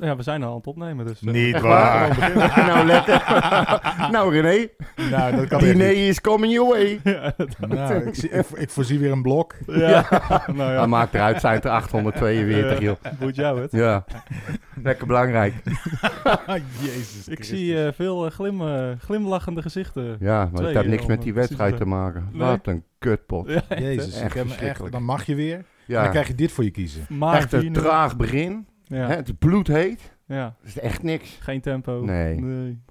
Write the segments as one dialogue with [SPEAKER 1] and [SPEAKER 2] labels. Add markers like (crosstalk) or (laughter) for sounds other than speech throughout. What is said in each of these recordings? [SPEAKER 1] Ja, we zijn al aan het opnemen, dus... eh, (laughs)
[SPEAKER 2] Niet
[SPEAKER 1] gewoon
[SPEAKER 2] waar.
[SPEAKER 1] beginnen.
[SPEAKER 3] (laughs)
[SPEAKER 1] (laughs)
[SPEAKER 3] nou, letten.
[SPEAKER 2] (laughs)
[SPEAKER 3] nou, René.
[SPEAKER 2] nou,
[SPEAKER 3] (laughs)
[SPEAKER 2] dat kan echt
[SPEAKER 3] Diner
[SPEAKER 2] niet.
[SPEAKER 3] is coming your way.
[SPEAKER 1] (laughs) ja, dat-
[SPEAKER 2] Nou, ik, zie- ik, ik voorzie weer een
[SPEAKER 3] (laughs)
[SPEAKER 2] blok.
[SPEAKER 1] ja. nou
[SPEAKER 3] Hij
[SPEAKER 1] ja,
[SPEAKER 3] maakt eruit, zijn het er 842, joh.
[SPEAKER 1] boeit jou
[SPEAKER 3] (laughs)
[SPEAKER 1] het.
[SPEAKER 3] Ja, lekker belangrijk. Ah,
[SPEAKER 2] Jezus
[SPEAKER 1] Ik
[SPEAKER 2] Christus.
[SPEAKER 1] zie eh, veel eh, glim, eh, glimlachende gezichten.
[SPEAKER 3] Ja, maar
[SPEAKER 1] Twee,
[SPEAKER 3] het heeft niks
[SPEAKER 1] joh,
[SPEAKER 3] met die
[SPEAKER 1] precies
[SPEAKER 3] wedstrijd
[SPEAKER 1] dat,
[SPEAKER 3] te maken.
[SPEAKER 1] nee.
[SPEAKER 3] Wat een kutpot.
[SPEAKER 1] Ja, eh, echt, hè?
[SPEAKER 2] Jezus, ik
[SPEAKER 3] Echt
[SPEAKER 2] heb me echt,
[SPEAKER 3] verschrikkelijk.
[SPEAKER 2] dan mag je weer. En dan
[SPEAKER 3] Ja,
[SPEAKER 2] krijg je dit voor je kiezen.
[SPEAKER 1] Maar
[SPEAKER 3] echt een
[SPEAKER 1] 4-0.
[SPEAKER 3] traag begin.
[SPEAKER 1] Ja,
[SPEAKER 3] Hè, het is bloedheet.
[SPEAKER 1] ja,
[SPEAKER 3] Dat is echt niks.
[SPEAKER 1] geen tempo.
[SPEAKER 3] Nee.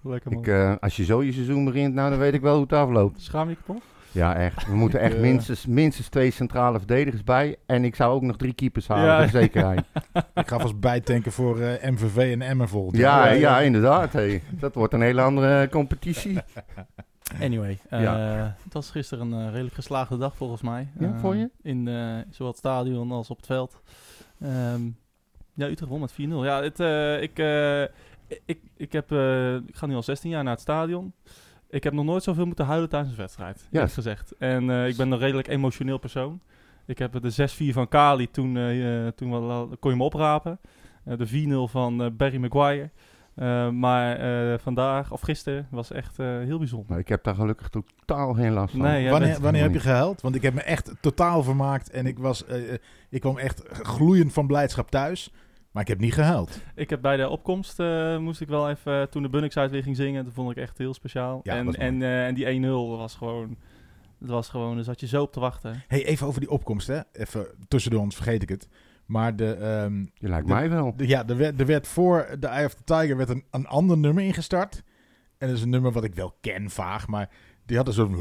[SPEAKER 1] lekker man.
[SPEAKER 3] Ik, eh, als je zo je seizoen begint, nou dan weet ik wel hoe het afloopt.
[SPEAKER 1] Schaam je kapot?
[SPEAKER 3] Ja, echt. We moeten echt
[SPEAKER 2] eh,
[SPEAKER 3] minstens, minstens twee centrale verdedigers bij. En ik zou ook nog drie keepers halen,
[SPEAKER 1] Ja.
[SPEAKER 3] voor
[SPEAKER 2] (laughs)
[SPEAKER 3] zekerheid.
[SPEAKER 2] Ik ga vast bijtanken voor eh, MVV en Emmen volgend
[SPEAKER 3] Ja,
[SPEAKER 2] jaar.
[SPEAKER 3] ja, inderdaad. hé. Dat wordt een hele andere eh, competitie.
[SPEAKER 1] Anyway, eh,
[SPEAKER 3] Ja.
[SPEAKER 1] het was gisteren een eh, redelijk geslaagde dag volgens mij.
[SPEAKER 3] Ja,
[SPEAKER 1] Eh,
[SPEAKER 3] vond je?
[SPEAKER 1] In eh, zowel het stadion als op het veld. Ehm, ja, Utrecht won met 4-0. Ja, het, eh, ik, eh, ik, ik, heb, eh, ik ga nu al 16 jaar naar het stadion. Ik heb nog nooit zoveel moeten huilen tijdens een wedstrijd, eerlijk gezegd. En eh, ik ben een redelijk emotioneel persoon. Ik heb eh, de 6-4 van Kali, toen, eh, eh, toen wel- kon je me oprapen. Eh, de 4-0 van eh, Barry Maguire. Eh, maar eh, vandaag, of gisteren, was echt eh, heel bijzonder.
[SPEAKER 3] Maar ik heb daar gelukkig totaal geen last van.
[SPEAKER 1] Nee, jij
[SPEAKER 2] Wanneer,
[SPEAKER 1] bent-
[SPEAKER 2] wanneer
[SPEAKER 3] Mm.
[SPEAKER 2] heb je gehuild? Want ik heb me echt totaal vermaakt. En ik, was, eh, eh, ik kwam echt gloeiend van blijdschap thuis. Maar ik heb niet gehuild.
[SPEAKER 1] Ik heb bij de opkomst eh, moest ik wel even eh, toen de Bunnings uit weer ging zingen, dat vond ik echt heel speciaal.
[SPEAKER 2] Ja,
[SPEAKER 1] en,
[SPEAKER 2] dat is mooi.
[SPEAKER 1] en, eh, en die 1-0 was gewoon, dat was gewoon, daar zat je zo op te wachten.
[SPEAKER 2] hey, even over die opkomst. Hè? Even tussendoor ons vergeet ik het. Maar de, ehm,
[SPEAKER 3] Je lijkt
[SPEAKER 2] De-
[SPEAKER 3] mij wel.
[SPEAKER 2] de- ja, er, werd, er werd voor de Eye of the Tiger werd een, een ander nummer ingestart. En dat is een nummer wat ik wel ken vaag. Maar die had een soort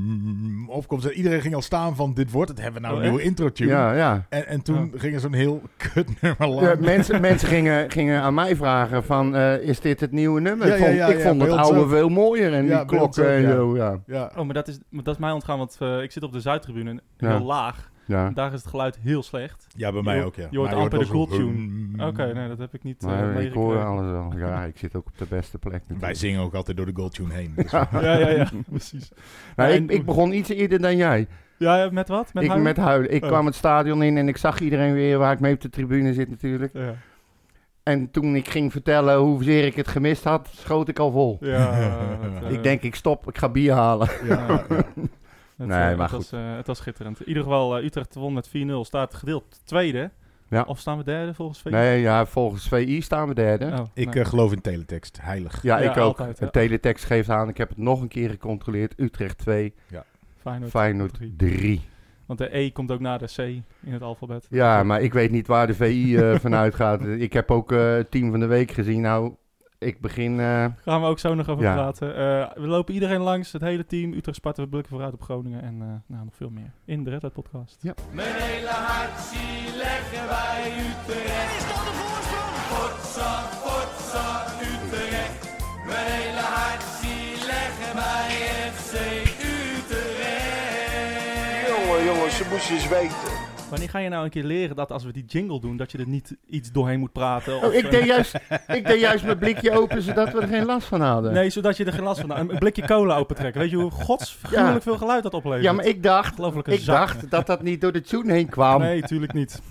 [SPEAKER 2] hum opkomst. En iedereen ging al staan van dit wordt het. Hebben we nou
[SPEAKER 1] Oh,
[SPEAKER 2] een nieuwe intro tune?
[SPEAKER 3] Ja, ja.
[SPEAKER 2] En, en toen ging er zo'n heel (laughs) kut nummer lang.
[SPEAKER 3] Ja, mensen mensen gingen, gingen aan mij vragen van, eh, is dit het nieuwe nummer?
[SPEAKER 2] Ja,
[SPEAKER 3] ik
[SPEAKER 2] ja,
[SPEAKER 3] vond,
[SPEAKER 2] ja,
[SPEAKER 3] ik
[SPEAKER 2] ja,
[SPEAKER 3] vond
[SPEAKER 2] bij
[SPEAKER 3] het
[SPEAKER 2] ons
[SPEAKER 3] oude
[SPEAKER 2] ook.
[SPEAKER 3] veel mooier en
[SPEAKER 2] Ja,
[SPEAKER 3] die
[SPEAKER 2] bij ons
[SPEAKER 3] klokken
[SPEAKER 2] ook,
[SPEAKER 3] en
[SPEAKER 2] ja.
[SPEAKER 3] zo, ja.
[SPEAKER 2] ja.
[SPEAKER 1] Oh, maar dat is, dat is mij ontgaan, want eh, ik zit op de Zuidtribune, en heel
[SPEAKER 3] Ja.
[SPEAKER 1] laag.
[SPEAKER 3] ja.
[SPEAKER 1] Daar is het geluid heel slecht.
[SPEAKER 2] Ja, bij
[SPEAKER 1] Je
[SPEAKER 2] mij
[SPEAKER 1] ho-
[SPEAKER 2] ook, ja.
[SPEAKER 1] je hoort
[SPEAKER 2] Maar
[SPEAKER 1] amper
[SPEAKER 2] wel
[SPEAKER 1] de
[SPEAKER 2] zo'n
[SPEAKER 1] cool
[SPEAKER 2] hum.
[SPEAKER 1] Oké, nee, dat heb ik niet
[SPEAKER 3] Mm. Maar
[SPEAKER 1] eh,
[SPEAKER 3] ik hoor
[SPEAKER 1] meegekregen.
[SPEAKER 3] alles wel. Ja, ik zit ook op de beste plek
[SPEAKER 2] Wij
[SPEAKER 3] (laughs) natuurlijk.
[SPEAKER 2] zingen ook altijd door de goal tune heen.
[SPEAKER 1] (laughs)
[SPEAKER 2] Dus
[SPEAKER 1] Ja, ja, ja, precies.
[SPEAKER 3] Maar
[SPEAKER 1] Ja,
[SPEAKER 3] ik,
[SPEAKER 1] en-
[SPEAKER 3] ik begon iets eerder dan jij.
[SPEAKER 1] Ja, ja, met wat? Met
[SPEAKER 3] ik
[SPEAKER 1] huilen?
[SPEAKER 3] met huilen. Ik
[SPEAKER 1] Oh.
[SPEAKER 3] kwam het stadion in en ik zag iedereen weer waar ik mee op de tribune zit natuurlijk.
[SPEAKER 1] Ja,
[SPEAKER 3] En toen ik ging vertellen hoezeer ik het gemist had, schoot ik al vol. (laughs)
[SPEAKER 1] ja dat, eh,
[SPEAKER 3] Ik denk, ik stop, ik ga bier halen.
[SPEAKER 1] Ja, ja. Het,
[SPEAKER 3] (laughs) Nee,
[SPEAKER 1] eh,
[SPEAKER 3] maar
[SPEAKER 1] het
[SPEAKER 3] goed.
[SPEAKER 1] Was, eh, het was schitterend. In ieder geval, eh, Utrecht won met 4-0. Staat gedeeld tweede.
[SPEAKER 3] Ja.
[SPEAKER 1] Of staan we derde volgens VI?
[SPEAKER 3] Nee, ja, volgens VI staan we derde.
[SPEAKER 1] Oh,
[SPEAKER 2] ik
[SPEAKER 1] nee.
[SPEAKER 2] eh, geloof in teletext. Heilig.
[SPEAKER 3] Ja,
[SPEAKER 1] Ja,
[SPEAKER 3] ik ook.
[SPEAKER 1] altijd,
[SPEAKER 3] Een
[SPEAKER 1] ja.
[SPEAKER 3] teletext geeft aan. Ik heb het nog een keer gecontroleerd. Utrecht 2,
[SPEAKER 1] Feyenoord.
[SPEAKER 3] Feyenoord
[SPEAKER 1] drie.
[SPEAKER 3] 3.
[SPEAKER 1] Want de E komt ook na de C in het alfabet.
[SPEAKER 3] Ja, maar ik weet niet waar de
[SPEAKER 1] (laughs)
[SPEAKER 3] VI eh vanuit gaat. Ik heb ook eh, het team van de week gezien. Nou, ik begin... eh,
[SPEAKER 1] Gaan we ook zo nog over
[SPEAKER 3] Ja.
[SPEAKER 1] praten. Eh, we lopen iedereen langs, het hele team. Utrecht Sparta, we blikken vooruit op Groningen en eh, nou, nog veel meer. In de Red Hat podcast.
[SPEAKER 3] Ja.
[SPEAKER 4] Mijn hele hart zie leggen wij Utrecht. Is dat de voorsprong? Potsa, potsa, Utrecht. Mijn hele hart zie leggen wij FC Utrecht.
[SPEAKER 5] Jongen, jongen, ze moest je eens weten.
[SPEAKER 1] Wanneer ga je nou een keer leren dat als we die jingle doen, dat je er niet iets doorheen moet praten? of,
[SPEAKER 3] Oh, ik
[SPEAKER 1] eh,
[SPEAKER 3] deed, juist, ik deed juist mijn blikje open, zodat we er geen last van hadden.
[SPEAKER 1] Nee, zodat je er geen last van Een blikje cola open trekken. Weet je hoe godsvergoedelijk
[SPEAKER 3] Ja.
[SPEAKER 1] veel geluid dat oplevert?
[SPEAKER 3] Ja, maar ik dacht,
[SPEAKER 1] Ongelooflijke
[SPEAKER 3] ik
[SPEAKER 1] zak.
[SPEAKER 3] dacht dat dat niet door de tune heen kwam.
[SPEAKER 1] Nee, tuurlijk niet.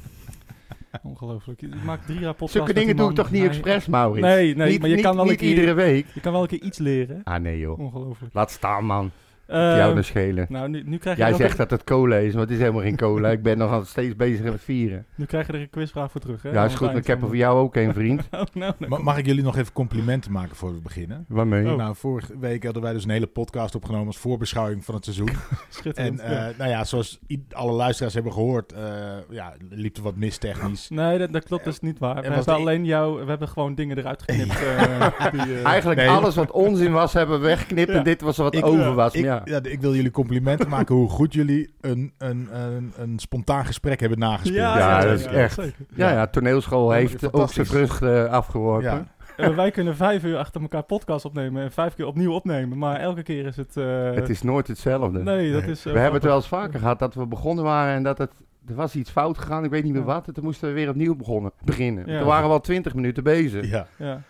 [SPEAKER 1] Ongelooflijk. Je maakt drie jaar podcasts
[SPEAKER 3] Zulke
[SPEAKER 1] met die
[SPEAKER 3] dingen doe ik
[SPEAKER 1] man.
[SPEAKER 3] toch niet
[SPEAKER 1] Nee.
[SPEAKER 3] expres, Maurits?
[SPEAKER 1] Nee, nee,
[SPEAKER 3] niet,
[SPEAKER 1] maar je
[SPEAKER 3] niet-
[SPEAKER 1] kan wel een
[SPEAKER 3] niet
[SPEAKER 1] keer-
[SPEAKER 3] iedere week.
[SPEAKER 1] Je kan wel een keer iets leren.
[SPEAKER 3] Ah nee joh,
[SPEAKER 1] Ongelooflijk.
[SPEAKER 3] laat staan man.
[SPEAKER 1] Eh,
[SPEAKER 3] Jou nou schelen.
[SPEAKER 1] nou, nu, nu, krijg je
[SPEAKER 3] Jij
[SPEAKER 1] ook
[SPEAKER 3] zegt dat het cola is, maar het is helemaal geen cola. ik ben nog altijd steeds bezig met vieren.
[SPEAKER 1] een- nu krijg je er een quizvraag voor terug. Hè?
[SPEAKER 3] Ja,
[SPEAKER 1] Aan
[SPEAKER 3] is
[SPEAKER 1] het
[SPEAKER 3] goed, maar
[SPEAKER 1] eind
[SPEAKER 3] ik heb er
[SPEAKER 1] van
[SPEAKER 3] voor
[SPEAKER 1] de-
[SPEAKER 3] jou ook een vriend.
[SPEAKER 1] Oh, (laughs) nou, nou.
[SPEAKER 2] Ma- mag ik jullie nog even complimenten maken voor we beginnen?
[SPEAKER 3] Waarmee?
[SPEAKER 1] Oh.
[SPEAKER 2] Nou, vorige week hadden wij dus een hele podcast opgenomen als voorbeschouwing van het seizoen. en
[SPEAKER 1] Schitterend.
[SPEAKER 2] eh,
[SPEAKER 1] ja.
[SPEAKER 2] nou ja, zoals i- alle luisteraars hebben gehoord, eh, ja, liep er wat
[SPEAKER 1] (laughs)
[SPEAKER 2] mistechnisch.
[SPEAKER 1] Nee, dat, dat
[SPEAKER 2] eh,
[SPEAKER 1] klopt dus niet waar. We
[SPEAKER 2] was
[SPEAKER 1] hebben
[SPEAKER 2] de-
[SPEAKER 1] alleen jou... We hebben gewoon dingen eruit geknipt. eh, die, eh,
[SPEAKER 3] Eigenlijk
[SPEAKER 2] Nee.
[SPEAKER 3] alles wat onzin was, hebben we weggeknipt. En
[SPEAKER 1] Ja. eh,
[SPEAKER 3] dit was wat
[SPEAKER 2] Ik- eh,
[SPEAKER 3] over was.
[SPEAKER 2] Ik,
[SPEAKER 3] maar ja.
[SPEAKER 2] ja. ik wil jullie complimenten maken hoe goed jullie een, een, een, een spontaan gesprek hebben nagespeeld.
[SPEAKER 3] Ja, dat is echt.
[SPEAKER 1] zeker.
[SPEAKER 3] Ja, ja, toneelschool
[SPEAKER 2] Ja,
[SPEAKER 3] heeft ook zijn
[SPEAKER 2] fantastisch.
[SPEAKER 3] vruchten afgeworpen.
[SPEAKER 2] Ja.
[SPEAKER 1] Eh, wij kunnen vijf uur achter elkaar podcast opnemen en vijf keer opnieuw opnemen. Maar elke keer is het... eh,
[SPEAKER 3] Het is nooit hetzelfde.
[SPEAKER 1] Nee, dat is... eh,
[SPEAKER 3] we hebben het wel eens vaker gehad dat we begonnen waren en dat het, er was iets fout gegaan. Ik weet niet meer
[SPEAKER 1] Ja.
[SPEAKER 3] wat. En toen moesten we weer opnieuw begonnen, beginnen.
[SPEAKER 1] Ja.
[SPEAKER 3] We waren wel twintig minuten bezig.
[SPEAKER 2] Ja.
[SPEAKER 1] Ja,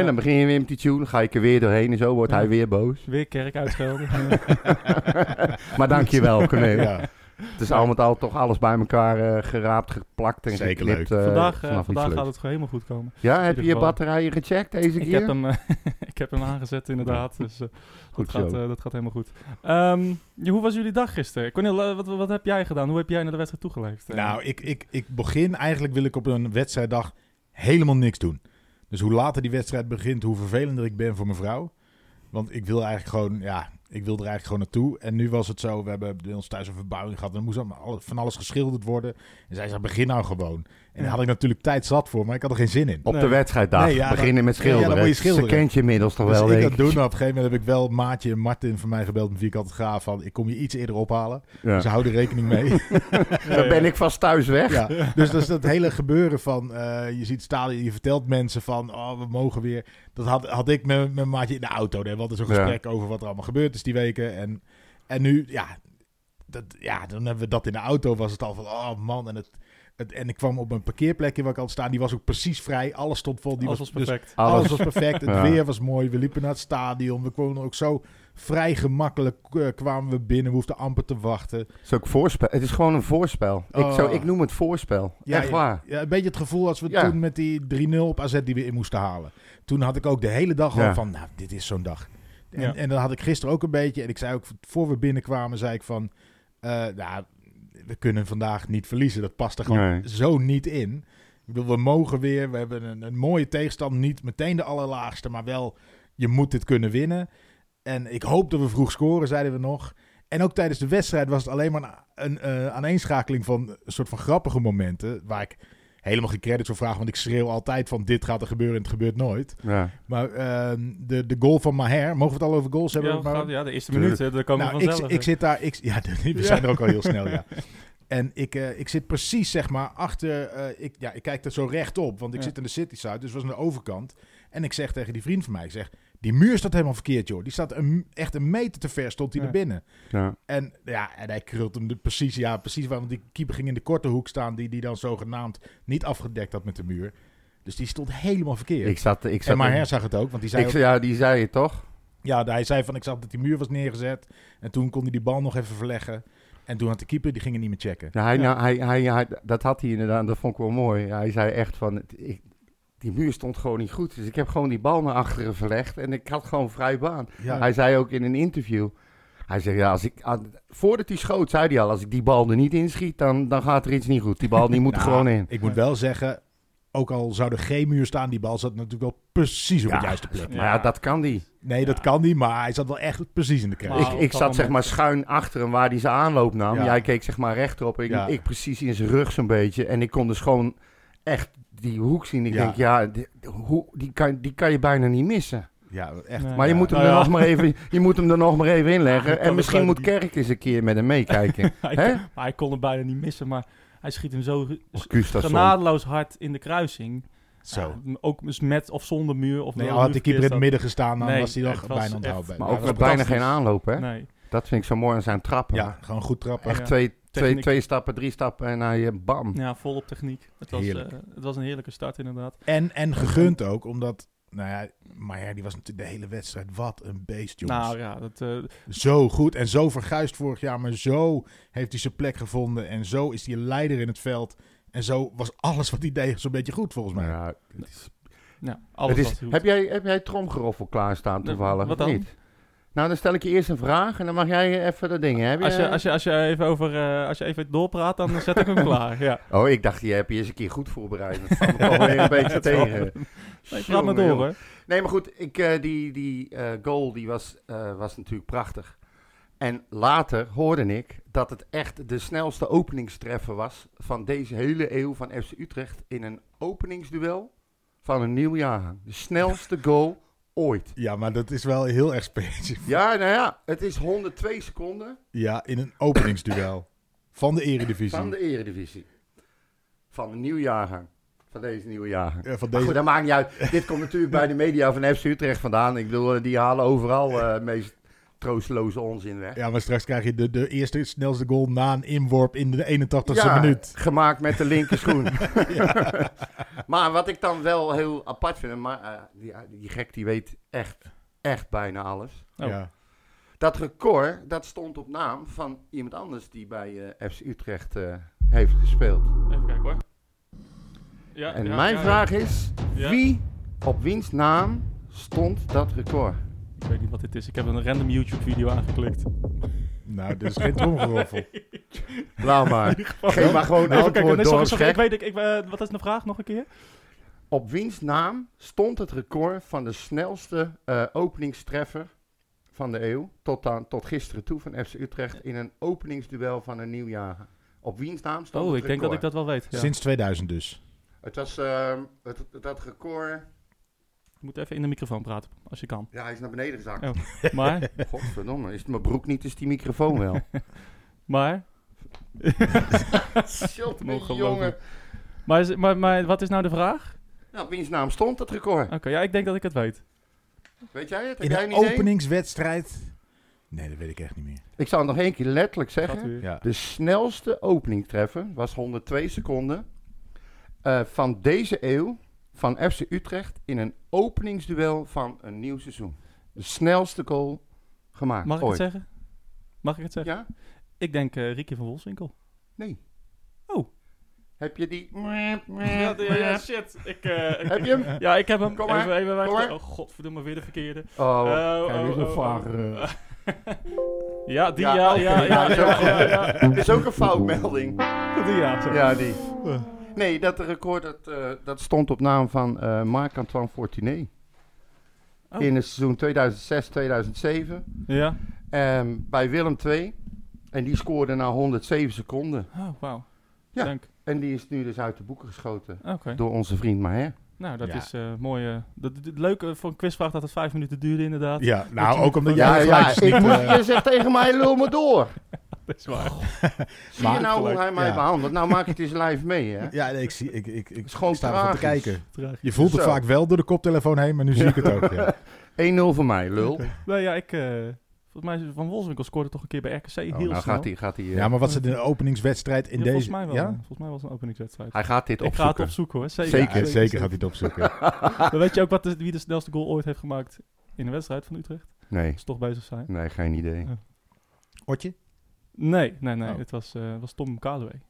[SPEAKER 3] En dan begin je weer met die tune. Ga ik er weer doorheen en zo wordt
[SPEAKER 1] Ja. (laughs)
[SPEAKER 3] hij weer boos. (laughs) Eh,
[SPEAKER 1] weer kerk uitschelden.
[SPEAKER 3] maar dankjewel, Corné.
[SPEAKER 2] ja.
[SPEAKER 3] Het is al met al toch alles bij elkaar eh, geraapt, geplakt en
[SPEAKER 2] Zeker
[SPEAKER 3] geknipt. eh,
[SPEAKER 1] vandaag eh,
[SPEAKER 3] vanaf iets
[SPEAKER 1] vandaag
[SPEAKER 3] leuks.
[SPEAKER 1] gaat het gewoon helemaal goed komen.
[SPEAKER 3] Ja, heb je
[SPEAKER 1] ieder
[SPEAKER 3] je
[SPEAKER 1] geval.
[SPEAKER 3] batterijen gecheckt deze
[SPEAKER 1] Ik
[SPEAKER 3] keer?
[SPEAKER 1] heb, hem, eh, (laughs) ik heb hem aangezet inderdaad, dus eh,
[SPEAKER 3] Goed
[SPEAKER 1] dat, gaat,
[SPEAKER 3] zo.
[SPEAKER 1] eh, dat gaat helemaal goed. Ehm, ja, hoe was jullie dag gisteren? Cornel, eh, wat, wat heb jij gedaan? Hoe heb jij naar de wedstrijd toegeleefd? Eh,
[SPEAKER 2] Nou, ik, ik, ik begin eigenlijk wil ik op een wedstrijddag helemaal niks doen. Dus hoe later die wedstrijd begint, hoe vervelender ik ben voor mijn vrouw. Want ik wil eigenlijk gewoon, ja, ik wil er eigenlijk gewoon naartoe. En nu was het zo, we hebben bij ons thuis een verbouwing gehad. En er moest allemaal alles- van alles geschilderd worden. En zij zei, begin nou gewoon. En daar had ik natuurlijk tijd zat voor, maar ik had er geen zin in. Dus
[SPEAKER 3] Op
[SPEAKER 1] Nee.
[SPEAKER 3] de wedstrijddag
[SPEAKER 2] Nee, ja,
[SPEAKER 3] beginnen met
[SPEAKER 2] ja, dan
[SPEAKER 3] schilderen.
[SPEAKER 2] moet je
[SPEAKER 3] Ze
[SPEAKER 2] schilderen.
[SPEAKER 3] kent je inmiddels toch
[SPEAKER 2] Dus
[SPEAKER 3] wel,
[SPEAKER 2] ik
[SPEAKER 3] denk
[SPEAKER 2] dat doen. Op een gegeven moment heb ik wel Maatje en Martin van mij gebeld met wie ik altijd ga van... Ik kom je iets eerder ophalen,
[SPEAKER 3] Ja.
[SPEAKER 2] dus hou er rekening mee.
[SPEAKER 3] Dan ben ik vast thuis weg.
[SPEAKER 2] Ja, (laughs) dus dat is dat hele gebeuren van, eh, je ziet stadion, je vertelt mensen van, oh, we mogen weer. Dat had, had ik met mijn maatje in de auto. Daar hadden zo'n
[SPEAKER 3] Ja.
[SPEAKER 2] gesprek over wat er allemaal gebeurd is die weken. En, en nu, ja, dat, ja, dan hebben we dat in de auto. Was het al van, oh man. En, het, het, en ik kwam op een parkeerplekje waar ik had staan. Die was ook precies vrij. Alles stond vol. Die
[SPEAKER 1] alles
[SPEAKER 2] was
[SPEAKER 1] was
[SPEAKER 2] dus
[SPEAKER 1] perfect.
[SPEAKER 3] Alles.
[SPEAKER 2] alles was perfect. Het
[SPEAKER 3] Ja.
[SPEAKER 2] weer was mooi. We liepen naar het stadion. We konden ook zo vrij gemakkelijk eh, kwamen we binnen. We hoefden amper te wachten.
[SPEAKER 3] Het is ook voorspel. Het is gewoon een voorspel. Ik, zou,
[SPEAKER 2] Oh.
[SPEAKER 3] ik noem het voorspel.
[SPEAKER 2] Ja,
[SPEAKER 3] Echt waar.
[SPEAKER 2] Ja, een beetje het gevoel als we
[SPEAKER 3] Ja.
[SPEAKER 2] toen met die 3-0 op AZ die we in moesten halen. Toen had ik ook de hele dag
[SPEAKER 3] Ja.
[SPEAKER 2] al van, nou, dit is zo'n dag. En,
[SPEAKER 1] Ja.
[SPEAKER 2] en dan had ik gisteren ook een beetje, en ik zei ook, voor we binnenkwamen, zei ik van, eh, nou, we kunnen vandaag niet verliezen. Dat past er gewoon
[SPEAKER 3] Nee.
[SPEAKER 2] zo niet in. Ik bedoel, we mogen weer, we hebben een, een mooie tegenstand. Niet meteen de allerlaagste, maar wel, je moet dit kunnen winnen. En ik hoop dat we vroeg scoren, zeiden we nog. En ook tijdens de wedstrijd was het alleen maar een, eh, aaneenschakeling van een soort van grappige momenten. Waar ik helemaal geen credits voor vraag, want ik schreeuw altijd van dit gaat er gebeuren en het gebeurt nooit.
[SPEAKER 3] Ja.
[SPEAKER 2] Maar ehm, de, de goal van Maher, mogen we het al over goals hebben?
[SPEAKER 1] Ja,
[SPEAKER 2] Maar-
[SPEAKER 1] gaat- ja, de eerste
[SPEAKER 3] Tuurlijk.
[SPEAKER 1] minuut, hè, daar komen
[SPEAKER 2] nou,
[SPEAKER 1] we
[SPEAKER 2] ik,
[SPEAKER 1] vanzelf.
[SPEAKER 2] ik zit daar. Ik, ja, (laughs) we
[SPEAKER 1] Ja.
[SPEAKER 2] zijn er ook al heel snel,
[SPEAKER 1] (laughs)
[SPEAKER 2] ja. En ik, eh, ik zit precies, zeg maar, achter. eh, ik, ja, ik kijk er zo rechtop, want ik
[SPEAKER 1] Ja.
[SPEAKER 2] zit aan de city side, dus was aan de overkant. En ik zeg tegen die vriend van mij, ik zeg, die muur staat helemaal verkeerd, joh. Die staat een, echt een meter te ver, stond hij
[SPEAKER 1] Ja.
[SPEAKER 2] er binnen.
[SPEAKER 3] Ja.
[SPEAKER 2] En ja, en hij krult hem er precies, ja, precies waar, want die keeper ging in de korte hoek staan, die die dan zogenaamd niet afgedekt had met de muur. Dus die stond helemaal verkeerd.
[SPEAKER 3] Ik zat... Ik zat
[SPEAKER 2] en maar zag het ook, want die zei
[SPEAKER 3] ik,
[SPEAKER 2] ook-
[SPEAKER 3] ja, die zei het toch?
[SPEAKER 2] ja, hij zei van ik zag dat die muur was neergezet. En toen kon hij die bal nog even verleggen. En toen had de keeper, die ging het niet meer checken.
[SPEAKER 3] Ja, hij,
[SPEAKER 1] Ja.
[SPEAKER 3] Nou, hij, hij, hij- dat had hij inderdaad, dat vond ik wel mooi. Hij zei echt van, het- ik, die muur stond gewoon niet goed. Dus ik heb gewoon die bal naar achteren verlegd en ik had gewoon vrij baan.
[SPEAKER 2] Ja.
[SPEAKER 3] Hij zei ook in een interview, hij zei ja, als ik, ah, voordat hij schoot, zei hij al, als ik die bal er niet inschiet, dan, dan gaat er iets niet goed. Die bal die moet er
[SPEAKER 2] Nou,
[SPEAKER 3] gewoon in.
[SPEAKER 2] Ik moet wel zeggen, ook al zou er geen muur staan, die bal zat natuurlijk wel precies op
[SPEAKER 3] Ja.
[SPEAKER 2] de juiste plek.
[SPEAKER 3] Maar ja, dat kan die.
[SPEAKER 2] Nee, dat kan niet, maar hij zat wel echt precies in de kruis.
[SPEAKER 1] Maar-
[SPEAKER 3] ik
[SPEAKER 1] Ah, op
[SPEAKER 3] ik
[SPEAKER 1] dat
[SPEAKER 3] zat zeg maar
[SPEAKER 1] moment-
[SPEAKER 3] schuin achter hem waar hij zijn aanloop nam.
[SPEAKER 2] Ja.
[SPEAKER 3] Jij keek zeg maar rechterop. Ik,
[SPEAKER 2] Ja.
[SPEAKER 3] ik precies in zijn rug zo'n beetje. En ik kon dus gewoon echt die hoek zien. Ik
[SPEAKER 2] Ja.
[SPEAKER 3] denk, ja, die, hoe, die, kan, die kan je bijna niet missen.
[SPEAKER 2] Ja, echt.
[SPEAKER 1] Nee.
[SPEAKER 3] Maar je
[SPEAKER 2] Ja.
[SPEAKER 3] moet hem,
[SPEAKER 1] Nou
[SPEAKER 3] er
[SPEAKER 1] ja.
[SPEAKER 3] nog maar
[SPEAKER 1] (laughs)
[SPEAKER 3] even, je moet hem er nog maar even inleggen.
[SPEAKER 1] Ja, dat
[SPEAKER 3] en
[SPEAKER 1] kan
[SPEAKER 3] misschien
[SPEAKER 1] het
[SPEAKER 3] moet
[SPEAKER 1] ook
[SPEAKER 3] Kerk eens een keer met hem
[SPEAKER 1] (laughs)
[SPEAKER 3] meekijken.
[SPEAKER 1] hij,
[SPEAKER 3] Hè?
[SPEAKER 1] maar hij kon hem bijna niet missen, maar hij schiet hem zo
[SPEAKER 2] Oh,
[SPEAKER 3] Of Gustafsson.
[SPEAKER 1] genadeloos hard in de kruising.
[SPEAKER 2] Zo.
[SPEAKER 1] Ja, ook dus met of zonder muur. Of
[SPEAKER 2] Nee,
[SPEAKER 1] wel
[SPEAKER 2] al had
[SPEAKER 1] hoe
[SPEAKER 2] de keeper in het
[SPEAKER 1] verkeerd
[SPEAKER 2] midden gestaan, dan
[SPEAKER 1] Nee,
[SPEAKER 2] was hij
[SPEAKER 1] het
[SPEAKER 2] nog
[SPEAKER 1] was
[SPEAKER 2] bijna
[SPEAKER 1] echt-
[SPEAKER 2] onthouden.
[SPEAKER 3] Maar
[SPEAKER 2] Ja,
[SPEAKER 3] ook
[SPEAKER 2] dat
[SPEAKER 3] met
[SPEAKER 2] was
[SPEAKER 3] bijna
[SPEAKER 2] fantastisch.
[SPEAKER 3] geen aanloop, hè?
[SPEAKER 1] staat. Nee.
[SPEAKER 3] Dat vind ik zo mooi aan zijn trappen.
[SPEAKER 2] Ja, gewoon goed trappen.
[SPEAKER 3] Echt
[SPEAKER 1] Ja.
[SPEAKER 3] twee, twee,
[SPEAKER 1] Techniek.
[SPEAKER 3] twee stappen, drie stappen en hij eh, bam.
[SPEAKER 1] Ja, volop techniek. Het was,
[SPEAKER 2] Hm. Heerlijk.
[SPEAKER 1] eh, het was een heerlijke start inderdaad.
[SPEAKER 2] En, en gegund ook, omdat... Nou ja, maar ja, die was natuurlijk de hele wedstrijd. Wat een beest, jongens.
[SPEAKER 1] Nou ja, dat, eh,
[SPEAKER 2] Zo goed en zo verguisd vorig jaar, maar zo heeft hij zijn plek gevonden. En zo is hij een leider in het veld. En zo was alles wat hij deed zo'n beetje goed volgens mij.
[SPEAKER 3] Ja, het is-
[SPEAKER 1] ja, alles
[SPEAKER 3] Het is-
[SPEAKER 1] was goed.
[SPEAKER 3] heb, jij, heb jij tromgeroffel klaarstaan
[SPEAKER 1] Nee,
[SPEAKER 3] toevallig?
[SPEAKER 1] wat
[SPEAKER 3] of
[SPEAKER 1] dan?
[SPEAKER 3] Niet? Nou, dan stel ik je eerst een vraag en dan mag jij eh, even dat ding. hè? Heb
[SPEAKER 1] Als je, als, je, als, je even over, eh, als je even doorpraat, dan zet
[SPEAKER 3] (laughs)
[SPEAKER 1] ik hem klaar. Ja.
[SPEAKER 3] Oh, ik dacht, je hebt je eens een keer goed voorbereid. Dat valt me toch weer
[SPEAKER 1] (laughs)
[SPEAKER 3] een beetje tegen.
[SPEAKER 1] Nee, praat maar
[SPEAKER 3] Jongen,
[SPEAKER 1] door
[SPEAKER 3] jongen.
[SPEAKER 1] hoor.
[SPEAKER 3] Nee, maar goed, ik, eh, die, die eh, goal die was, eh, was natuurlijk prachtig. En later hoorde ik dat het echt de snelste openingstreffer was van deze hele eeuw van FC Utrecht in een openingsduel van een nieuw jaar. De snelste goal ooit.
[SPEAKER 2] Ja, maar dat is wel heel erg specifiek.
[SPEAKER 3] Ja, nou ja, het is 102 seconden
[SPEAKER 2] (laughs) Ja, in een openingsduel van de Eredivisie.
[SPEAKER 3] van de Eredivisie. Van een nieuw jaargang. Van deze nieuwe jaargang.
[SPEAKER 2] Ja, van
[SPEAKER 3] Maar goed,
[SPEAKER 2] deze...
[SPEAKER 3] dat maakt niet uit. Dit komt natuurlijk bij de media van FC Utrecht vandaan. Ik bedoel, eh, die halen overal eh, meest troosteloze onzin weg.
[SPEAKER 2] Ja, maar straks krijg je de, de eerste snelste goal na een inworp in de 81ste
[SPEAKER 3] Ja,
[SPEAKER 2] minuut.
[SPEAKER 3] gemaakt met de
[SPEAKER 2] (laughs)
[SPEAKER 3] linkerschoen. (laughs) maar wat ik dan wel heel eh, apart vind, maar, eh, die, die gek die weet echt, echt bijna alles.
[SPEAKER 1] Oh.
[SPEAKER 2] Ja.
[SPEAKER 3] Dat record, dat stond op naam van iemand anders die bij eh, FC Utrecht eh, heeft gespeeld.
[SPEAKER 1] Even kijken hoor. Ja,
[SPEAKER 3] En
[SPEAKER 1] ja,
[SPEAKER 3] mijn
[SPEAKER 1] ja, ja.
[SPEAKER 3] vraag is,
[SPEAKER 1] Ja.
[SPEAKER 3] wie, op wiens naam stond dat record?
[SPEAKER 1] Ik weet niet wat dit is. Ik heb een random YouTube video aangeklikt.
[SPEAKER 2] Nou, dit is geen
[SPEAKER 3] (laughs)
[SPEAKER 2] tromgeroffel.
[SPEAKER 3] Laat maar.
[SPEAKER 1] (laughs)
[SPEAKER 3] Geef maar gewoon
[SPEAKER 1] Even kijken.
[SPEAKER 3] antwoord
[SPEAKER 1] Nee,
[SPEAKER 3] door,
[SPEAKER 1] sorry, sorry,
[SPEAKER 3] gek.
[SPEAKER 1] ik weet, ik, ik, eh, wat is de vraag nog een keer?
[SPEAKER 3] Op wiens naam stond het record van de snelste eh, openingstreffer van de eeuw tot, aan, tot gisteren toe van FC Utrecht in een openingsduel van een nieuwjaar? Op wiens naam stond
[SPEAKER 1] Oh,
[SPEAKER 3] het
[SPEAKER 1] ik denk dat ik
[SPEAKER 3] record?
[SPEAKER 1] dat wel weet. Ja.
[SPEAKER 2] Sinds 2000 dus.
[SPEAKER 3] Het was ehm, het, dat record.
[SPEAKER 1] Ik moet even in de microfoon praten, als je
[SPEAKER 3] (laughs)
[SPEAKER 1] kan.
[SPEAKER 3] Ja, hij is naar beneden gezakt.
[SPEAKER 1] Oh. Maar,
[SPEAKER 3] Godverdomme, is het mijn broek niet, is die microfoon
[SPEAKER 1] (laughs)
[SPEAKER 3] wel.
[SPEAKER 1] maar,
[SPEAKER 3] Shit,
[SPEAKER 1] Nog geloven.
[SPEAKER 3] jongen.
[SPEAKER 1] maar, is, maar, maar wat is nou de vraag?
[SPEAKER 3] Nou, op wiens naam stond dat record?
[SPEAKER 1] Oké, ja, ik denk dat ik het weet.
[SPEAKER 3] Weet jij het? Heb
[SPEAKER 2] In
[SPEAKER 3] jij
[SPEAKER 2] een
[SPEAKER 3] een idee?
[SPEAKER 2] openingswedstrijd. Nee, dat weet ik echt niet meer.
[SPEAKER 3] Ik zal het nog één keer letterlijk
[SPEAKER 1] Gaat
[SPEAKER 3] zeggen.
[SPEAKER 1] u.
[SPEAKER 2] Ja.
[SPEAKER 3] De snelste opening treffen was 102 seconden eh, van deze eeuw van FC Utrecht in een openingsduel van een nieuw seizoen. De snelste goal gemaakt
[SPEAKER 1] Mag ik het
[SPEAKER 3] ooit.
[SPEAKER 1] zeggen? Mag ik het zeggen?
[SPEAKER 3] Ja?
[SPEAKER 1] Ik denk eh Ricky van Wolfswinkel.
[SPEAKER 3] Nee.
[SPEAKER 1] Oh.
[SPEAKER 3] Heb je die...
[SPEAKER 1] shit. Ik,
[SPEAKER 3] (laughs) Heb je hem?
[SPEAKER 1] ja, ik heb hem.
[SPEAKER 3] Kom maar,
[SPEAKER 1] Even, even
[SPEAKER 3] kom
[SPEAKER 1] wachten.
[SPEAKER 3] maar.
[SPEAKER 1] Oh, godverdomme, weer de verkeerde.
[SPEAKER 3] Oh,
[SPEAKER 1] Oh,
[SPEAKER 3] kijk,
[SPEAKER 1] oh,
[SPEAKER 3] dit is een
[SPEAKER 1] oh,
[SPEAKER 3] vager,
[SPEAKER 1] oh.
[SPEAKER 3] eh.
[SPEAKER 1] (laughs) Ja, die
[SPEAKER 3] Ja,
[SPEAKER 1] ja, ja, ja,
[SPEAKER 3] oké, ja,
[SPEAKER 1] ja,
[SPEAKER 3] zo
[SPEAKER 1] ja,
[SPEAKER 3] goed.
[SPEAKER 1] ja,
[SPEAKER 3] Dit is ook een foutmelding.
[SPEAKER 1] Die ja, zo.
[SPEAKER 3] Ja, die. Nee, dat record dat, eh, dat stond op naam van eh Marc-Antoine Fortuné.
[SPEAKER 1] Oh.
[SPEAKER 3] In het seizoen 2006-2007.
[SPEAKER 1] Ja.
[SPEAKER 3] Ehm, bij Willem II. En die scoorde na 107 seconden.
[SPEAKER 1] Oh, wauw.
[SPEAKER 3] Ja.
[SPEAKER 1] Dank.
[SPEAKER 3] En die is nu dus uit de boeken geschoten.
[SPEAKER 1] Oké.
[SPEAKER 3] Door onze vriend Maher.
[SPEAKER 1] Nou, dat
[SPEAKER 2] Ja.
[SPEAKER 1] is eh mooi. eh, dat, dat- leuk eh, voor een quizvraag dat het vijf minuten duurde inderdaad.
[SPEAKER 2] Ja, nou ook omdat
[SPEAKER 3] Ja,
[SPEAKER 2] jij
[SPEAKER 3] ja,
[SPEAKER 2] gelijk
[SPEAKER 3] ik
[SPEAKER 2] niet...
[SPEAKER 3] moet,
[SPEAKER 2] eh,
[SPEAKER 3] je zegt tegen mij, lul me door.
[SPEAKER 1] Dat is waar.
[SPEAKER 3] Zie je nou hoe hij mij
[SPEAKER 2] ja.
[SPEAKER 3] behandelt? Nou maak het eens live mee, hè.
[SPEAKER 2] Ja, nee, ik, zie, ik, ik, ik
[SPEAKER 3] is gewoon
[SPEAKER 2] sta ervan te
[SPEAKER 3] tragisch.
[SPEAKER 2] kijken.
[SPEAKER 1] Tragisch.
[SPEAKER 2] Je voelt het
[SPEAKER 3] Zo.
[SPEAKER 2] vaak wel door de koptelefoon heen, maar nu zie ik het ook. Ja.
[SPEAKER 3] 1-0 voor mij, lul. Oh,
[SPEAKER 1] Nou ja, ik... eh, volgens mij is Van Wolfswinkel scoorde toch een keer bij RKC heel
[SPEAKER 3] nou
[SPEAKER 1] snel.
[SPEAKER 3] gaat hij, gaat hij, eh,
[SPEAKER 2] (laughs) ja, maar wat ze in de openingswedstrijd in
[SPEAKER 1] Ja,
[SPEAKER 2] deze...
[SPEAKER 1] Volgens mij wel.
[SPEAKER 2] Ja?
[SPEAKER 1] eh, Volgens mij was het een openingswedstrijd.
[SPEAKER 3] hij gaat dit
[SPEAKER 1] Ik ga het
[SPEAKER 3] opzoeken.
[SPEAKER 1] opzoeken hoor. Zeker.
[SPEAKER 3] Zeker,
[SPEAKER 2] Ja, zeker gaat hij het opzoeken. (laughs)
[SPEAKER 1] Maar weet je ook wat de- wie de snelste goal ooit heeft gemaakt in een wedstrijd van Utrecht?
[SPEAKER 3] Nee,
[SPEAKER 1] Is toch bezig zijn?
[SPEAKER 3] nee, geen idee.
[SPEAKER 2] Otje?
[SPEAKER 1] Nee, nee, nee.
[SPEAKER 2] Oh.
[SPEAKER 1] Het was, eh, was Tom Kadewee.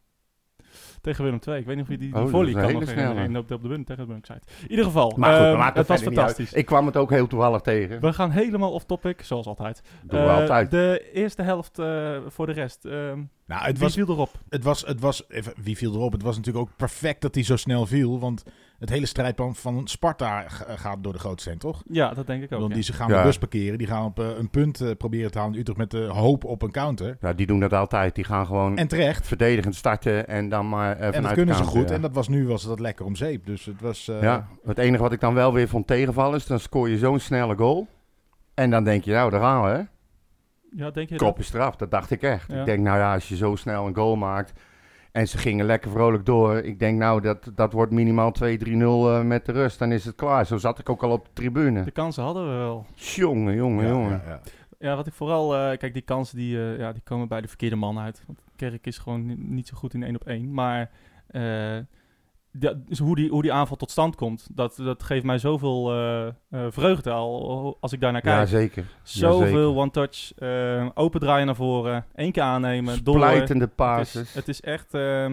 [SPEAKER 1] Tegen Willem II. Ik weet niet of je die, die
[SPEAKER 3] Oh, dat is
[SPEAKER 1] volley
[SPEAKER 3] een
[SPEAKER 1] kan
[SPEAKER 3] hele
[SPEAKER 1] nog
[SPEAKER 3] snelle.
[SPEAKER 1] herinneren in- op de, op de win tegen de site. In ieder geval,
[SPEAKER 3] Maar goed,
[SPEAKER 1] ehm,
[SPEAKER 3] we maken
[SPEAKER 1] het was
[SPEAKER 3] verder niet uit.
[SPEAKER 1] fantastisch.
[SPEAKER 3] Ik kwam het ook heel toevallig tegen.
[SPEAKER 1] We gaan helemaal off-topic, zoals altijd.
[SPEAKER 3] Doen we
[SPEAKER 1] Eh,
[SPEAKER 3] altijd.
[SPEAKER 1] De eerste helft eh, voor de rest. ehm
[SPEAKER 2] Nou, het
[SPEAKER 1] wie
[SPEAKER 2] was,
[SPEAKER 1] viel erop?
[SPEAKER 2] het was, het was even, wie viel erop? Het was natuurlijk ook perfect dat hij zo snel viel, want het hele strijdplan van Sparta g- gaat door de grootste heen, toch?
[SPEAKER 1] Ja, dat denk ik ook.
[SPEAKER 2] Want
[SPEAKER 1] ja.
[SPEAKER 2] die ze gaan
[SPEAKER 3] Ja.
[SPEAKER 2] de bus parkeren, die gaan op eh, een punt eh, proberen te halen. in Utrecht met de hoop op een counter.
[SPEAKER 3] Ja, Nou, die doen dat altijd. Die gaan gewoon
[SPEAKER 2] En terecht.
[SPEAKER 3] verdedigend starten en dan maar eh, vanuit
[SPEAKER 2] En dat
[SPEAKER 3] de
[SPEAKER 2] kunnen ze
[SPEAKER 3] counter,
[SPEAKER 2] goed.
[SPEAKER 3] ja.
[SPEAKER 2] En dat was nu was dat lekker om zeep. Dus het was. eh,
[SPEAKER 3] ja, het enige wat ik dan wel weer vond tegenvallen is, dan scoor je zo'n snelle goal. En dan denk je, nou, daar gaan we. hè.
[SPEAKER 1] ja, denk je
[SPEAKER 3] Kop is eraf, dat dacht ik echt.
[SPEAKER 1] Ja.
[SPEAKER 3] Ik denk, nou ja, als je zo snel een goal maakt en ze gingen lekker vrolijk door. Ik denk, nou, dat, dat wordt minimaal 2-3-0 eh, met de rust. Dan is het klaar. Zo zat ik ook al op de tribune.
[SPEAKER 1] dat? De kansen hadden we wel.
[SPEAKER 3] Jongen, jongen,
[SPEAKER 2] ja,
[SPEAKER 3] jongen.
[SPEAKER 2] ja, ja.
[SPEAKER 1] Ja, wat ik vooral... eh, kijk, die kansen die, eh, ja, die komen bij de verkeerde man uit. Want Kerk is gewoon ni- niet zo goed in één op één. Maar eh, dat- dus hoe, die, hoe die aanval tot stand komt, dat, dat geeft mij zoveel eh, eh, vreugde al als ik daarnaar kijk.
[SPEAKER 3] Ja, zeker.
[SPEAKER 1] Zoveel one-touch, eh, open draaien naar voren, één keer aannemen, door.
[SPEAKER 3] Splijtende
[SPEAKER 1] Het
[SPEAKER 3] passes.
[SPEAKER 1] is, het is echt... ehm,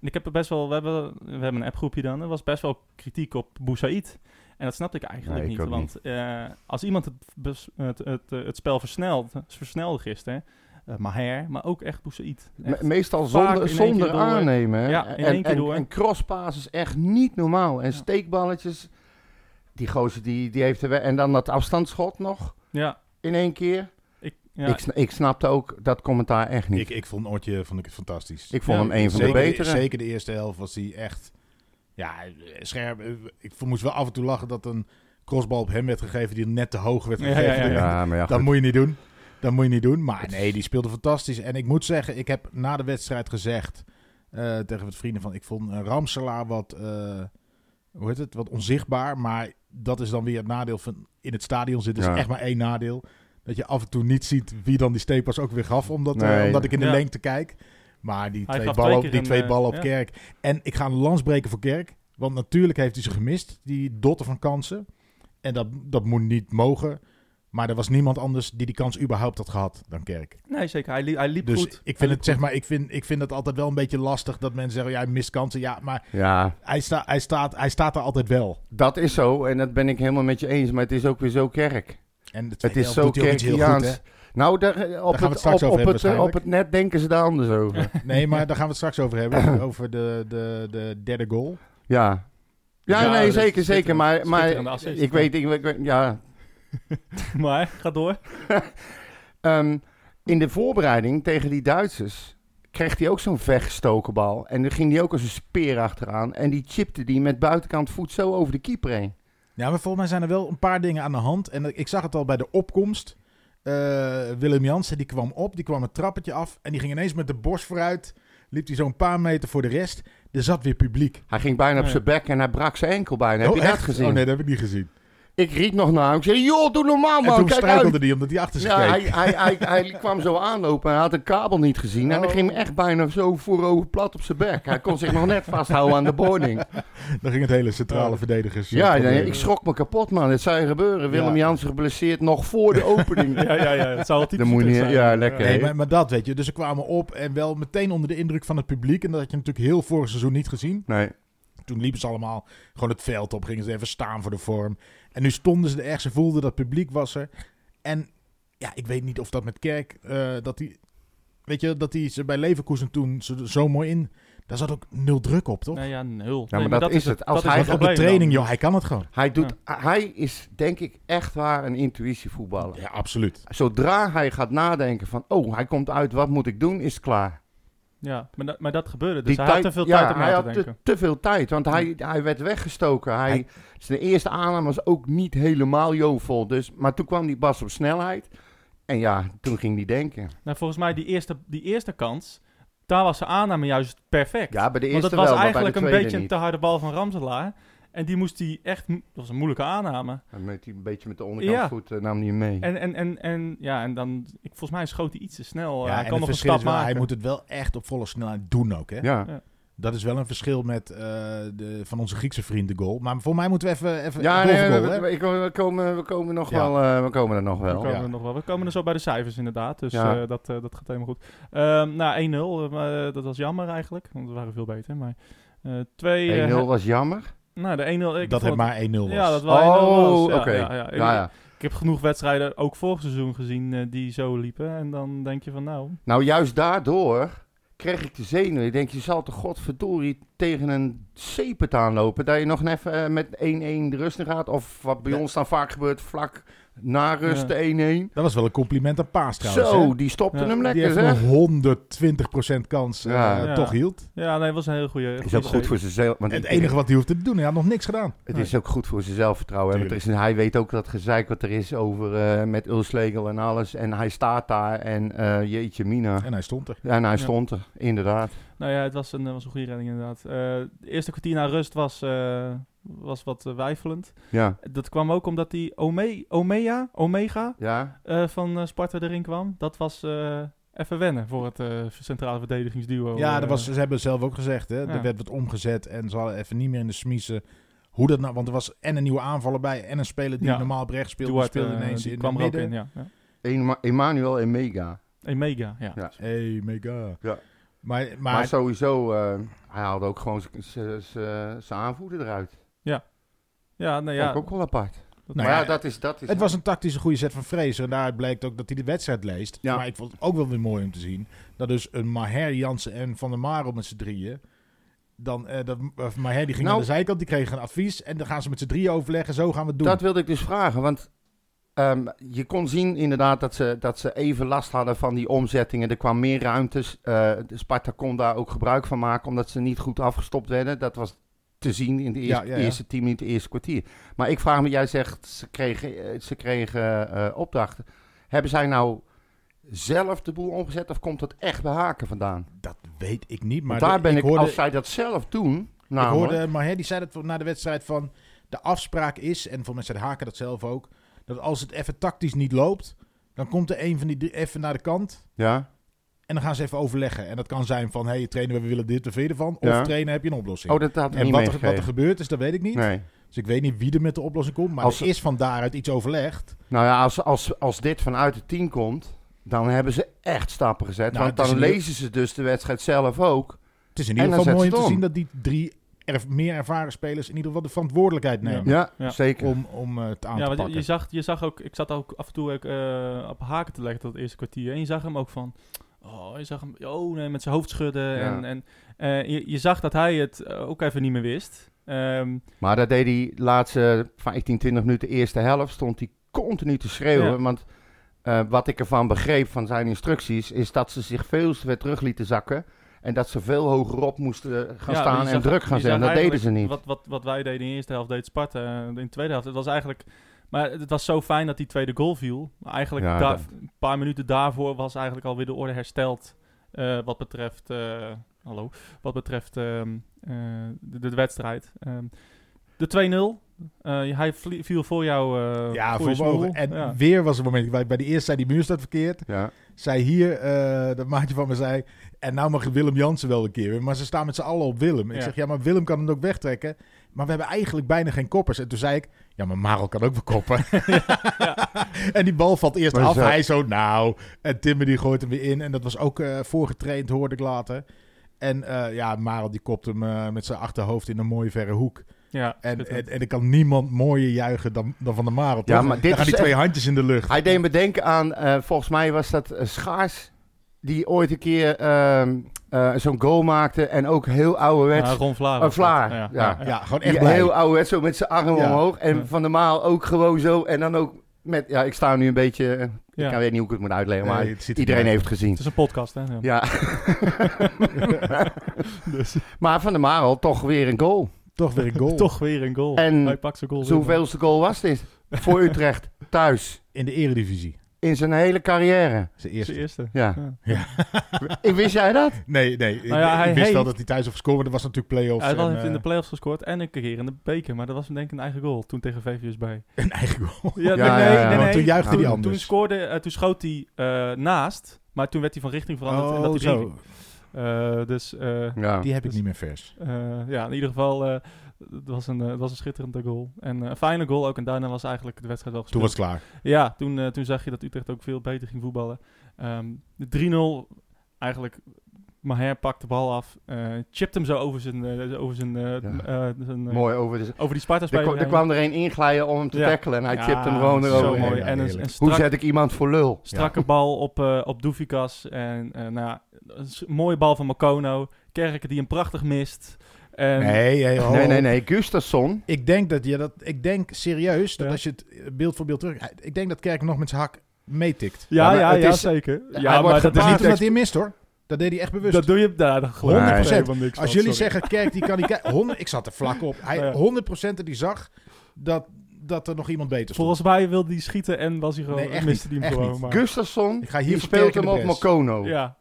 [SPEAKER 1] en ik heb er best wel... We hebben, we hebben een appgroepje dan. Er was best wel kritiek op Boussaïd. En dat snapte ik eigenlijk
[SPEAKER 3] Nee, ik
[SPEAKER 1] niet.
[SPEAKER 3] ook
[SPEAKER 1] Want eh, als iemand het, bes- het, het, eh, het spel versnelt, versnelde gisteren... eh, Maher, maar ook echt Boussaïd.
[SPEAKER 3] Me-
[SPEAKER 1] Echt.
[SPEAKER 3] meestal
[SPEAKER 1] Vaak in
[SPEAKER 3] zonder,
[SPEAKER 1] één
[SPEAKER 3] zonder
[SPEAKER 1] keer door.
[SPEAKER 3] aannemen. hè.
[SPEAKER 1] Ja, in
[SPEAKER 3] en,
[SPEAKER 1] één keer
[SPEAKER 3] en,
[SPEAKER 1] door.
[SPEAKER 3] en crosspases echt niet normaal. En
[SPEAKER 1] Ja.
[SPEAKER 3] steekballetjes. Die gozer die, die heeft er we- En dan dat afstandsschot nog
[SPEAKER 1] Ja,
[SPEAKER 3] in één keer.
[SPEAKER 1] ik, ja,
[SPEAKER 3] Ik, sna- ik snapte ook dat commentaar echt niet.
[SPEAKER 2] Ik,
[SPEAKER 3] Ik,
[SPEAKER 2] ik vond Ortje vond ik het fantastisch.
[SPEAKER 3] vond
[SPEAKER 1] Ja,
[SPEAKER 3] hem een van de
[SPEAKER 2] zeker,
[SPEAKER 3] betere.
[SPEAKER 2] zeker de eerste helft was hij echt. Ja, scherp. Ik vond- moest wel af en toe lachen dat een crossbal op hem werd gegeven die net te hoog werd
[SPEAKER 1] Ja,
[SPEAKER 2] gegeven.
[SPEAKER 1] ja, ja,
[SPEAKER 3] Ja, maar ja,
[SPEAKER 2] Dat
[SPEAKER 3] goed.
[SPEAKER 2] moet je niet doen. Dat moet je niet doen. Maar nee, die speelde fantastisch. En ik moet zeggen, ik heb na de wedstrijd gezegd eh, tegen wat vrienden van... Ik vond eh, Ramselaar wat, eh, hoe heet het, wat onzichtbaar. Maar dat is dan weer het nadeel van in het stadion zitten. is
[SPEAKER 3] Ja.
[SPEAKER 2] echt maar één nadeel. Dat je af en toe niet ziet wie dan die steepas ook weer gaf. Omdat, eh,
[SPEAKER 3] Nee.
[SPEAKER 2] omdat ik in de
[SPEAKER 1] Ja.
[SPEAKER 2] lengte kijk. Maar die
[SPEAKER 1] Hij
[SPEAKER 2] twee,
[SPEAKER 1] gaf
[SPEAKER 2] ballen,
[SPEAKER 1] twee
[SPEAKER 2] op-
[SPEAKER 1] keer
[SPEAKER 2] die
[SPEAKER 1] een,
[SPEAKER 2] twee
[SPEAKER 1] eh,
[SPEAKER 2] ballen op
[SPEAKER 1] ja.
[SPEAKER 2] Kerk. En ik ga een lans breken voor Kerk. Want natuurlijk heeft hij ze gemist. Die dotten van kansen. En dat, dat moet niet mogen. Maar er was niemand anders die die kans überhaupt had gehad dan Kerk.
[SPEAKER 1] Nee, zeker. Hij, li- hij liep
[SPEAKER 2] Dus
[SPEAKER 1] goed. Hij
[SPEAKER 2] ik
[SPEAKER 1] liep
[SPEAKER 2] vind het zeg maar, ik vind, ik vind het altijd wel een beetje lastig dat mensen zeggen, ja, hij mist kansen. Ja, maar
[SPEAKER 3] Ja,
[SPEAKER 2] hij, sta, hij, staat, hij staat er altijd wel.
[SPEAKER 3] dat is zo en dat ben ik helemaal met je eens, maar het is ook weer zo kerk.
[SPEAKER 2] En de
[SPEAKER 3] Het
[SPEAKER 2] tweede
[SPEAKER 3] is
[SPEAKER 2] helft
[SPEAKER 3] zo
[SPEAKER 2] doet hij ook iets heel goed, hè?
[SPEAKER 3] kerkiaans. Nou, daar, op,
[SPEAKER 2] gaan we het
[SPEAKER 3] het,
[SPEAKER 2] straks
[SPEAKER 3] op,
[SPEAKER 2] over
[SPEAKER 3] op,
[SPEAKER 2] hebben
[SPEAKER 3] het, eh, op
[SPEAKER 2] waarschijnlijk.
[SPEAKER 3] het net denken ze daar anders over.
[SPEAKER 2] Nee, maar daar gaan we het straks over
[SPEAKER 3] (clears throat)
[SPEAKER 2] hebben. Over de, de, de derde goal.
[SPEAKER 3] ja. Ja,
[SPEAKER 1] Ja,
[SPEAKER 3] nee,
[SPEAKER 1] dat
[SPEAKER 3] zeker,
[SPEAKER 1] is
[SPEAKER 3] zeker. Maar,
[SPEAKER 1] schitterende
[SPEAKER 3] maar
[SPEAKER 1] assist.
[SPEAKER 3] ik weet, ik, ik weet- ja.
[SPEAKER 1] goed. Maar ga
[SPEAKER 3] (laughs)
[SPEAKER 1] door.
[SPEAKER 3] Ehm, in de voorbereiding tegen die Duitsers kreeg hij ook zo'n weggestoken bal. En dan ging hij ook als een speer achteraan. En die chipte die met buitenkant voet zo over de keeper heen.
[SPEAKER 2] Ja, maar volgens mij zijn er wel een paar dingen aan de hand. En ik zag het al bij de opkomst. Eh, Willem Jansen die kwam op, die kwam een trappetje af. En die ging ineens met de borst vooruit. Liep hij zo'n paar meter voor de rest. Er zat weer publiek.
[SPEAKER 3] Hij ging bijna op
[SPEAKER 1] Nee.
[SPEAKER 3] zijn bek en hij brak zijn enkel bijna. Heb
[SPEAKER 2] Oh,
[SPEAKER 3] je dat
[SPEAKER 2] echt?
[SPEAKER 3] gezien?
[SPEAKER 2] Oh nee, dat heb ik niet gezien.
[SPEAKER 3] Ik riep nog naar hem. Ik zei, joh, doe normaal man,
[SPEAKER 2] en toen dus
[SPEAKER 3] kijk uit.
[SPEAKER 2] struikelde hij omdat hij achter zich
[SPEAKER 3] Ja,
[SPEAKER 2] keek.
[SPEAKER 3] hij, hij, hij, hij kwam zo aanlopen. Hij had een kabel niet gezien. En dan
[SPEAKER 2] Oh.
[SPEAKER 3] ging hem echt bijna zo voorover plat op zijn bek. Hij kon zich nog net vasthouden aan de boarding.
[SPEAKER 2] Dan ging het hele centrale verdedigers. eh,
[SPEAKER 3] Ja, ja,
[SPEAKER 2] proberen.
[SPEAKER 3] ik schrok me kapot, man. Het zou gebeuren.
[SPEAKER 2] Ja.
[SPEAKER 3] Willem Jansen geblesseerd nog voor de opening.
[SPEAKER 1] (laughs) Ja, ja, ja. Het zou altijd
[SPEAKER 3] Dan moet je niet- ja, lekker.
[SPEAKER 2] Nee, maar, maar dat weet je. Dus ze kwamen op en wel meteen onder de indruk van het publiek. En dat had je natuurlijk heel vorig seizoen niet gezien.
[SPEAKER 3] Nee.
[SPEAKER 2] Toen liepen ze allemaal gewoon het veld op. Gingen ze even staan voor de vorm. En nu stonden ze er echt. Ze voelden dat publiek was er. En ja, ik weet niet of dat met Kerk... eh, dat die, weet je, dat die ze bij Leverkusen toen zo, zo mooi in... Daar zat ook nul druk op, toch?
[SPEAKER 1] Nee, ja, nul.
[SPEAKER 3] maar
[SPEAKER 1] Nee,
[SPEAKER 3] dat is het. Als hij
[SPEAKER 2] Want
[SPEAKER 1] het
[SPEAKER 2] op de
[SPEAKER 1] probleem
[SPEAKER 2] training,
[SPEAKER 1] dan.
[SPEAKER 2] joh, hij kan het gewoon.
[SPEAKER 3] Hij, doet, hij is denk ik echt waar een intuïtievoetballer.
[SPEAKER 2] Ja, absoluut.
[SPEAKER 3] Zodra hij gaat nadenken van, oh, hij komt uit, wat moet ik doen, is het klaar.
[SPEAKER 1] Ja, maar, dat- maar dat gebeurde. Dus hij
[SPEAKER 3] Die tijd-
[SPEAKER 1] had te veel
[SPEAKER 3] ja,
[SPEAKER 1] tijd om
[SPEAKER 3] hij
[SPEAKER 1] na te
[SPEAKER 3] had
[SPEAKER 1] denken.
[SPEAKER 3] Te, te veel tijd, want hij, hij werd weggestoken. Hij,
[SPEAKER 2] Hij-
[SPEAKER 3] zijn eerste aanname was ook niet helemaal jovel. Dus, maar toen kwam die Bas op snelheid. En ja, toen ging hij denken.
[SPEAKER 1] Nou, volgens mij die eerste, die eerste kans, daar was zijn aanname juist perfect.
[SPEAKER 3] Ja, bij de
[SPEAKER 1] Want
[SPEAKER 3] eerste
[SPEAKER 1] het was
[SPEAKER 3] wel, maar bij de
[SPEAKER 1] eigenlijk een
[SPEAKER 3] tweede
[SPEAKER 1] beetje een
[SPEAKER 3] niet.
[SPEAKER 1] te harde bal van Ramselaar. En die moest hij echt... mo- Dat was een moeilijke aanname.
[SPEAKER 3] En met die, een beetje met de onderkant
[SPEAKER 1] Ja.
[SPEAKER 3] voet eh, nam hij hem mee.
[SPEAKER 1] En, en, en, en, ja, en dan... Ik, volgens mij schoot hij iets te snel.
[SPEAKER 2] Ja,
[SPEAKER 1] Oh, hij
[SPEAKER 2] en
[SPEAKER 1] kan
[SPEAKER 2] het
[SPEAKER 1] nog een
[SPEAKER 2] verschil
[SPEAKER 1] stap
[SPEAKER 2] is wel,
[SPEAKER 1] maken.
[SPEAKER 2] hij moet het wel echt op volle snelheid doen ook, hè?
[SPEAKER 3] ja.
[SPEAKER 2] Dat is wel een verschil met eh, de, van onze Griekse vriend de goal. Maar voor mij moeten we even... even
[SPEAKER 3] Ja,
[SPEAKER 2] goal
[SPEAKER 3] nee,
[SPEAKER 2] voor
[SPEAKER 3] we,
[SPEAKER 2] goal, hè?
[SPEAKER 3] we- ik- eh, we komen, we komen nog
[SPEAKER 2] Ja.
[SPEAKER 3] wel. eh, we komen er nog
[SPEAKER 1] We
[SPEAKER 3] wel.
[SPEAKER 1] komen,
[SPEAKER 2] Ja.
[SPEAKER 1] er nog wel. we komen er zo bij de cijfers inderdaad, dus
[SPEAKER 3] Ja.
[SPEAKER 1] eh, dat, eh, dat gaat helemaal goed. Ehm, nou, 1-0, eh, maar, eh, dat was jammer eigenlijk, want we waren veel beter. Maar eh 2 eh,
[SPEAKER 3] 1-0 was jammer.
[SPEAKER 1] Nou, de 1-0. Ik
[SPEAKER 2] dat
[SPEAKER 1] vond
[SPEAKER 2] het maar 1-0 was.
[SPEAKER 1] Ja, dat (laughs) wel 1-0 was.
[SPEAKER 3] Oh,
[SPEAKER 1] Ja,
[SPEAKER 3] oké.
[SPEAKER 1] ja, ja. Ik,
[SPEAKER 3] Ja, ja.
[SPEAKER 1] ik heb genoeg wedstrijden, ook vorig seizoen gezien, eh, die zo liepen. En dan denk je van, nou...
[SPEAKER 3] Nou, juist daardoor kreeg ik de zenuw. Ik denk, je zal toch godverdorie tegen een zeepet aanlopen. Dat je nog even eh, met 1-1 de rust in gaat. Of wat bij
[SPEAKER 2] Ja.
[SPEAKER 3] ons dan vaak gebeurt, vlak na rust
[SPEAKER 1] Ja.
[SPEAKER 3] de 1-1.
[SPEAKER 2] Dat was wel een compliment aan Paas trouwens.
[SPEAKER 3] Zo,
[SPEAKER 2] hè?
[SPEAKER 3] die stopte
[SPEAKER 1] Ja,
[SPEAKER 3] hem
[SPEAKER 2] Die
[SPEAKER 3] lekker,
[SPEAKER 2] heeft
[SPEAKER 3] zeg.
[SPEAKER 2] een 120% kans eh,
[SPEAKER 3] Ja.
[SPEAKER 1] Ja.
[SPEAKER 2] toch hield.
[SPEAKER 1] Ja, nee, het was een hele goede...
[SPEAKER 3] Is ook goed voor zijn zelf. Want
[SPEAKER 2] het
[SPEAKER 3] het,
[SPEAKER 2] enige wat hij hoefde te doen, hij had nog niks gedaan.
[SPEAKER 3] het is ook goed voor zijn zelfvertrouwen. hè, Want er is, hij weet ook dat gezeik wat er is over eh, met Ulslegel en alles. En hij staat daar en eh, jeetje mina.
[SPEAKER 2] En hij stond er.
[SPEAKER 3] En hij
[SPEAKER 1] Ja.
[SPEAKER 3] stond er, inderdaad.
[SPEAKER 1] Nou ja, het was een, eh, was een goede redding inderdaad. Eh, de eerste kwartier na rust was, eh, was wat eh, weifelend.
[SPEAKER 3] Ja.
[SPEAKER 1] Dat kwam ook omdat die Ome Omea, Omega
[SPEAKER 3] Ja,
[SPEAKER 1] eh, van eh, Sparta erin kwam. Dat was eh, even wennen voor het eh, centrale verdedigingsduo.
[SPEAKER 2] Ja, dat
[SPEAKER 1] eh.
[SPEAKER 2] was, ze hebben het zelf ook gezegd. Hè?
[SPEAKER 1] Ja.
[SPEAKER 2] Er werd wat omgezet en ze hadden even niet meer in de smiezen. Hoe dat nou, want er was en een nieuwe aanvaller bij en een speler die
[SPEAKER 1] Ja.
[SPEAKER 2] normaal op rechts speelde, die
[SPEAKER 1] Duarte,
[SPEAKER 2] speelde
[SPEAKER 1] eh,
[SPEAKER 2] ineens
[SPEAKER 1] die
[SPEAKER 2] in
[SPEAKER 1] kwam
[SPEAKER 2] de
[SPEAKER 1] er ook
[SPEAKER 2] midden.
[SPEAKER 1] in, ja. ja.
[SPEAKER 3] Ema- Emmanuel en Mega.
[SPEAKER 1] Omega, ja.
[SPEAKER 3] Ja.
[SPEAKER 2] Hey, mega.
[SPEAKER 3] Ja.
[SPEAKER 2] Maar,
[SPEAKER 3] Maar,
[SPEAKER 2] maar
[SPEAKER 3] sowieso, eh, hij haalde ook gewoon zijn aanvoerder eruit.
[SPEAKER 1] Ja, nou
[SPEAKER 3] Ja.
[SPEAKER 1] ja.
[SPEAKER 3] Ook, ook wel apart.
[SPEAKER 2] Nou
[SPEAKER 3] maar
[SPEAKER 2] ja,
[SPEAKER 3] ja, dat is... Dat is
[SPEAKER 2] het was een tactische goede set van Fraser. En daaruit blijkt ook dat hij de wedstrijd leest.
[SPEAKER 3] Ja.
[SPEAKER 2] Maar ik vond het ook wel weer mooi om te zien. Dat dus een Maher, Jansen en Van der Marel met z'n drieën. Dan, eh, dat, of Maher die ging
[SPEAKER 3] Nou.
[SPEAKER 2] aan de zijkant, die kreeg een advies. En dan gaan ze met z'n drieën overleggen. Zo gaan we het doen.
[SPEAKER 3] Dat wilde ik dus vragen, want ehm, je kon zien inderdaad dat ze, dat ze even last hadden van die omzettingen. Er kwam meer ruimtes. eh, de Sparta kon daar ook gebruik van maken, omdat ze niet goed afgestopt werden. Dat was te zien in de eerste,
[SPEAKER 2] Ja, ja, ja.
[SPEAKER 3] eerste tien minuten, eerste kwartier. Maar ik vraag me, jij zegt ze kregen, eh, ze kregen eh, opdrachten. Hebben zij nou zelf de boel omgezet of komt dat echt bij Haken vandaan?
[SPEAKER 2] Dat weet ik niet. Maar
[SPEAKER 3] Maar daar
[SPEAKER 2] de-
[SPEAKER 3] ben ik,
[SPEAKER 2] hoorde,
[SPEAKER 3] als zij dat zelf doen,
[SPEAKER 2] ik
[SPEAKER 3] namelijk,
[SPEAKER 2] hoorde Maher, die zei dat na de wedstrijd van... De afspraak is, en voor mensen haken dat zelf ook... Dat als het even tactisch niet loopt... Dan komt er een van die drie even naar de kant...
[SPEAKER 3] ja.
[SPEAKER 2] En dan gaan ze even overleggen. En dat kan zijn van, hey, trainen we willen dit, wat vind je ervan? Of
[SPEAKER 3] Ja.
[SPEAKER 2] trainen heb je een oplossing.
[SPEAKER 3] Oh, dat had ik
[SPEAKER 2] en
[SPEAKER 3] niet
[SPEAKER 2] wat er, wat er
[SPEAKER 3] meegekregen.
[SPEAKER 2] gebeurd is, dat weet ik niet.
[SPEAKER 3] Nee.
[SPEAKER 2] Dus ik weet niet wie er met de oplossing komt. Maar
[SPEAKER 3] Als-
[SPEAKER 2] er is van daaruit iets overlegd.
[SPEAKER 3] Nou ja, als, als, als dit vanuit de 10 komt, dan hebben ze echt stappen gezet.
[SPEAKER 2] Nou,
[SPEAKER 3] want
[SPEAKER 2] het is
[SPEAKER 3] dan
[SPEAKER 2] een heel-
[SPEAKER 3] lezen ze dus de wedstrijd zelf ook.
[SPEAKER 2] Het is in
[SPEAKER 3] En
[SPEAKER 2] ieder
[SPEAKER 3] dan
[SPEAKER 2] geval mooi
[SPEAKER 3] zetten
[SPEAKER 2] om
[SPEAKER 3] ze
[SPEAKER 2] te
[SPEAKER 3] het
[SPEAKER 2] zien
[SPEAKER 3] om.
[SPEAKER 2] dat die drie er, meer ervaren spelers in ieder geval de verantwoordelijkheid
[SPEAKER 1] Ja.
[SPEAKER 2] nemen.
[SPEAKER 3] Ja,
[SPEAKER 1] Ja.
[SPEAKER 3] zeker.
[SPEAKER 2] Om, om eh, het aan
[SPEAKER 1] Ja,
[SPEAKER 2] te
[SPEAKER 1] want je-
[SPEAKER 2] pakken.
[SPEAKER 1] je zag, je zag ook, ik zat ook af en toe ook, eh, op haken te leggen dat eerste kwartier. En je zag hem ook van, oh, je zag hem, oh nee, met zijn hoofd schudden. En, en eh, je, je zag dat hij het eh, ook even niet meer wist. Ehm,
[SPEAKER 3] Maar dat deed hij de laatste 15, 20 minuten, eerste helft, stond hij continu te schreeuwen.
[SPEAKER 1] Ja.
[SPEAKER 3] Want eh, wat ik ervan begreep van zijn instructies, is dat ze zich veel te ver terug lieten zakken. En dat ze veel hogerop moesten gaan
[SPEAKER 1] ja,
[SPEAKER 3] staan
[SPEAKER 1] je zag-
[SPEAKER 3] en druk gaan
[SPEAKER 1] je
[SPEAKER 3] zetten.
[SPEAKER 1] zag
[SPEAKER 3] Dat deden ze
[SPEAKER 1] eigenlijk
[SPEAKER 3] niet.
[SPEAKER 1] Wat, wat, wat wij deden in de eerste helft deed Sparta. eh, In de tweede helft, het was eigenlijk... Maar het was zo fijn dat die tweede goal viel. Maar eigenlijk
[SPEAKER 3] Ja,
[SPEAKER 1] da-
[SPEAKER 3] dat-
[SPEAKER 1] een paar minuten daarvoor was eigenlijk alweer de orde hersteld. eh, wat betreft... eh, hallo. Wat betreft ehm, eh, de, de wedstrijd. Ehm, de 2-0. eh, hij vlie- viel voor jou. eh,
[SPEAKER 2] Ja,
[SPEAKER 1] voor je
[SPEAKER 2] voor ogen.
[SPEAKER 1] smoel.
[SPEAKER 2] En
[SPEAKER 1] ja.
[SPEAKER 2] weer was het moment. Bij, bij de eerste zei die muur staat verkeerd.
[SPEAKER 3] Ja.
[SPEAKER 2] Zij hier, eh, dat maatje van me zei. En nou mag Willem Jansen wel een keer weer. Maar ze staan met z'n allen op Willem. Ik
[SPEAKER 1] Ja.
[SPEAKER 2] zeg, ja, maar Willem kan hem ook wegtrekken. Maar we hebben eigenlijk bijna geen koppers. En toen zei ik, ja, maar Marel kan ook wel
[SPEAKER 1] (laughs)
[SPEAKER 2] koppen. en die bal valt eerst
[SPEAKER 3] Maar
[SPEAKER 2] af.
[SPEAKER 3] zo-
[SPEAKER 2] Hij zo, nou. En Timmer die gooit hem weer in. En dat was ook eh, voorgetraind, hoorde ik later. En eh, ja, Marel die kopt hem eh, met zijn achterhoofd in een mooie verre hoek.
[SPEAKER 1] Ja,
[SPEAKER 2] En, en,
[SPEAKER 1] schitterend.
[SPEAKER 2] en er kan niemand mooier juichen dan, dan Van der Marel.
[SPEAKER 3] Ja,
[SPEAKER 2] toch?
[SPEAKER 3] maar dit
[SPEAKER 2] dan gaan
[SPEAKER 3] is
[SPEAKER 2] die twee handjes in de lucht.
[SPEAKER 3] Hij deed me denken aan, eh, volgens mij was dat eh, Schaars, die ooit een keer ehm, eh, zo'n goal maakte. En ook heel ouderwets.
[SPEAKER 1] Ja, Ron Vlaar.
[SPEAKER 3] Eh,
[SPEAKER 1] was dat.
[SPEAKER 3] Vlaar, ja.
[SPEAKER 2] Ja, gewoon echt
[SPEAKER 3] Die
[SPEAKER 2] blij.
[SPEAKER 3] heel ouderwets, zo met zijn armen
[SPEAKER 2] Ja.
[SPEAKER 3] omhoog. En
[SPEAKER 1] Ja.
[SPEAKER 3] Van der Maal ook gewoon zo. En dan ook met... Ja, ik sta nu een beetje... eh,
[SPEAKER 1] Ja.
[SPEAKER 3] Ik weet niet hoe ik het moet uitleggen, maar
[SPEAKER 2] Nee, het ziet er
[SPEAKER 3] iedereen
[SPEAKER 2] niet
[SPEAKER 3] heeft het gezien.
[SPEAKER 1] Het is een podcast, hè? Ja.
[SPEAKER 3] Ja. Maar Van der Maal toch weer een goal.
[SPEAKER 2] uit. Toch weer een goal.
[SPEAKER 1] (laughs) Toch weer een goal.
[SPEAKER 3] En
[SPEAKER 1] hij pakt zijn goal. weer.
[SPEAKER 3] Zoveelste goal was dit. Voor Utrecht, thuis.
[SPEAKER 2] In de eredivisie.
[SPEAKER 3] In zijn hele carrière.
[SPEAKER 2] Zijn
[SPEAKER 1] Zijn
[SPEAKER 2] eerste.
[SPEAKER 1] eerste. (laughs)
[SPEAKER 3] Ja.
[SPEAKER 1] Ja.
[SPEAKER 3] Ik Wist jij dat?
[SPEAKER 2] Nee, nee. Ik,
[SPEAKER 1] Nou ja,
[SPEAKER 2] ik
[SPEAKER 1] hij
[SPEAKER 2] wist wel
[SPEAKER 1] heeft-
[SPEAKER 2] dat hij thuis had gescoord, maar dat was natuurlijk play-offs.
[SPEAKER 1] Hij
[SPEAKER 2] en,
[SPEAKER 1] heeft in de
[SPEAKER 2] (laughs) eh,
[SPEAKER 1] playoffs gescoord en een keer in de beker, maar dat was denk ik een eigen goal toen tegen VVS bij.
[SPEAKER 2] een eigen goal.
[SPEAKER 1] Ja,
[SPEAKER 3] ja, ja, ja. Want
[SPEAKER 2] toen juichte
[SPEAKER 1] Toen-
[SPEAKER 2] hij
[SPEAKER 1] Toen,
[SPEAKER 2] anders.
[SPEAKER 1] scoorde, eh, toen schoot hij eh, naast, maar toen werd hij van richting veranderd en dat hij erin ging. Eh, dus eh,
[SPEAKER 3] Ja.
[SPEAKER 2] Oh, Die heb ik
[SPEAKER 1] Dus-
[SPEAKER 2] niet meer vers.
[SPEAKER 1] eh, ja, in ieder geval, eh, het, was een, eh, het was een schitterende goal. En eh, een fijne goal ook en daarna was eigenlijk de wedstrijd wel
[SPEAKER 2] Toen
[SPEAKER 1] gespeeld.
[SPEAKER 2] was het klaar.
[SPEAKER 1] Ja, toen, eh, toen zag je dat Utrecht ook veel beter ging voetballen. Ehm, de 3-0, eigenlijk, Maher pakt de bal af, eh chipt hem zo over zijn... eh, over zijn, eh,
[SPEAKER 3] Ja.
[SPEAKER 1] eh, zijn, eh,
[SPEAKER 3] Mooi over de...
[SPEAKER 1] Over die sparta
[SPEAKER 3] Er,
[SPEAKER 1] speler
[SPEAKER 3] kwam- er kwam er een inglijden om hem te
[SPEAKER 1] Ja.
[SPEAKER 3] tackelen. En hij
[SPEAKER 1] Ja,
[SPEAKER 3] chipt hem gewoon
[SPEAKER 1] zo
[SPEAKER 3] erover.
[SPEAKER 1] mooi.
[SPEAKER 2] Ja,
[SPEAKER 1] en een,
[SPEAKER 2] heerlijk.
[SPEAKER 1] een
[SPEAKER 3] Hoe
[SPEAKER 1] strak-
[SPEAKER 3] zet ik iemand voor lul?
[SPEAKER 1] strakke bal op, eh op Doefikas. En eh, nou ja, een s- mooie bal van Makono. Kerken die hem prachtig mist. En,
[SPEAKER 2] nee, hey, ho,
[SPEAKER 3] Nee, nee,
[SPEAKER 2] ho.
[SPEAKER 3] nee. Gustafsson.
[SPEAKER 2] Ik denk dat je dat... Ik denk serieus dat
[SPEAKER 1] Ja.
[SPEAKER 2] als je het eh, beeld voor beeld terug... Ik denk dat Kerk nog met zijn hak meetikt.
[SPEAKER 1] Ja,
[SPEAKER 3] Ja,
[SPEAKER 1] ja,
[SPEAKER 3] maar
[SPEAKER 1] ja,
[SPEAKER 3] het is-
[SPEAKER 1] zeker.
[SPEAKER 3] hij
[SPEAKER 1] Ja, maar
[SPEAKER 3] wordt
[SPEAKER 1] dat
[SPEAKER 2] Dat
[SPEAKER 1] is
[SPEAKER 2] is
[SPEAKER 1] niet
[SPEAKER 3] gepaard
[SPEAKER 2] niet omdat
[SPEAKER 1] dat,
[SPEAKER 2] hij hem mist, hoor. Dat deed hij echt bewust.
[SPEAKER 1] dat doe je daar dan gewoon
[SPEAKER 2] 100%.
[SPEAKER 1] helemaal niks
[SPEAKER 2] Als
[SPEAKER 1] van,
[SPEAKER 2] jullie
[SPEAKER 1] sorry.
[SPEAKER 2] zeggen, Kerk die kan die kijken. 100 Ik zat er vlak op. Hij,
[SPEAKER 1] Ja.
[SPEAKER 2] 100% dat hij zag dat, dat er nog iemand beter stond.
[SPEAKER 1] Volgens mij wilde hij schieten en was hij gewoon...
[SPEAKER 2] Nee, echt
[SPEAKER 1] miste hij
[SPEAKER 2] niet,
[SPEAKER 1] hem
[SPEAKER 2] echt
[SPEAKER 1] gewoon.
[SPEAKER 2] niet.
[SPEAKER 1] maar-
[SPEAKER 3] Gustafsson
[SPEAKER 2] Ik ga hier
[SPEAKER 3] die
[SPEAKER 2] voor
[SPEAKER 3] speelt
[SPEAKER 2] Kerk in
[SPEAKER 3] hem
[SPEAKER 2] de
[SPEAKER 3] op
[SPEAKER 2] pres.
[SPEAKER 3] Mokono.
[SPEAKER 1] ja,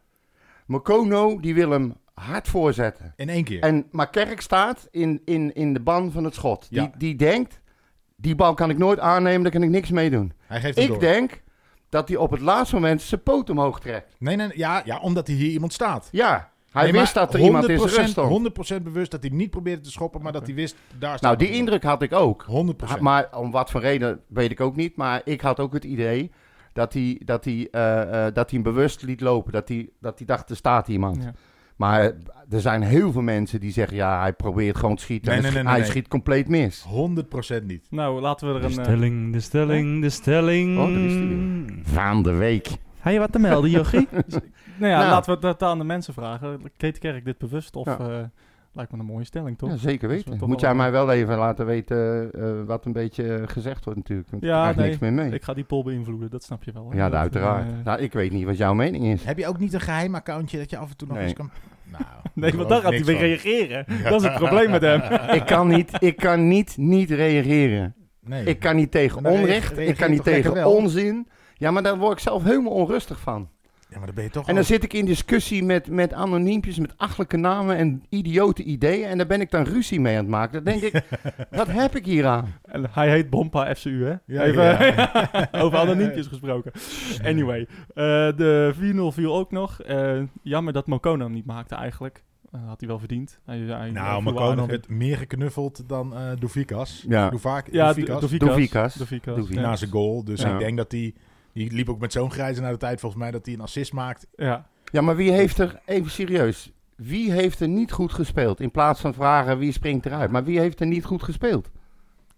[SPEAKER 3] Mokono die wil hem hard voorzetten.
[SPEAKER 2] In één keer.
[SPEAKER 3] En, maar Kerk staat in, in, in de ban van het schot. Die,
[SPEAKER 2] Ja.
[SPEAKER 3] die denkt, die bal kan ik nooit aannemen, daar kan ik niks mee doen.
[SPEAKER 2] hij geeft hem
[SPEAKER 3] Ik
[SPEAKER 2] door.
[SPEAKER 3] denk dat hij op het laatste moment zijn poot omhoog trekt.
[SPEAKER 2] Nee, nee, ja, ja, omdat hij hier iemand staat.
[SPEAKER 3] Ja, hij
[SPEAKER 2] Nee,
[SPEAKER 3] wist
[SPEAKER 2] maar
[SPEAKER 3] dat er iemand in zijn rust stond.
[SPEAKER 2] 100% bewust dat hij niet probeerde te schoppen, maar dat hij wist, daar staat
[SPEAKER 3] Nou, die
[SPEAKER 2] iemand.
[SPEAKER 3] indruk had ik ook.
[SPEAKER 2] 100%.
[SPEAKER 3] Maar om wat voor reden weet ik ook niet. Maar ik had ook het idee dat hij, dat hij, eh, eh, dat hij hem bewust liet lopen. Dat hij, dat hij dacht, er staat iemand.
[SPEAKER 1] Ja.
[SPEAKER 3] Maar eh, er zijn heel veel mensen die zeggen, ja, hij probeert gewoon te schieten.
[SPEAKER 2] Nee,
[SPEAKER 3] en het
[SPEAKER 2] nee,
[SPEAKER 3] schi-
[SPEAKER 2] nee, nee,
[SPEAKER 3] hij
[SPEAKER 2] nee.
[SPEAKER 3] schiet compleet mis.
[SPEAKER 2] 100% niet.
[SPEAKER 1] nou laten we er
[SPEAKER 6] De
[SPEAKER 1] een... eh,
[SPEAKER 6] stelling, de stelling, de stelling.
[SPEAKER 3] Oh, daar is die Van de week.
[SPEAKER 6] Hij je wat te melden,
[SPEAKER 1] (laughs)
[SPEAKER 6] Jochie?
[SPEAKER 1] nou ja,
[SPEAKER 3] Nou.
[SPEAKER 1] laten we dat aan de mensen vragen. Keet Kerk dit bewust of...
[SPEAKER 3] Ja.
[SPEAKER 1] eh, lijkt me een mooie stelling, toch?
[SPEAKER 3] Ja,
[SPEAKER 1] Ja,
[SPEAKER 3] zeker
[SPEAKER 1] we
[SPEAKER 3] weten.
[SPEAKER 1] toch
[SPEAKER 3] Moet
[SPEAKER 1] wel-
[SPEAKER 3] jij mij wel even laten weten eh, eh, wat een beetje eh, gezegd wordt natuurlijk. Want
[SPEAKER 1] Ja,
[SPEAKER 3] ik krijg
[SPEAKER 1] nee.
[SPEAKER 3] niks meer mee.
[SPEAKER 1] Ik ga die poll beïnvloeden, dat snap je wel. hè?
[SPEAKER 3] ja,
[SPEAKER 1] Dat,
[SPEAKER 3] dat uiteraard.
[SPEAKER 1] eh,
[SPEAKER 3] nou, ik weet niet wat jouw mening is.
[SPEAKER 2] Heb je ook niet een geheim accountje dat je af en toe nog
[SPEAKER 3] Nee.
[SPEAKER 2] eens kan... Nou,
[SPEAKER 1] Nee, want dan gaat hij
[SPEAKER 2] niks
[SPEAKER 1] weer
[SPEAKER 2] van.
[SPEAKER 1] reageren. Dat is het probleem met hem.
[SPEAKER 3] ik kan niet, ik kan niet, niet reageren.
[SPEAKER 2] Nee.
[SPEAKER 3] Ik kan niet tegen
[SPEAKER 2] Maar dan
[SPEAKER 3] onrecht.
[SPEAKER 2] reageer
[SPEAKER 3] Ik kan
[SPEAKER 2] je
[SPEAKER 3] niet
[SPEAKER 2] toch lekker
[SPEAKER 3] tegen
[SPEAKER 2] wel?
[SPEAKER 3] onzin. Ja, maar daar word ik zelf helemaal onrustig van.
[SPEAKER 2] Ja, maar dan ben je toch
[SPEAKER 3] En dan
[SPEAKER 2] al-
[SPEAKER 3] zit ik in discussie met, met anoniempjes, met achterlijke namen en idiote ideeën. En daar ben ik dan ruzie mee aan het maken. Dan
[SPEAKER 1] (laughs)
[SPEAKER 3] denk ik, wat heb ik hier aan?
[SPEAKER 1] En hij heet Bompa FCU, hè?
[SPEAKER 2] Ja,
[SPEAKER 1] Even
[SPEAKER 2] ja.
[SPEAKER 1] (laughs) over
[SPEAKER 2] (laughs)
[SPEAKER 1] anoniempjes gesproken. Anyway, eh, de 4-0 viel ook nog. Eh, jammer dat Mokono hem niet maakte eigenlijk. Eh, had hij wel verdiend. Hij, hij,
[SPEAKER 2] Nou, Marcone werd meer geknuffeld dan eh Doefikas.
[SPEAKER 3] Ja.
[SPEAKER 2] Doevaak,
[SPEAKER 1] Ja,
[SPEAKER 2] Doefikas.
[SPEAKER 1] Dovikas.
[SPEAKER 3] Doevikas.
[SPEAKER 1] Dovikas.
[SPEAKER 3] Doevikas.
[SPEAKER 1] Ja.
[SPEAKER 2] na zijn goal. Dus
[SPEAKER 3] Ja.
[SPEAKER 2] ik denk dat hij... Die liep ook met zo'n grijze naar de tijd volgens mij dat hij een assist maakt.
[SPEAKER 1] Ja.
[SPEAKER 3] Ja, maar wie heeft er, even serieus, wie heeft er niet goed gespeeld? In plaats van vragen wie springt eruit, maar wie heeft er niet goed gespeeld?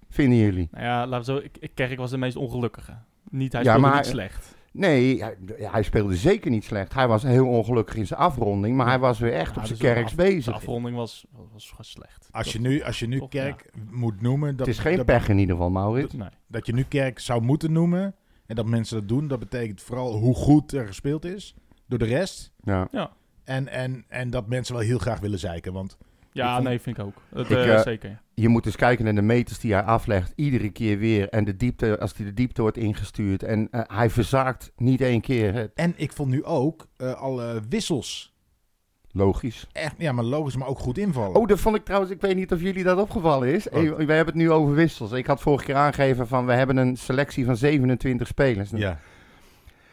[SPEAKER 3] Vinden jullie?
[SPEAKER 1] Nou ja, laten we zo... Ik, ik- Kerk was de meest ongelukkige. Niet, hij
[SPEAKER 3] Ja,
[SPEAKER 1] speelde
[SPEAKER 3] maar-
[SPEAKER 1] niet slecht.
[SPEAKER 3] Nee, hij, hij speelde zeker niet slecht. Hij was heel ongelukkig in zijn afronding, maar hij was weer echt
[SPEAKER 1] Ja,
[SPEAKER 3] op zijn
[SPEAKER 1] dus de
[SPEAKER 3] kerks
[SPEAKER 1] af- De
[SPEAKER 3] bezig.
[SPEAKER 1] afronding was, was gewoon slecht.
[SPEAKER 2] Als je nu, als je nu
[SPEAKER 1] Toch,
[SPEAKER 2] Kerk moet noemen... Dat,
[SPEAKER 3] Het is geen
[SPEAKER 2] dat,
[SPEAKER 3] pech in ieder geval, Maurits.
[SPEAKER 1] Nee.
[SPEAKER 2] dat je nu Kerk zou moeten noemen... en dat mensen dat doen, dat betekent vooral hoe goed er gespeeld is door de rest.
[SPEAKER 3] Ja.
[SPEAKER 2] En, en, en dat mensen wel heel graag willen zeiken. Want Ik
[SPEAKER 1] Ja,
[SPEAKER 2] vond-
[SPEAKER 1] nee, vind ik ook. Dat,
[SPEAKER 3] Ik,
[SPEAKER 1] eh,
[SPEAKER 3] eh,
[SPEAKER 1] zeker.
[SPEAKER 3] Je moet eens kijken naar de meters die hij aflegt, iedere keer weer. En de diepte, als hij de diepte wordt ingestuurd. En eh, hij verzaakt niet één keer. hè.
[SPEAKER 2] En ik vond nu ook eh, alle wissels
[SPEAKER 3] Logisch.
[SPEAKER 2] echt, ja, maar logisch, maar ook goed invallen.
[SPEAKER 3] Oh, dat vond ik trouwens, ik weet niet of jullie dat opgevallen is.
[SPEAKER 2] Wat?
[SPEAKER 3] Hey, we hebben het nu over wissels. Ik had vorige keer aangegeven van we hebben een selectie van 27 spelers.
[SPEAKER 2] ja.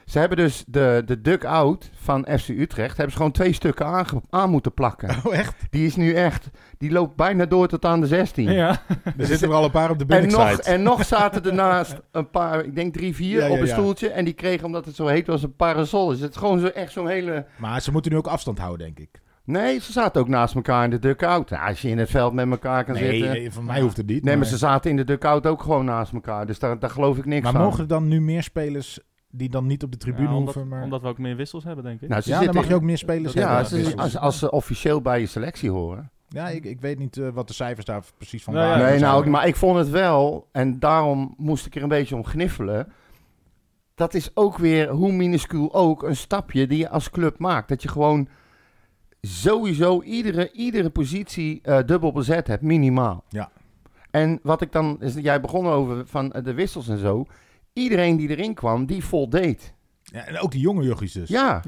[SPEAKER 3] Ze hebben dus de, de duck-out van FC Utrecht, hebben ze gewoon twee stukken aange- aan moeten
[SPEAKER 2] (laughs)
[SPEAKER 3] plakken.
[SPEAKER 2] Oh, echt?
[SPEAKER 3] Die is nu echt, die loopt bijna door tot aan de 16.
[SPEAKER 1] Ja.
[SPEAKER 2] Er zitten er al een paar op de
[SPEAKER 3] En
[SPEAKER 2] binnenkant.
[SPEAKER 3] nog, en nog zaten ernaast een paar, ik denk drie, vier
[SPEAKER 2] Ja, ja,
[SPEAKER 3] op een
[SPEAKER 2] ja.
[SPEAKER 3] stoeltje. En die kregen, omdat het zo heet was, een parasol. Dus het is gewoon zo, echt zo'n hele...
[SPEAKER 2] Maar ze moeten nu ook afstand houden, denk ik.
[SPEAKER 3] Nee, ze zaten ook naast elkaar in de duck-out. Nou, als je in het veld met elkaar kan
[SPEAKER 2] Nee,
[SPEAKER 3] zitten...
[SPEAKER 2] eh, van mij hoeft het niet.
[SPEAKER 3] Nee, maar ze zaten in de dugout ook gewoon naast elkaar. Dus daar, daar geloof ik niks
[SPEAKER 2] maar
[SPEAKER 3] van.
[SPEAKER 2] mogen er dan nu meer spelers die dan niet op de tribune
[SPEAKER 1] Ja, omdat,
[SPEAKER 2] hoeven? Maar...
[SPEAKER 1] omdat we ook meer wissels hebben, denk ik.
[SPEAKER 3] Nou, ze
[SPEAKER 2] ja, dan
[SPEAKER 3] zitten
[SPEAKER 2] mag je ook meer spelers
[SPEAKER 1] Ja,
[SPEAKER 3] ja,
[SPEAKER 2] hebben.
[SPEAKER 1] dat
[SPEAKER 3] ze-
[SPEAKER 1] is-
[SPEAKER 2] wissels.
[SPEAKER 3] als, als ze officieel bij je selectie horen.
[SPEAKER 2] Ja, ik, ik weet niet eh, wat de cijfers daar precies van
[SPEAKER 1] Nee,
[SPEAKER 2] waren.
[SPEAKER 1] ja,
[SPEAKER 3] nee, nou,
[SPEAKER 2] Zouden-
[SPEAKER 3] maar ik vond het wel, en daarom moest ik er een beetje om gniffelen. Dat is ook weer, hoe minuscuul ook, een stapje die je als club maakt. Dat je gewoon sowieso iedere, iedere positie eh, dubbel bezet hebt, minimaal.
[SPEAKER 2] Ja.
[SPEAKER 3] En wat ik dan, is, jij begon over van eh, de wissels en zo. Iedereen die erin kwam, die voldeed.
[SPEAKER 2] Ja, en ook die jonge jochies dus.
[SPEAKER 3] Ja.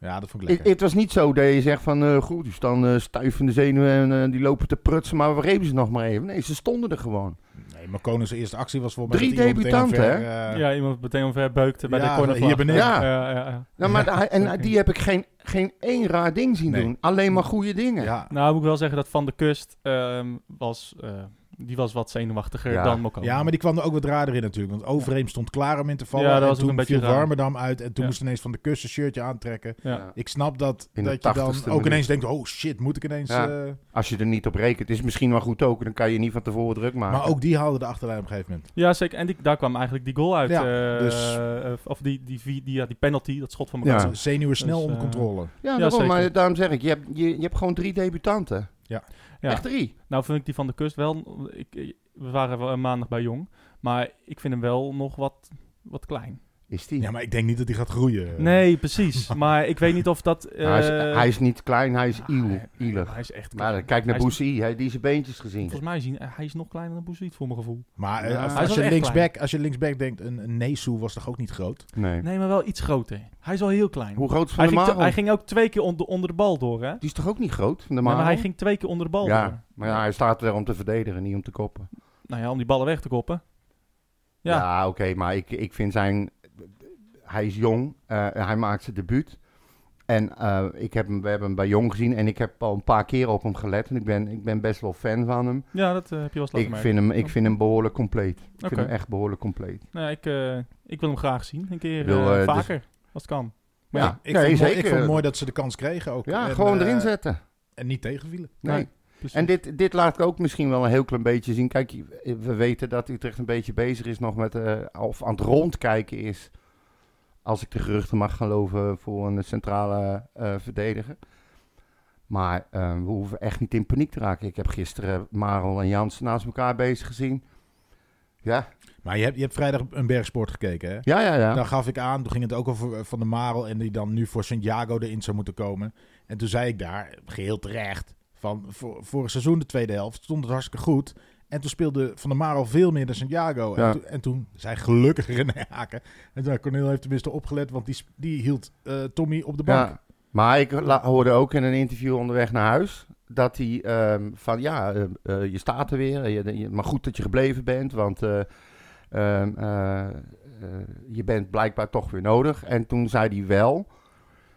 [SPEAKER 2] Ja, dat vond ik
[SPEAKER 3] Het
[SPEAKER 2] lekker.
[SPEAKER 3] het was niet zo dat je zegt van, eh, goed, die staan eh, stijf in de zenuwen en eh, die lopen te prutsen, maar we geven ze nog maar even. Nee, ze stonden er gewoon.
[SPEAKER 2] Nee, maar Konings eerste actie was volgens mij...
[SPEAKER 3] Drie
[SPEAKER 2] dat hij iemand meteen
[SPEAKER 3] debutanten,
[SPEAKER 2] omver, eh,
[SPEAKER 1] ja, iemand meteen omver beukte bij
[SPEAKER 2] Ja,
[SPEAKER 1] de corner.
[SPEAKER 2] hier beneden.
[SPEAKER 1] Ja, ja, ja, ja.
[SPEAKER 3] Nou, maar hij- en
[SPEAKER 1] oké.
[SPEAKER 3] die heb ik geen, geen één raar ding zien
[SPEAKER 2] Nee.
[SPEAKER 3] doen. Alleen maar goede dingen.
[SPEAKER 2] ja.
[SPEAKER 1] Nou, moet ik wel zeggen dat Van de Kust ehm, was, eh, die was wat zenuwachtiger
[SPEAKER 3] Ja.
[SPEAKER 1] dan Mokko.
[SPEAKER 2] Ja, maar die kwam er ook wat raarder in natuurlijk. Want Overeem stond klaar om in te vallen.
[SPEAKER 1] Ja, dat was
[SPEAKER 2] en
[SPEAKER 1] ook
[SPEAKER 2] toen
[SPEAKER 1] een beetje
[SPEAKER 2] viel
[SPEAKER 1] raar.
[SPEAKER 2] Warmerdam uit. En toen
[SPEAKER 1] Ja.
[SPEAKER 2] moest ineens Van de Kussen shirtje aantrekken.
[SPEAKER 1] Ja.
[SPEAKER 3] Ja.
[SPEAKER 2] Ik snap dat,
[SPEAKER 3] In de
[SPEAKER 2] dat je dan
[SPEAKER 3] 80ste
[SPEAKER 2] ook
[SPEAKER 3] minuut.
[SPEAKER 2] ineens denkt... Oh shit, moet ik ineens...
[SPEAKER 3] Ja.
[SPEAKER 2] eh,
[SPEAKER 3] Als je er niet op rekent, is misschien wel goed ook. Dan kan je niet van tevoren druk maken.
[SPEAKER 2] Maar ook die haalde de achterlijn op een gegeven moment.
[SPEAKER 1] Ja, zeker. En die, daar kwam eigenlijk die goal uit.
[SPEAKER 2] Ja,
[SPEAKER 1] eh,
[SPEAKER 2] dus-
[SPEAKER 1] eh, of die, die, vi- die, ja, die penalty, dat schot van
[SPEAKER 3] Ja.
[SPEAKER 1] elkaar.
[SPEAKER 2] Dus Zenuwen snel
[SPEAKER 1] Dus,
[SPEAKER 2] onder
[SPEAKER 1] eh,
[SPEAKER 2] controle.
[SPEAKER 3] ja,
[SPEAKER 1] Ja,
[SPEAKER 3] daarom,
[SPEAKER 1] zeker.
[SPEAKER 3] maar daarom zeg ik, je hebt, je, je hebt gewoon drie debutanten.
[SPEAKER 2] Ja.
[SPEAKER 1] Ja.
[SPEAKER 3] Echt drie.
[SPEAKER 1] Nou vind ik die Van de Kust wel... Ik, ik- we waren wel maandag bij Jong. Maar ik vind hem wel nog wat, wat klein.
[SPEAKER 3] Is die.
[SPEAKER 2] Ja, maar ik denk niet dat die gaat groeien.
[SPEAKER 1] Nee,
[SPEAKER 3] (laughs)
[SPEAKER 1] precies. maar ik weet niet of dat... eh,
[SPEAKER 3] Nou, hij, is, hij is niet klein, hij is
[SPEAKER 1] ah,
[SPEAKER 3] iel,
[SPEAKER 1] hij-
[SPEAKER 3] ielig.
[SPEAKER 1] Hij is echt klein.
[SPEAKER 3] Maar kijk naar
[SPEAKER 1] Hij is-
[SPEAKER 3] Boussi, hij die zijn beentjes gezien.
[SPEAKER 1] Volgens mij is hij, hij is nog kleiner dan Boezit, voor mijn gevoel.
[SPEAKER 2] Maar eh,
[SPEAKER 3] Ja.
[SPEAKER 2] als,
[SPEAKER 3] Hij
[SPEAKER 1] is wel
[SPEAKER 2] als je
[SPEAKER 1] echt
[SPEAKER 2] linksback, als je linksback denkt... Een, een Nesu was toch ook niet groot?
[SPEAKER 3] Nee.
[SPEAKER 1] Nee, maar wel iets groter. Hij is wel heel klein.
[SPEAKER 3] Hoe groot is Van
[SPEAKER 1] Hij
[SPEAKER 3] der
[SPEAKER 1] ging, te-
[SPEAKER 3] Marel?
[SPEAKER 1] hij ging ook twee keer onder, onder de bal door, hè?
[SPEAKER 3] Die is toch ook niet groot, Van der
[SPEAKER 1] Nee,
[SPEAKER 3] Marel?
[SPEAKER 1] maar hij ging twee keer onder de bal door.
[SPEAKER 3] Ja, maar ja, hij staat er om te verdedigen, niet om te koppen.
[SPEAKER 1] Nou ja, om die ballen weg te koppen.
[SPEAKER 3] Ja,
[SPEAKER 1] Ja.
[SPEAKER 3] oké, maar ik, ik vind zijn... Hij is jong, eh, hij maakt zijn debuut. En eh, ik heb hem, we hebben hem bij Jong gezien en ik heb al een paar keer op hem gelet. En ik ben, ik ben best wel fan van hem.
[SPEAKER 1] Ja, dat eh, heb je wel eens laten
[SPEAKER 3] Ik
[SPEAKER 1] merken.
[SPEAKER 3] vind hem, ik vind hem behoorlijk compleet. Ik
[SPEAKER 1] Oké.
[SPEAKER 3] vind hem echt behoorlijk compleet.
[SPEAKER 1] Nou, ik, eh, ik wil hem graag zien. Een keer
[SPEAKER 3] Ik bedoel,
[SPEAKER 1] eh,
[SPEAKER 3] eh,
[SPEAKER 1] vaker, als het kan. Maar
[SPEAKER 3] Ja,
[SPEAKER 1] ja,
[SPEAKER 2] Ik,
[SPEAKER 3] nee,
[SPEAKER 2] vond, mooi-
[SPEAKER 3] zeker.
[SPEAKER 2] ik vond het mooi dat ze de kans kregen ook.
[SPEAKER 3] eh, Ja,
[SPEAKER 2] En,
[SPEAKER 3] gewoon
[SPEAKER 2] eh,
[SPEAKER 3] erin zetten.
[SPEAKER 2] En niet tegenvielen.
[SPEAKER 3] Nee.
[SPEAKER 1] nee, precies.
[SPEAKER 3] En dit, dit laat ik ook misschien wel een heel klein beetje zien. Kijk, we weten dat Utrecht een beetje bezig is nog met, eh, of aan het rondkijken is, als ik de geruchten mag geloven, voor een centrale eh, verdediger. Maar eh, we hoeven echt niet in paniek te raken. Ik heb gisteren Marel en Jansen naast elkaar bezig gezien. Ja,
[SPEAKER 2] Maar je hebt, je hebt vrijdag een bergsport gekeken, hè?
[SPEAKER 3] ja, ja. ja.
[SPEAKER 2] Daar gaf ik aan, toen ging het ook over eh, Van de Marel en die dan nu voor Santiago erin zou moeten komen. En toen zei ik daar, geheel terecht, van voor, vorig seizoen de tweede helft stond het hartstikke goed. En toen speelde Van der Marel veel meer dan Santiago.
[SPEAKER 3] Ja.
[SPEAKER 2] En, toen, en toen zei gelukkig René Haken. En toen, Cornel heeft tenminste opgelet, want die, sp- die hield eh, Tommy op de bank.
[SPEAKER 3] Ja, maar ik la- hoorde ook in een interview onderweg naar huis dat hij ehm, van ja, eh, eh, je staat er weer, je, je- maar goed dat je gebleven bent, want eh, ehm, eh, eh, je bent blijkbaar toch weer nodig. En toen zei hij wel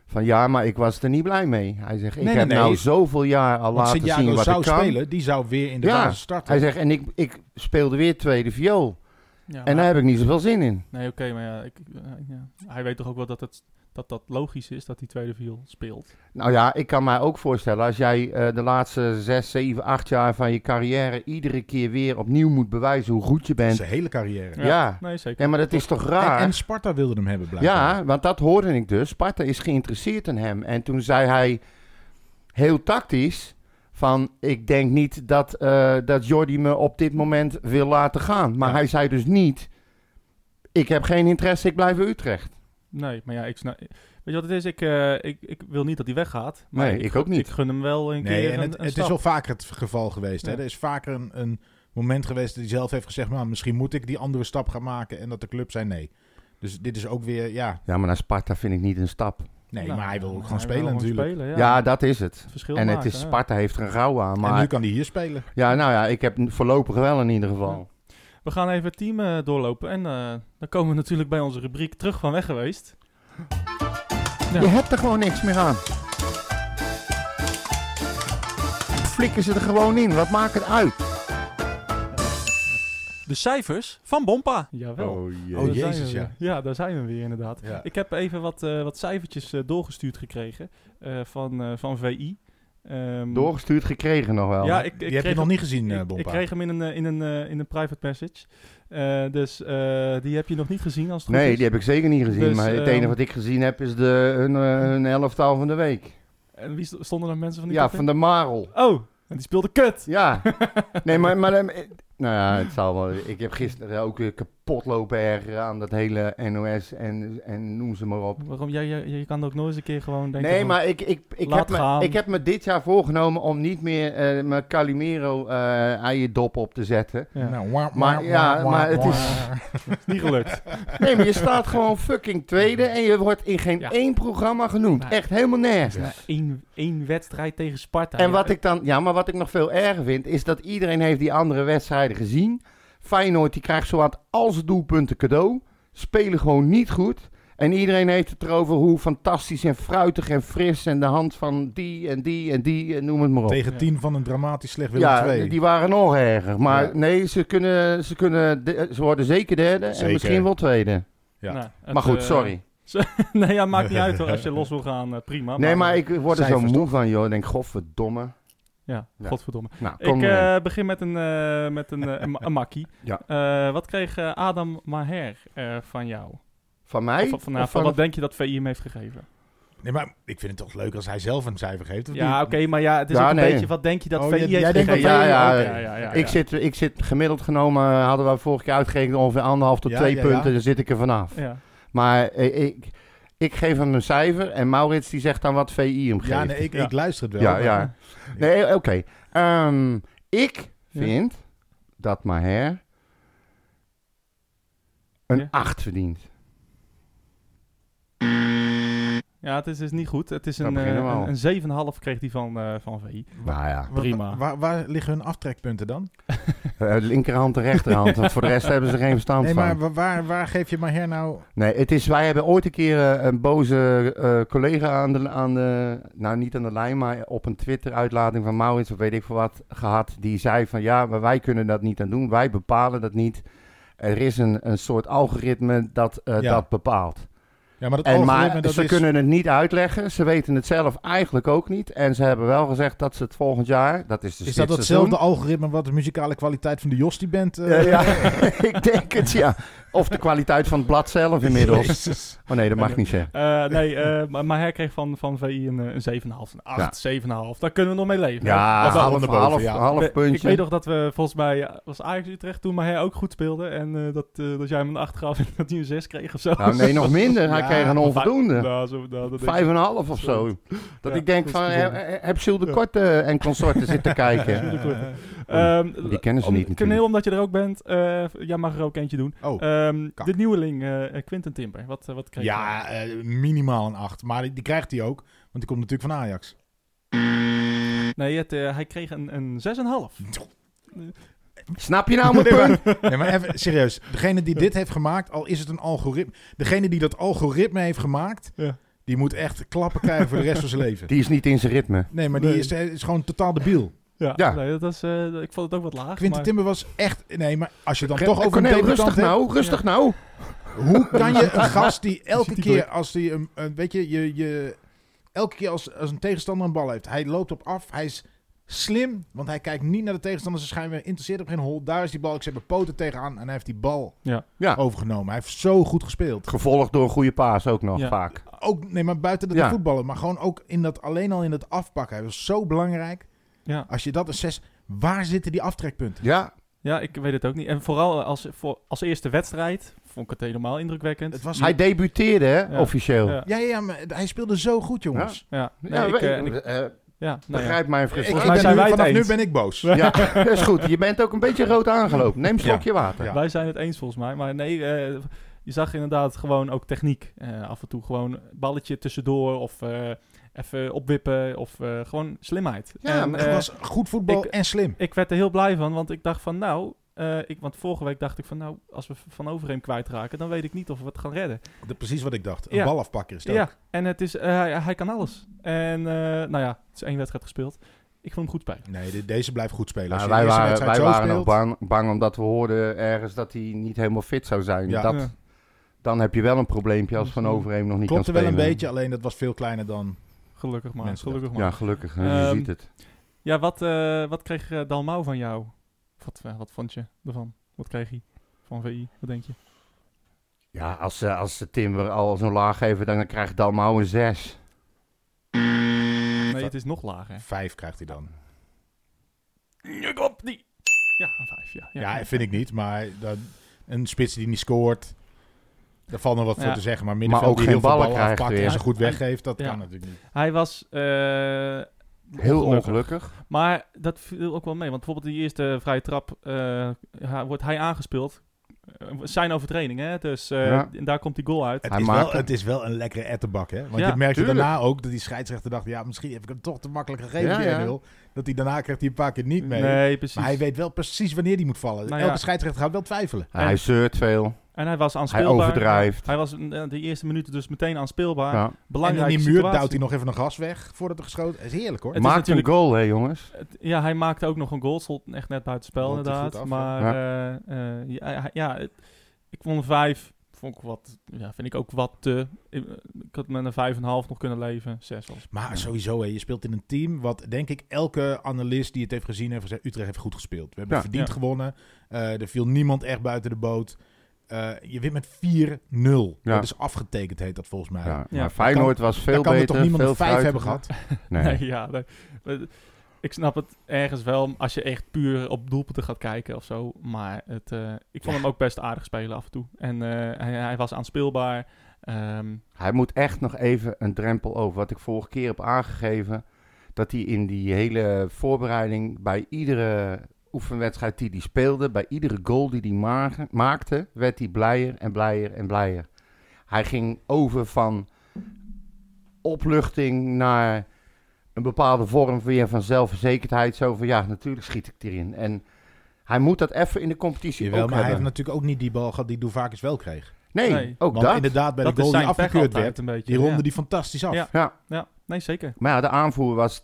[SPEAKER 3] Van ja, maar ik was er niet blij mee. Hij zegt, ik
[SPEAKER 2] Nee, nee,
[SPEAKER 3] heb
[SPEAKER 2] nee.
[SPEAKER 3] nou zoveel jaar al
[SPEAKER 2] Want
[SPEAKER 3] laten zien
[SPEAKER 2] Santiago
[SPEAKER 3] wat
[SPEAKER 2] zou
[SPEAKER 3] ik kan.
[SPEAKER 2] spelen, die zou weer in de
[SPEAKER 3] Ja,
[SPEAKER 2] basis starten.
[SPEAKER 3] Hij zegt, en ik, ik speelde weer tweede viool.
[SPEAKER 1] Ja,
[SPEAKER 3] En daar heb ik niet zoveel zin in.
[SPEAKER 1] Nee, oké, maar ja, ik, eh, ja. hij weet toch ook wel dat, het, dat dat logisch is dat die tweede viool speelt.
[SPEAKER 3] Nou ja, ik kan mij ook voorstellen, als jij eh, de laatste zes, zeven, acht jaar van je carrière iedere keer weer opnieuw moet bewijzen hoe goed je bent.
[SPEAKER 2] Zijn hele carrière.
[SPEAKER 3] Ja, ja.
[SPEAKER 1] Nee, zeker.
[SPEAKER 3] maar dat is toch
[SPEAKER 2] En,
[SPEAKER 3] raar?
[SPEAKER 2] en Sparta wilde hem hebben blijven.
[SPEAKER 3] Ja, want dat hoorde ik dus. Sparta is geïnteresseerd in hem. En toen zei hij heel tactisch van... ik denk niet dat, eh dat Jordi me op dit moment wil laten gaan. Maar
[SPEAKER 2] Ja.
[SPEAKER 3] hij zei dus niet... ik heb geen interesse, ik blijf bij Utrecht.
[SPEAKER 1] Nee, maar ja, ik snap... Weet je wat het is? Ik, eh, ik, ik wil niet dat hij weggaat. Maar
[SPEAKER 3] Nee, ik ook niet.
[SPEAKER 1] Ik gun hem wel een
[SPEAKER 2] Nee,
[SPEAKER 1] keer
[SPEAKER 2] en
[SPEAKER 1] een,
[SPEAKER 2] het,
[SPEAKER 1] een
[SPEAKER 2] het
[SPEAKER 1] stap.
[SPEAKER 2] is wel vaker het geval geweest. Hè?
[SPEAKER 1] Ja.
[SPEAKER 2] Er is vaker een, een moment geweest dat hij zelf heeft gezegd... Nou, misschien moet ik die andere stap gaan maken en dat de club zei nee. Dus dit is ook weer, ja...
[SPEAKER 3] Ja, maar naar Sparta vind ik niet een stap.
[SPEAKER 2] Nee,
[SPEAKER 1] Nou,
[SPEAKER 2] maar hij wil ook gewoon
[SPEAKER 1] hij
[SPEAKER 2] spelen
[SPEAKER 1] gewoon
[SPEAKER 2] natuurlijk.
[SPEAKER 1] spelen,
[SPEAKER 3] Ja,
[SPEAKER 1] ja.
[SPEAKER 3] dat is het.
[SPEAKER 1] Het verschil
[SPEAKER 3] En het
[SPEAKER 1] maken,
[SPEAKER 3] is,
[SPEAKER 1] ja.
[SPEAKER 3] Sparta heeft er een rouw aan. Maar
[SPEAKER 2] En nu kan hij hier spelen.
[SPEAKER 3] ja, nou ja, ik heb n- voorlopig wel in ieder geval.
[SPEAKER 1] We gaan even het team eh, doorlopen. En eh, dan komen we natuurlijk bij onze rubriek terug van weg geweest. Ja.
[SPEAKER 3] Je hebt er gewoon niks meer aan. Flikken ze er gewoon in. Wat maakt het uit?
[SPEAKER 7] De cijfers van Bompa.
[SPEAKER 1] Jawel.
[SPEAKER 2] Oh,
[SPEAKER 1] Daar zijn
[SPEAKER 2] jezus,
[SPEAKER 1] we
[SPEAKER 2] ja.
[SPEAKER 1] weer. Ja, daar zijn we weer inderdaad.
[SPEAKER 2] Ja.
[SPEAKER 1] Ik heb even wat, eh, wat cijfertjes eh, doorgestuurd gekregen eh, van, eh, van VI. Ehm,
[SPEAKER 3] Doorgestuurd gekregen nog wel.
[SPEAKER 1] Ja, ik, ik
[SPEAKER 2] Die
[SPEAKER 1] kreeg
[SPEAKER 2] heb je nog
[SPEAKER 1] hem-
[SPEAKER 2] niet gezien, eh
[SPEAKER 1] ik-
[SPEAKER 2] Bompa.
[SPEAKER 1] Ik kreeg hem in een, eh, in een, eh, in een private message. Eh, dus eh, die heb je nog niet gezien als het goed
[SPEAKER 3] nee,
[SPEAKER 1] is.
[SPEAKER 3] die heb ik zeker niet gezien.
[SPEAKER 1] Dus,
[SPEAKER 3] maar het
[SPEAKER 1] ehm,
[SPEAKER 3] enige wat ik gezien heb is de, hun, eh, hun elftal van de week.
[SPEAKER 1] En wie st- stonden er mensen van die
[SPEAKER 3] Ja,
[SPEAKER 1] club in?
[SPEAKER 3] van de Marel.
[SPEAKER 1] Oh, en die speelde kut. (laughs)
[SPEAKER 3] Ja. nee, maar... maar ehm, eh, nou ja, het zal wel. Ik heb gisteren ook weer kapot lopen ergeren aan dat hele NOS en, en noem ze maar op.
[SPEAKER 1] Waarom? Jij, jij, jij kan ook nooit eens een keer gewoon denken
[SPEAKER 3] Nee,
[SPEAKER 1] van-
[SPEAKER 3] maar ik, ik, ik,
[SPEAKER 1] laat
[SPEAKER 3] heb me,
[SPEAKER 1] gaan.
[SPEAKER 3] ik heb me dit jaar voorgenomen om niet meer eh, mijn Calimero eh eierdop op te
[SPEAKER 1] (laughs)
[SPEAKER 3] zetten.
[SPEAKER 1] Ja.
[SPEAKER 2] Nou, wah, wah,
[SPEAKER 3] Maar ja,
[SPEAKER 2] wah, wah,
[SPEAKER 3] maar het
[SPEAKER 2] wah.
[SPEAKER 3] is-
[SPEAKER 1] is niet gelukt.
[SPEAKER 3] Nee, maar je staat gewoon fucking tweede en je wordt in geen
[SPEAKER 1] Ja.
[SPEAKER 3] één programma genoemd.
[SPEAKER 1] Nee.
[SPEAKER 3] Echt helemaal nergens.
[SPEAKER 1] Eén één wedstrijd tegen Sparta.
[SPEAKER 3] En
[SPEAKER 1] Ja,
[SPEAKER 3] wat ik dan, ja, maar wat ik nog veel erger vind, is dat iedereen heeft die andere wedstrijden gezien. Feyenoord die krijgt zowat al zijn doelpunten cadeau. Spelen gewoon niet goed. En iedereen heeft het erover hoe fantastisch en fruitig en fris en de hand van die en die en die en noem het maar op.
[SPEAKER 2] Tegen
[SPEAKER 1] Ja.
[SPEAKER 2] tien van een dramatisch slecht Willem
[SPEAKER 3] ja,
[SPEAKER 2] II.
[SPEAKER 3] die waren nog erger. Maar
[SPEAKER 2] Ja.
[SPEAKER 3] nee, ze, kunnen, ze, kunnen de- ze worden zeker derde
[SPEAKER 2] Zeker.
[SPEAKER 3] en misschien wel tweede.
[SPEAKER 2] Ja.
[SPEAKER 1] Nou, het,
[SPEAKER 3] maar goed,
[SPEAKER 1] eh,
[SPEAKER 3] sorry.
[SPEAKER 1] (laughs) nee, ja, maakt niet uit hoor.
[SPEAKER 3] (laughs)
[SPEAKER 1] Als je los wil gaan, eh, prima.
[SPEAKER 3] Nee, maar ik word er zo
[SPEAKER 2] cijfers
[SPEAKER 3] moe van, joh. Ik denk, godverdomme.
[SPEAKER 1] Ja,
[SPEAKER 3] Ja.
[SPEAKER 1] godverdomme. (laughs)
[SPEAKER 3] Nou, kom
[SPEAKER 1] Ik
[SPEAKER 3] erin.
[SPEAKER 1] eh, begin met een, eh, met een, eh, een, ma- een makkie.
[SPEAKER 3] (laughs) Ja.
[SPEAKER 1] Eh, wat kreeg eh, Adam Maher eh, van jou?
[SPEAKER 3] Van mij?
[SPEAKER 1] Of, van- van,
[SPEAKER 3] Of
[SPEAKER 1] van
[SPEAKER 3] van-
[SPEAKER 1] wat denk je dat VI hem heeft gegeven?
[SPEAKER 2] Nee, maar ik vind het toch leuk als hij zelf een cijfer geeft. of
[SPEAKER 1] Ja,
[SPEAKER 2] niet?
[SPEAKER 1] oké, maar ja, het is
[SPEAKER 3] Ja,
[SPEAKER 1] ook een
[SPEAKER 3] nee.
[SPEAKER 1] beetje wat denk je dat
[SPEAKER 2] Oh,
[SPEAKER 1] VI
[SPEAKER 2] jij-
[SPEAKER 1] heeft
[SPEAKER 2] jij denkt
[SPEAKER 1] gegeven?
[SPEAKER 2] dat
[SPEAKER 3] Ja, VI ja,
[SPEAKER 2] oké.
[SPEAKER 3] ik, Zit, ik zit gemiddeld genomen, eh, hadden we vorig jaar uitgerekend ongeveer anderhalf tot
[SPEAKER 2] Ja,
[SPEAKER 3] twee
[SPEAKER 2] ja,
[SPEAKER 3] punten.
[SPEAKER 2] ja.
[SPEAKER 3] Daar zit ik er vanaf.
[SPEAKER 1] ja.
[SPEAKER 3] Maar eh, ik, ik geef hem een cijfer en Maurits die zegt dan wat VI hem geeft.
[SPEAKER 2] Ja, nee, ik,
[SPEAKER 1] Ja.
[SPEAKER 2] ik luister het wel.
[SPEAKER 3] Ja,
[SPEAKER 2] maar-
[SPEAKER 3] ja. Nee, eh, oké. Ehm, ik vind dat Maher een
[SPEAKER 1] Ja.
[SPEAKER 3] 8 verdient.
[SPEAKER 1] Ja, het is dus niet goed. Het is
[SPEAKER 3] Daar
[SPEAKER 1] een, eh,
[SPEAKER 3] beginnen we al.
[SPEAKER 1] een, een 7,5 kreeg hij van, eh, van VI.
[SPEAKER 3] Nou ja,
[SPEAKER 2] Wa-
[SPEAKER 1] Prima.
[SPEAKER 2] wa- Waar, waar liggen hun aftrekpunten dan?
[SPEAKER 3] eh, linkerhand en rechterhand. want voor de rest hebben ze er geen verstand
[SPEAKER 2] Nee,
[SPEAKER 3] van.
[SPEAKER 2] maar wa- waar, waar geef je Maher nou...
[SPEAKER 3] Nee, het is, wij hebben ooit een keer eh, een boze eh, collega aan de, aan de, nou niet aan de lijn, maar op een Twitter-uitlating van Maurits of weet ik veel wat gehad. Die zei van ja, maar wij kunnen dat niet aan doen, wij bepalen dat niet. Er is een, een soort algoritme dat eh,
[SPEAKER 2] Ja.
[SPEAKER 3] dat bepaalt.
[SPEAKER 2] Ja, maar dat
[SPEAKER 3] En
[SPEAKER 2] algoritme,
[SPEAKER 3] maar
[SPEAKER 2] dat
[SPEAKER 3] ze
[SPEAKER 2] is...
[SPEAKER 3] kunnen het niet uitleggen, ze weten het zelf eigenlijk ook niet. En ze hebben wel gezegd dat ze het volgend jaar, dat is dus
[SPEAKER 2] Is
[SPEAKER 3] dit
[SPEAKER 2] dat datzelfde
[SPEAKER 3] seizoen,
[SPEAKER 2] algoritme wat de muzikale kwaliteit van de Jostie bent?
[SPEAKER 3] Eh, ja, (laughs) ik denk het ja. Of de kwaliteit van het blad
[SPEAKER 2] (laughs)
[SPEAKER 3] zelf inmiddels. Oh nee, dat mag ik niet zeggen.
[SPEAKER 1] Eh, nee, eh, (laughs) maar Maher kreeg van, van VI een, eh, een 7,5. Een 8, 7,5. Daar kunnen we nog mee leven.
[SPEAKER 3] Ja,
[SPEAKER 1] Dat
[SPEAKER 3] half,
[SPEAKER 1] wel.
[SPEAKER 2] halen
[SPEAKER 3] half,
[SPEAKER 2] naar boven, ja.
[SPEAKER 3] half
[SPEAKER 1] We-
[SPEAKER 3] puntje.
[SPEAKER 1] Ik weet nog dat we volgens mij, ja, was Ajax Utrecht toen Maher ook goed speelde. En eh, dat, eh, dat jij hem een 8 gaf (laughs) en dat hij een 6 kreeg of zo.
[SPEAKER 3] Nou, nee, nog minder.
[SPEAKER 1] (laughs)
[SPEAKER 3] Hij
[SPEAKER 2] Ja,
[SPEAKER 3] kreeg een onvoldoende.
[SPEAKER 1] Nou, zo, nou, dat denk
[SPEAKER 3] Vijf en een half of zo. Dat
[SPEAKER 1] Ja,
[SPEAKER 3] ik denk
[SPEAKER 1] dat is
[SPEAKER 3] van,
[SPEAKER 1] bijzonder.
[SPEAKER 3] eh, eh, heb Jules de Korte en consorten zitten kijken?
[SPEAKER 1] ik. Ehm,
[SPEAKER 3] Die kennen ze
[SPEAKER 1] om-
[SPEAKER 3] niet natuurlijk.
[SPEAKER 1] Kneel, omdat je er ook bent. eh, jij mag er ook eentje doen.
[SPEAKER 2] Oh,
[SPEAKER 1] Ehm,
[SPEAKER 2] kak.
[SPEAKER 1] de nieuweling, eh eh, Quinten Timber. Wat, eh, wat kreeg hij?
[SPEAKER 2] ja, eh, minimaal een 8. Maar die, die krijgt hij ook, want die komt natuurlijk van Ajax.
[SPEAKER 1] Nee, het, eh, hij kreeg een, een 6,5.
[SPEAKER 3] Snap je nou mijn
[SPEAKER 2] (laughs)
[SPEAKER 3] punt?
[SPEAKER 2] Nee, maar even serieus. Degene die dit heeft gemaakt, al is het een algoritme... Degene die dat algoritme heeft gemaakt,
[SPEAKER 1] Ja.
[SPEAKER 2] Die moet echt klappen krijgen voor de rest van zijn leven.
[SPEAKER 3] Die is niet in zijn ritme.
[SPEAKER 2] Nee, maar die
[SPEAKER 1] Nee.
[SPEAKER 2] is, is gewoon totaal debiel.
[SPEAKER 1] Ja,
[SPEAKER 3] Ja.
[SPEAKER 1] Nee, dat is, eh, ik vond het ook wat laag.
[SPEAKER 2] Quinten
[SPEAKER 1] maar-
[SPEAKER 2] Timber was echt... Nee, maar als je dan
[SPEAKER 3] Re-
[SPEAKER 2] toch over
[SPEAKER 3] Cornel,
[SPEAKER 2] een
[SPEAKER 3] rustig
[SPEAKER 2] debutant hebt...
[SPEAKER 3] nou, rustig nou.
[SPEAKER 2] Hoe kan
[SPEAKER 3] (laughs)
[SPEAKER 2] je een gast die elke
[SPEAKER 1] Ziet die
[SPEAKER 2] keer als die een, een- weet je, je, je elke keer als, als een tegenstander een bal heeft, hij loopt op af, hij is slim, want hij kijkt niet naar de tegenstander, zijn schijnbaar interesseert op geen hol. Daar is die bal, ik zet mijn poten tegenaan en hij heeft die bal
[SPEAKER 1] Ja.
[SPEAKER 3] Ja.
[SPEAKER 2] overgenomen. Hij heeft zo goed gespeeld.
[SPEAKER 3] Gevolgd door een goede paas ook nog
[SPEAKER 1] Ja.
[SPEAKER 3] vaak.
[SPEAKER 2] Ook nee, maar buiten dat
[SPEAKER 3] Ja.
[SPEAKER 2] hij voetballen, maar gewoon ook in dat alleen al in dat afpakken. Hij was zo belangrijk.
[SPEAKER 1] Ja.
[SPEAKER 2] Als je dat een zes, waar zitten die aftrekpunten?
[SPEAKER 3] Ja,
[SPEAKER 1] ja, ik weet het ook niet. En vooral eh, als, voor, als eerste wedstrijd vond ik het helemaal indrukwekkend.
[SPEAKER 2] Het was
[SPEAKER 3] hij debuteerde hè,
[SPEAKER 1] Ja.
[SPEAKER 3] officieel.
[SPEAKER 1] Ja.
[SPEAKER 3] Ja.
[SPEAKER 2] ja, ja, ja, maar hij speelde zo goed, jongens.
[SPEAKER 1] ja, nee, ik,
[SPEAKER 3] we-
[SPEAKER 1] eh, en ik-
[SPEAKER 3] eh,
[SPEAKER 1] ja, nou ja.
[SPEAKER 3] begrijp mijn
[SPEAKER 2] Ik,
[SPEAKER 1] mij
[SPEAKER 3] frustratie.
[SPEAKER 2] ik ben
[SPEAKER 1] zijn
[SPEAKER 2] nu,
[SPEAKER 1] wij het
[SPEAKER 2] vanaf nu
[SPEAKER 1] eens.
[SPEAKER 2] ben ik boos.
[SPEAKER 3] Ja, (laughs) dat
[SPEAKER 2] (laughs)
[SPEAKER 3] is goed. Je bent ook een beetje rood aangelopen. Neem een slokje water. Nou,
[SPEAKER 2] Ja.
[SPEAKER 1] Wij zijn het eens volgens mij. Maar nee, eh, je zag inderdaad gewoon ook techniek. Eh, af en toe gewoon balletje tussendoor of eh, even opwippen of eh, gewoon slimheid.
[SPEAKER 3] Ja,
[SPEAKER 1] En,
[SPEAKER 3] maar
[SPEAKER 2] Het
[SPEAKER 1] eh,
[SPEAKER 2] was goed voetbal
[SPEAKER 1] ik-
[SPEAKER 2] en slim.
[SPEAKER 1] ik werd er heel blij van, want ik dacht van nou... eh, ik, want vorige week dacht ik van nou, als we van overheen kwijtraken, dan weet ik niet of we het gaan redden.
[SPEAKER 2] De- precies wat ik dacht. Een
[SPEAKER 1] Ja.
[SPEAKER 2] bal afpakken is dat.
[SPEAKER 1] Ja, en het is, eh, hij, hij kan alles. En eh, nou ja, het is één wedstrijd gespeeld. Ik vond hem goed spelen.
[SPEAKER 2] Nee, de- deze blijft goed spelen. Als
[SPEAKER 3] Nou,
[SPEAKER 2] je de
[SPEAKER 3] wij
[SPEAKER 2] eerste
[SPEAKER 3] waren,
[SPEAKER 2] wedstrijd
[SPEAKER 3] wij
[SPEAKER 2] zo
[SPEAKER 3] waren nog
[SPEAKER 2] speelt,
[SPEAKER 3] bang, bang omdat we hoorden ergens dat hij niet helemaal fit zou zijn.
[SPEAKER 2] Ja.
[SPEAKER 3] Dat,
[SPEAKER 1] Ja.
[SPEAKER 3] Dan heb je wel een probleempje als Van Overheem nog niet
[SPEAKER 2] Klopt er
[SPEAKER 3] kan
[SPEAKER 2] wel
[SPEAKER 3] spelen.
[SPEAKER 2] een beetje, alleen dat was veel kleiner dan...
[SPEAKER 1] Gelukkig maar,
[SPEAKER 2] Mensen
[SPEAKER 1] gelukkig maar.
[SPEAKER 3] Ja,
[SPEAKER 1] Ja,
[SPEAKER 3] gelukkig. hè, je
[SPEAKER 1] Ehm,
[SPEAKER 3] ziet het.
[SPEAKER 1] wat, eh, wat kreeg eh, Dalmau van jou? Wat, eh, wat vond je ervan? Wat kreeg hij van VI? Wat denk je?
[SPEAKER 3] Ja, als, eh, als ze Timber al zo'n laag geven, dan krijgt Dalmau een 6.
[SPEAKER 1] Nee, het is nog lager.
[SPEAKER 2] Vijf krijgt hij dan.
[SPEAKER 1] Ik op die. Ja, een vijf, ja.
[SPEAKER 2] Ja, vind ik niet, maar dat, een spits die niet scoort... Daar valt nog wat voor
[SPEAKER 1] Ja.
[SPEAKER 2] te zeggen, maar middenveld
[SPEAKER 3] ook
[SPEAKER 2] die
[SPEAKER 3] geen
[SPEAKER 2] heel veel
[SPEAKER 3] ballen
[SPEAKER 2] ballen
[SPEAKER 3] krijgt
[SPEAKER 2] afpakt
[SPEAKER 3] weer.
[SPEAKER 2] en ze goed weggeeft, dat
[SPEAKER 1] Ja.
[SPEAKER 2] kan natuurlijk niet.
[SPEAKER 1] Hij was eh,
[SPEAKER 3] Heel ongelukkig.
[SPEAKER 1] Maar dat viel ook wel mee. Want bijvoorbeeld die eerste vrije trap eh, ha- wordt hij aangespeeld. Eh, zijn overtreding, hè? Dus eh,
[SPEAKER 3] Ja.
[SPEAKER 1] en daar komt die goal uit.
[SPEAKER 2] Het,
[SPEAKER 3] Hij
[SPEAKER 2] is
[SPEAKER 3] maakt
[SPEAKER 2] wel,
[SPEAKER 3] hem.
[SPEAKER 2] het is wel een lekkere ettenbak, hè? Want
[SPEAKER 1] Ja,
[SPEAKER 2] je merkte
[SPEAKER 3] tuurlijk.
[SPEAKER 2] daarna ook dat die scheidsrechter dacht... ja, misschien heb ik hem toch te makkelijk gegeven,
[SPEAKER 3] Ja,
[SPEAKER 2] die
[SPEAKER 3] ja.
[SPEAKER 2] 1-0. Dat hij daarna krijgt hij een paar keer niet mee.
[SPEAKER 1] Nee, precies.
[SPEAKER 2] maar hij weet wel precies wanneer die moet vallen.
[SPEAKER 1] Nou ja.
[SPEAKER 2] Elke scheidsrechter gaat wel twijfelen.
[SPEAKER 1] En-
[SPEAKER 3] Hij zeurt veel.
[SPEAKER 1] En hij was aanspeelbaar.
[SPEAKER 3] Hij overdrijft.
[SPEAKER 1] Hij was eh, de eerste minuten dus meteen aanspeelbaar.
[SPEAKER 3] Ja.
[SPEAKER 2] En in
[SPEAKER 1] Belangrijke
[SPEAKER 2] die muur
[SPEAKER 1] situatie.
[SPEAKER 2] duwt hij nog even een gas weg voordat er geschoten is. Heerlijk hoor.
[SPEAKER 1] Het- is
[SPEAKER 3] Maakt
[SPEAKER 1] natuurlijk-
[SPEAKER 3] een goal, hè jongens.
[SPEAKER 1] Het- Ja, hij maakte ook nog een goal. Stond echt net buiten spel,
[SPEAKER 2] Rolt hij
[SPEAKER 1] inderdaad.
[SPEAKER 2] goed af,
[SPEAKER 1] maar eh, eh, ja, hij- ja, het- ik vond een vijf. Vond ik wat, ja, vind ik ook wat te. Ik, ik had met een vijf en een half nog kunnen leven. Zes was.
[SPEAKER 2] Maar sowieso, hè, je speelt in een team wat denk ik elke analist die het heeft gezien heeft gezegd... Utrecht heeft goed gespeeld. We hebben
[SPEAKER 3] Ja.
[SPEAKER 2] verdiend
[SPEAKER 1] Ja.
[SPEAKER 2] gewonnen. Eh, er viel niemand echt buiten de boot. Eh, je wint met 4-0.
[SPEAKER 3] Ja.
[SPEAKER 2] Dat is afgetekend, heet dat volgens mij.
[SPEAKER 3] Ja.
[SPEAKER 2] Daar
[SPEAKER 1] Ja.
[SPEAKER 3] Maar Feyenoord was veel
[SPEAKER 2] kan er
[SPEAKER 3] beter.
[SPEAKER 2] toch niemand
[SPEAKER 3] veel
[SPEAKER 2] een 5 hebben
[SPEAKER 3] fruitiger.
[SPEAKER 2] gehad?
[SPEAKER 3] Nee.
[SPEAKER 1] Nee, (laughs) ja. nee. Maar Ik snap het ergens wel als je echt puur op doelpunten gaat kijken of zo. Maar het, eh, ik vond hem ook best aardig spelen af en toe. En eh, hij, hij was aanspeelbaar. Ehm,
[SPEAKER 3] Hij moet echt nog even een drempel over. Wat ik vorige keer heb aangegeven. Dat hij in die hele voorbereiding bij iedere oefenwedstrijd die hij speelde, bij iedere goal die hij ma- maakte, werd hij blijer en blijer en blijer. Hij ging over van opluchting naar een bepaalde vorm weer van zelfverzekerdheid. Zo van ja, natuurlijk schiet ik erin. En hij moet dat even in de competitie
[SPEAKER 2] Jawel,
[SPEAKER 3] ook
[SPEAKER 2] maar hij heeft
[SPEAKER 3] hebben.
[SPEAKER 2] natuurlijk ook niet die bal gehad die Douvakis wel kreeg.
[SPEAKER 3] Nee,
[SPEAKER 1] Nee.
[SPEAKER 3] ook
[SPEAKER 2] Want
[SPEAKER 3] dat.
[SPEAKER 2] inderdaad, bij
[SPEAKER 1] dat
[SPEAKER 2] de
[SPEAKER 1] is
[SPEAKER 2] goal die
[SPEAKER 1] zijn pech
[SPEAKER 2] afgekeurd
[SPEAKER 1] altijd
[SPEAKER 2] werd,
[SPEAKER 1] een beetje.
[SPEAKER 2] die ronde
[SPEAKER 1] ja.
[SPEAKER 2] die fantastisch af.
[SPEAKER 1] Ja.
[SPEAKER 3] Ja.
[SPEAKER 1] Ja, nee, zeker.
[SPEAKER 3] Maar ja, de aanvoer was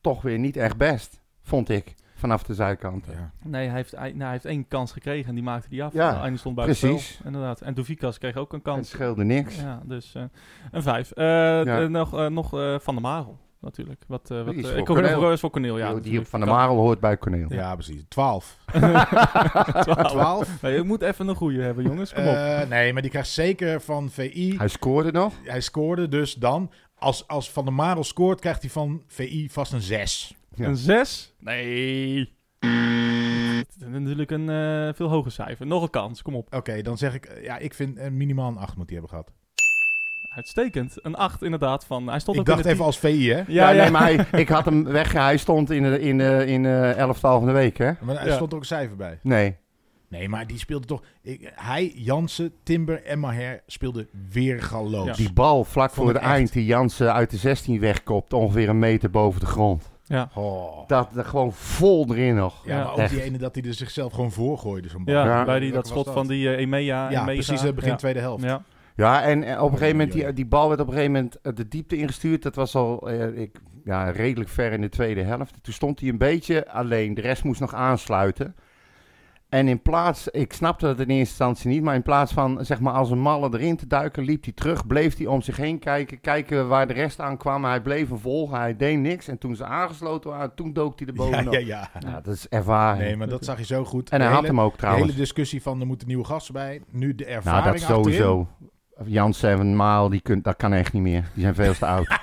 [SPEAKER 3] toch weer niet echt best, vond ik, vanaf de zijkant.
[SPEAKER 2] Ja.
[SPEAKER 1] Nee, hij heeft, hij, nou, hij heeft één kans gekregen en die maakte hij af.
[SPEAKER 3] Ja,
[SPEAKER 1] en die stond bij het spel,
[SPEAKER 3] precies.
[SPEAKER 1] Inderdaad. En Dovikas kreeg ook een
[SPEAKER 3] Het
[SPEAKER 1] kans.
[SPEAKER 3] scheelde niks.
[SPEAKER 2] Oh
[SPEAKER 1] Ja, dus eh, een vijf. Eh, eh, nog eh, nog eh, Van der Marel, natuurlijk. Wat, eh, wat,
[SPEAKER 3] Die is
[SPEAKER 1] eh,
[SPEAKER 3] voor
[SPEAKER 1] ik hoorde
[SPEAKER 3] Cornel.
[SPEAKER 1] nog eens voor Cornel, ja.
[SPEAKER 3] Oh, Die- die
[SPEAKER 1] natuurlijk.
[SPEAKER 3] van de
[SPEAKER 1] Kan-
[SPEAKER 3] Marel hoort bij Corneel.
[SPEAKER 2] Ja, precies. 12.
[SPEAKER 1] (laughs) Twaalf.
[SPEAKER 2] 12.
[SPEAKER 1] Nee, je moet even een goede hebben, jongens. Dus Kom op.
[SPEAKER 2] Eh, nee, maar die krijgt zeker van VI.
[SPEAKER 3] Hij scoorde nog.
[SPEAKER 2] Hij scoorde dus dan. Als, als Van der Marel scoort, krijgt hij van VI vast een 6.
[SPEAKER 3] ja.
[SPEAKER 1] Een zes? Nee. Dat is Natuurlijk een eh, veel hoger cijfer. Nog een kans, kom op.
[SPEAKER 2] Oké, dan zeg ik, eh, ja, ik vind eh, minimaal een 8 moet hij hebben gehad.
[SPEAKER 1] Uitstekend. Een acht, inderdaad. Van, hij stond
[SPEAKER 2] ik
[SPEAKER 1] ook in
[SPEAKER 2] dacht
[SPEAKER 1] de
[SPEAKER 2] even als VI, hè?
[SPEAKER 1] tien-
[SPEAKER 3] Ja,
[SPEAKER 1] Ja, ja,
[SPEAKER 3] nee, maar hij, ik had hem weg. Hij stond in de in, eh, in, eh, elftal van de week, hè?
[SPEAKER 2] Maar er
[SPEAKER 1] Ja.
[SPEAKER 2] stond ook een cijfer bij.
[SPEAKER 3] Nee.
[SPEAKER 2] Nee, maar die speelde toch... Ik, hij, Jansen, Timber en Maher speelden weer
[SPEAKER 1] Ja.
[SPEAKER 2] galloos.
[SPEAKER 3] Die bal vlak
[SPEAKER 2] Vond
[SPEAKER 3] voor
[SPEAKER 2] ik
[SPEAKER 3] het
[SPEAKER 2] echt.
[SPEAKER 3] eind die Jansen uit de 16 wegkopt, ongeveer een meter boven de grond.
[SPEAKER 1] ja.
[SPEAKER 2] Oh.
[SPEAKER 3] Dat er gewoon vol erin nog.
[SPEAKER 2] Ja,
[SPEAKER 1] Ja,
[SPEAKER 2] maar ook
[SPEAKER 3] echt.
[SPEAKER 2] die ene dat hij er zichzelf gewoon voorgooide, zo'n bal.
[SPEAKER 1] Ja,
[SPEAKER 3] Ja.
[SPEAKER 1] bij die,
[SPEAKER 2] Welke
[SPEAKER 1] dat
[SPEAKER 2] was
[SPEAKER 1] schot
[SPEAKER 2] dat?
[SPEAKER 1] van die eh, Emea.
[SPEAKER 2] Ja,
[SPEAKER 1] Emega.
[SPEAKER 2] precies, eh, begin
[SPEAKER 1] Ja.
[SPEAKER 2] tweede helft.
[SPEAKER 1] Ja.
[SPEAKER 3] Ja, en eh, op een gegeven moment,
[SPEAKER 2] Oei,
[SPEAKER 3] die, die bal werd op een gegeven moment eh, de diepte ingestuurd. Dat was al eh, ik, ja, redelijk ver in de tweede helft. Toen stond hij een beetje alleen. De rest moest nog aansluiten. En in plaats, ik snapte dat in eerste instantie niet, maar in plaats van zeg maar als een malle erin te duiken, liep hij terug, bleef hij om zich heen kijken, kijken waar de rest aan kwam. Hij bleef hem volgen, hij deed niks. En toen ze aangesloten waren, toen dook hij er
[SPEAKER 2] Ja,
[SPEAKER 3] bovenop.
[SPEAKER 2] ja, ja.
[SPEAKER 3] Nou, dat is ervaring.
[SPEAKER 2] Nee, maar dat zag je zo goed.
[SPEAKER 3] en hij
[SPEAKER 2] De
[SPEAKER 3] had
[SPEAKER 2] hele-
[SPEAKER 3] hem ook
[SPEAKER 2] De
[SPEAKER 3] trouwens.
[SPEAKER 2] hele discussie van er moeten nieuwe gasten bij. Nu de ervaring
[SPEAKER 3] Nou, dat
[SPEAKER 2] achterin.
[SPEAKER 3] sowieso. Jan Seven Maal, die kunt, dat kan echt niet meer. Die zijn veel te (laughs) oud.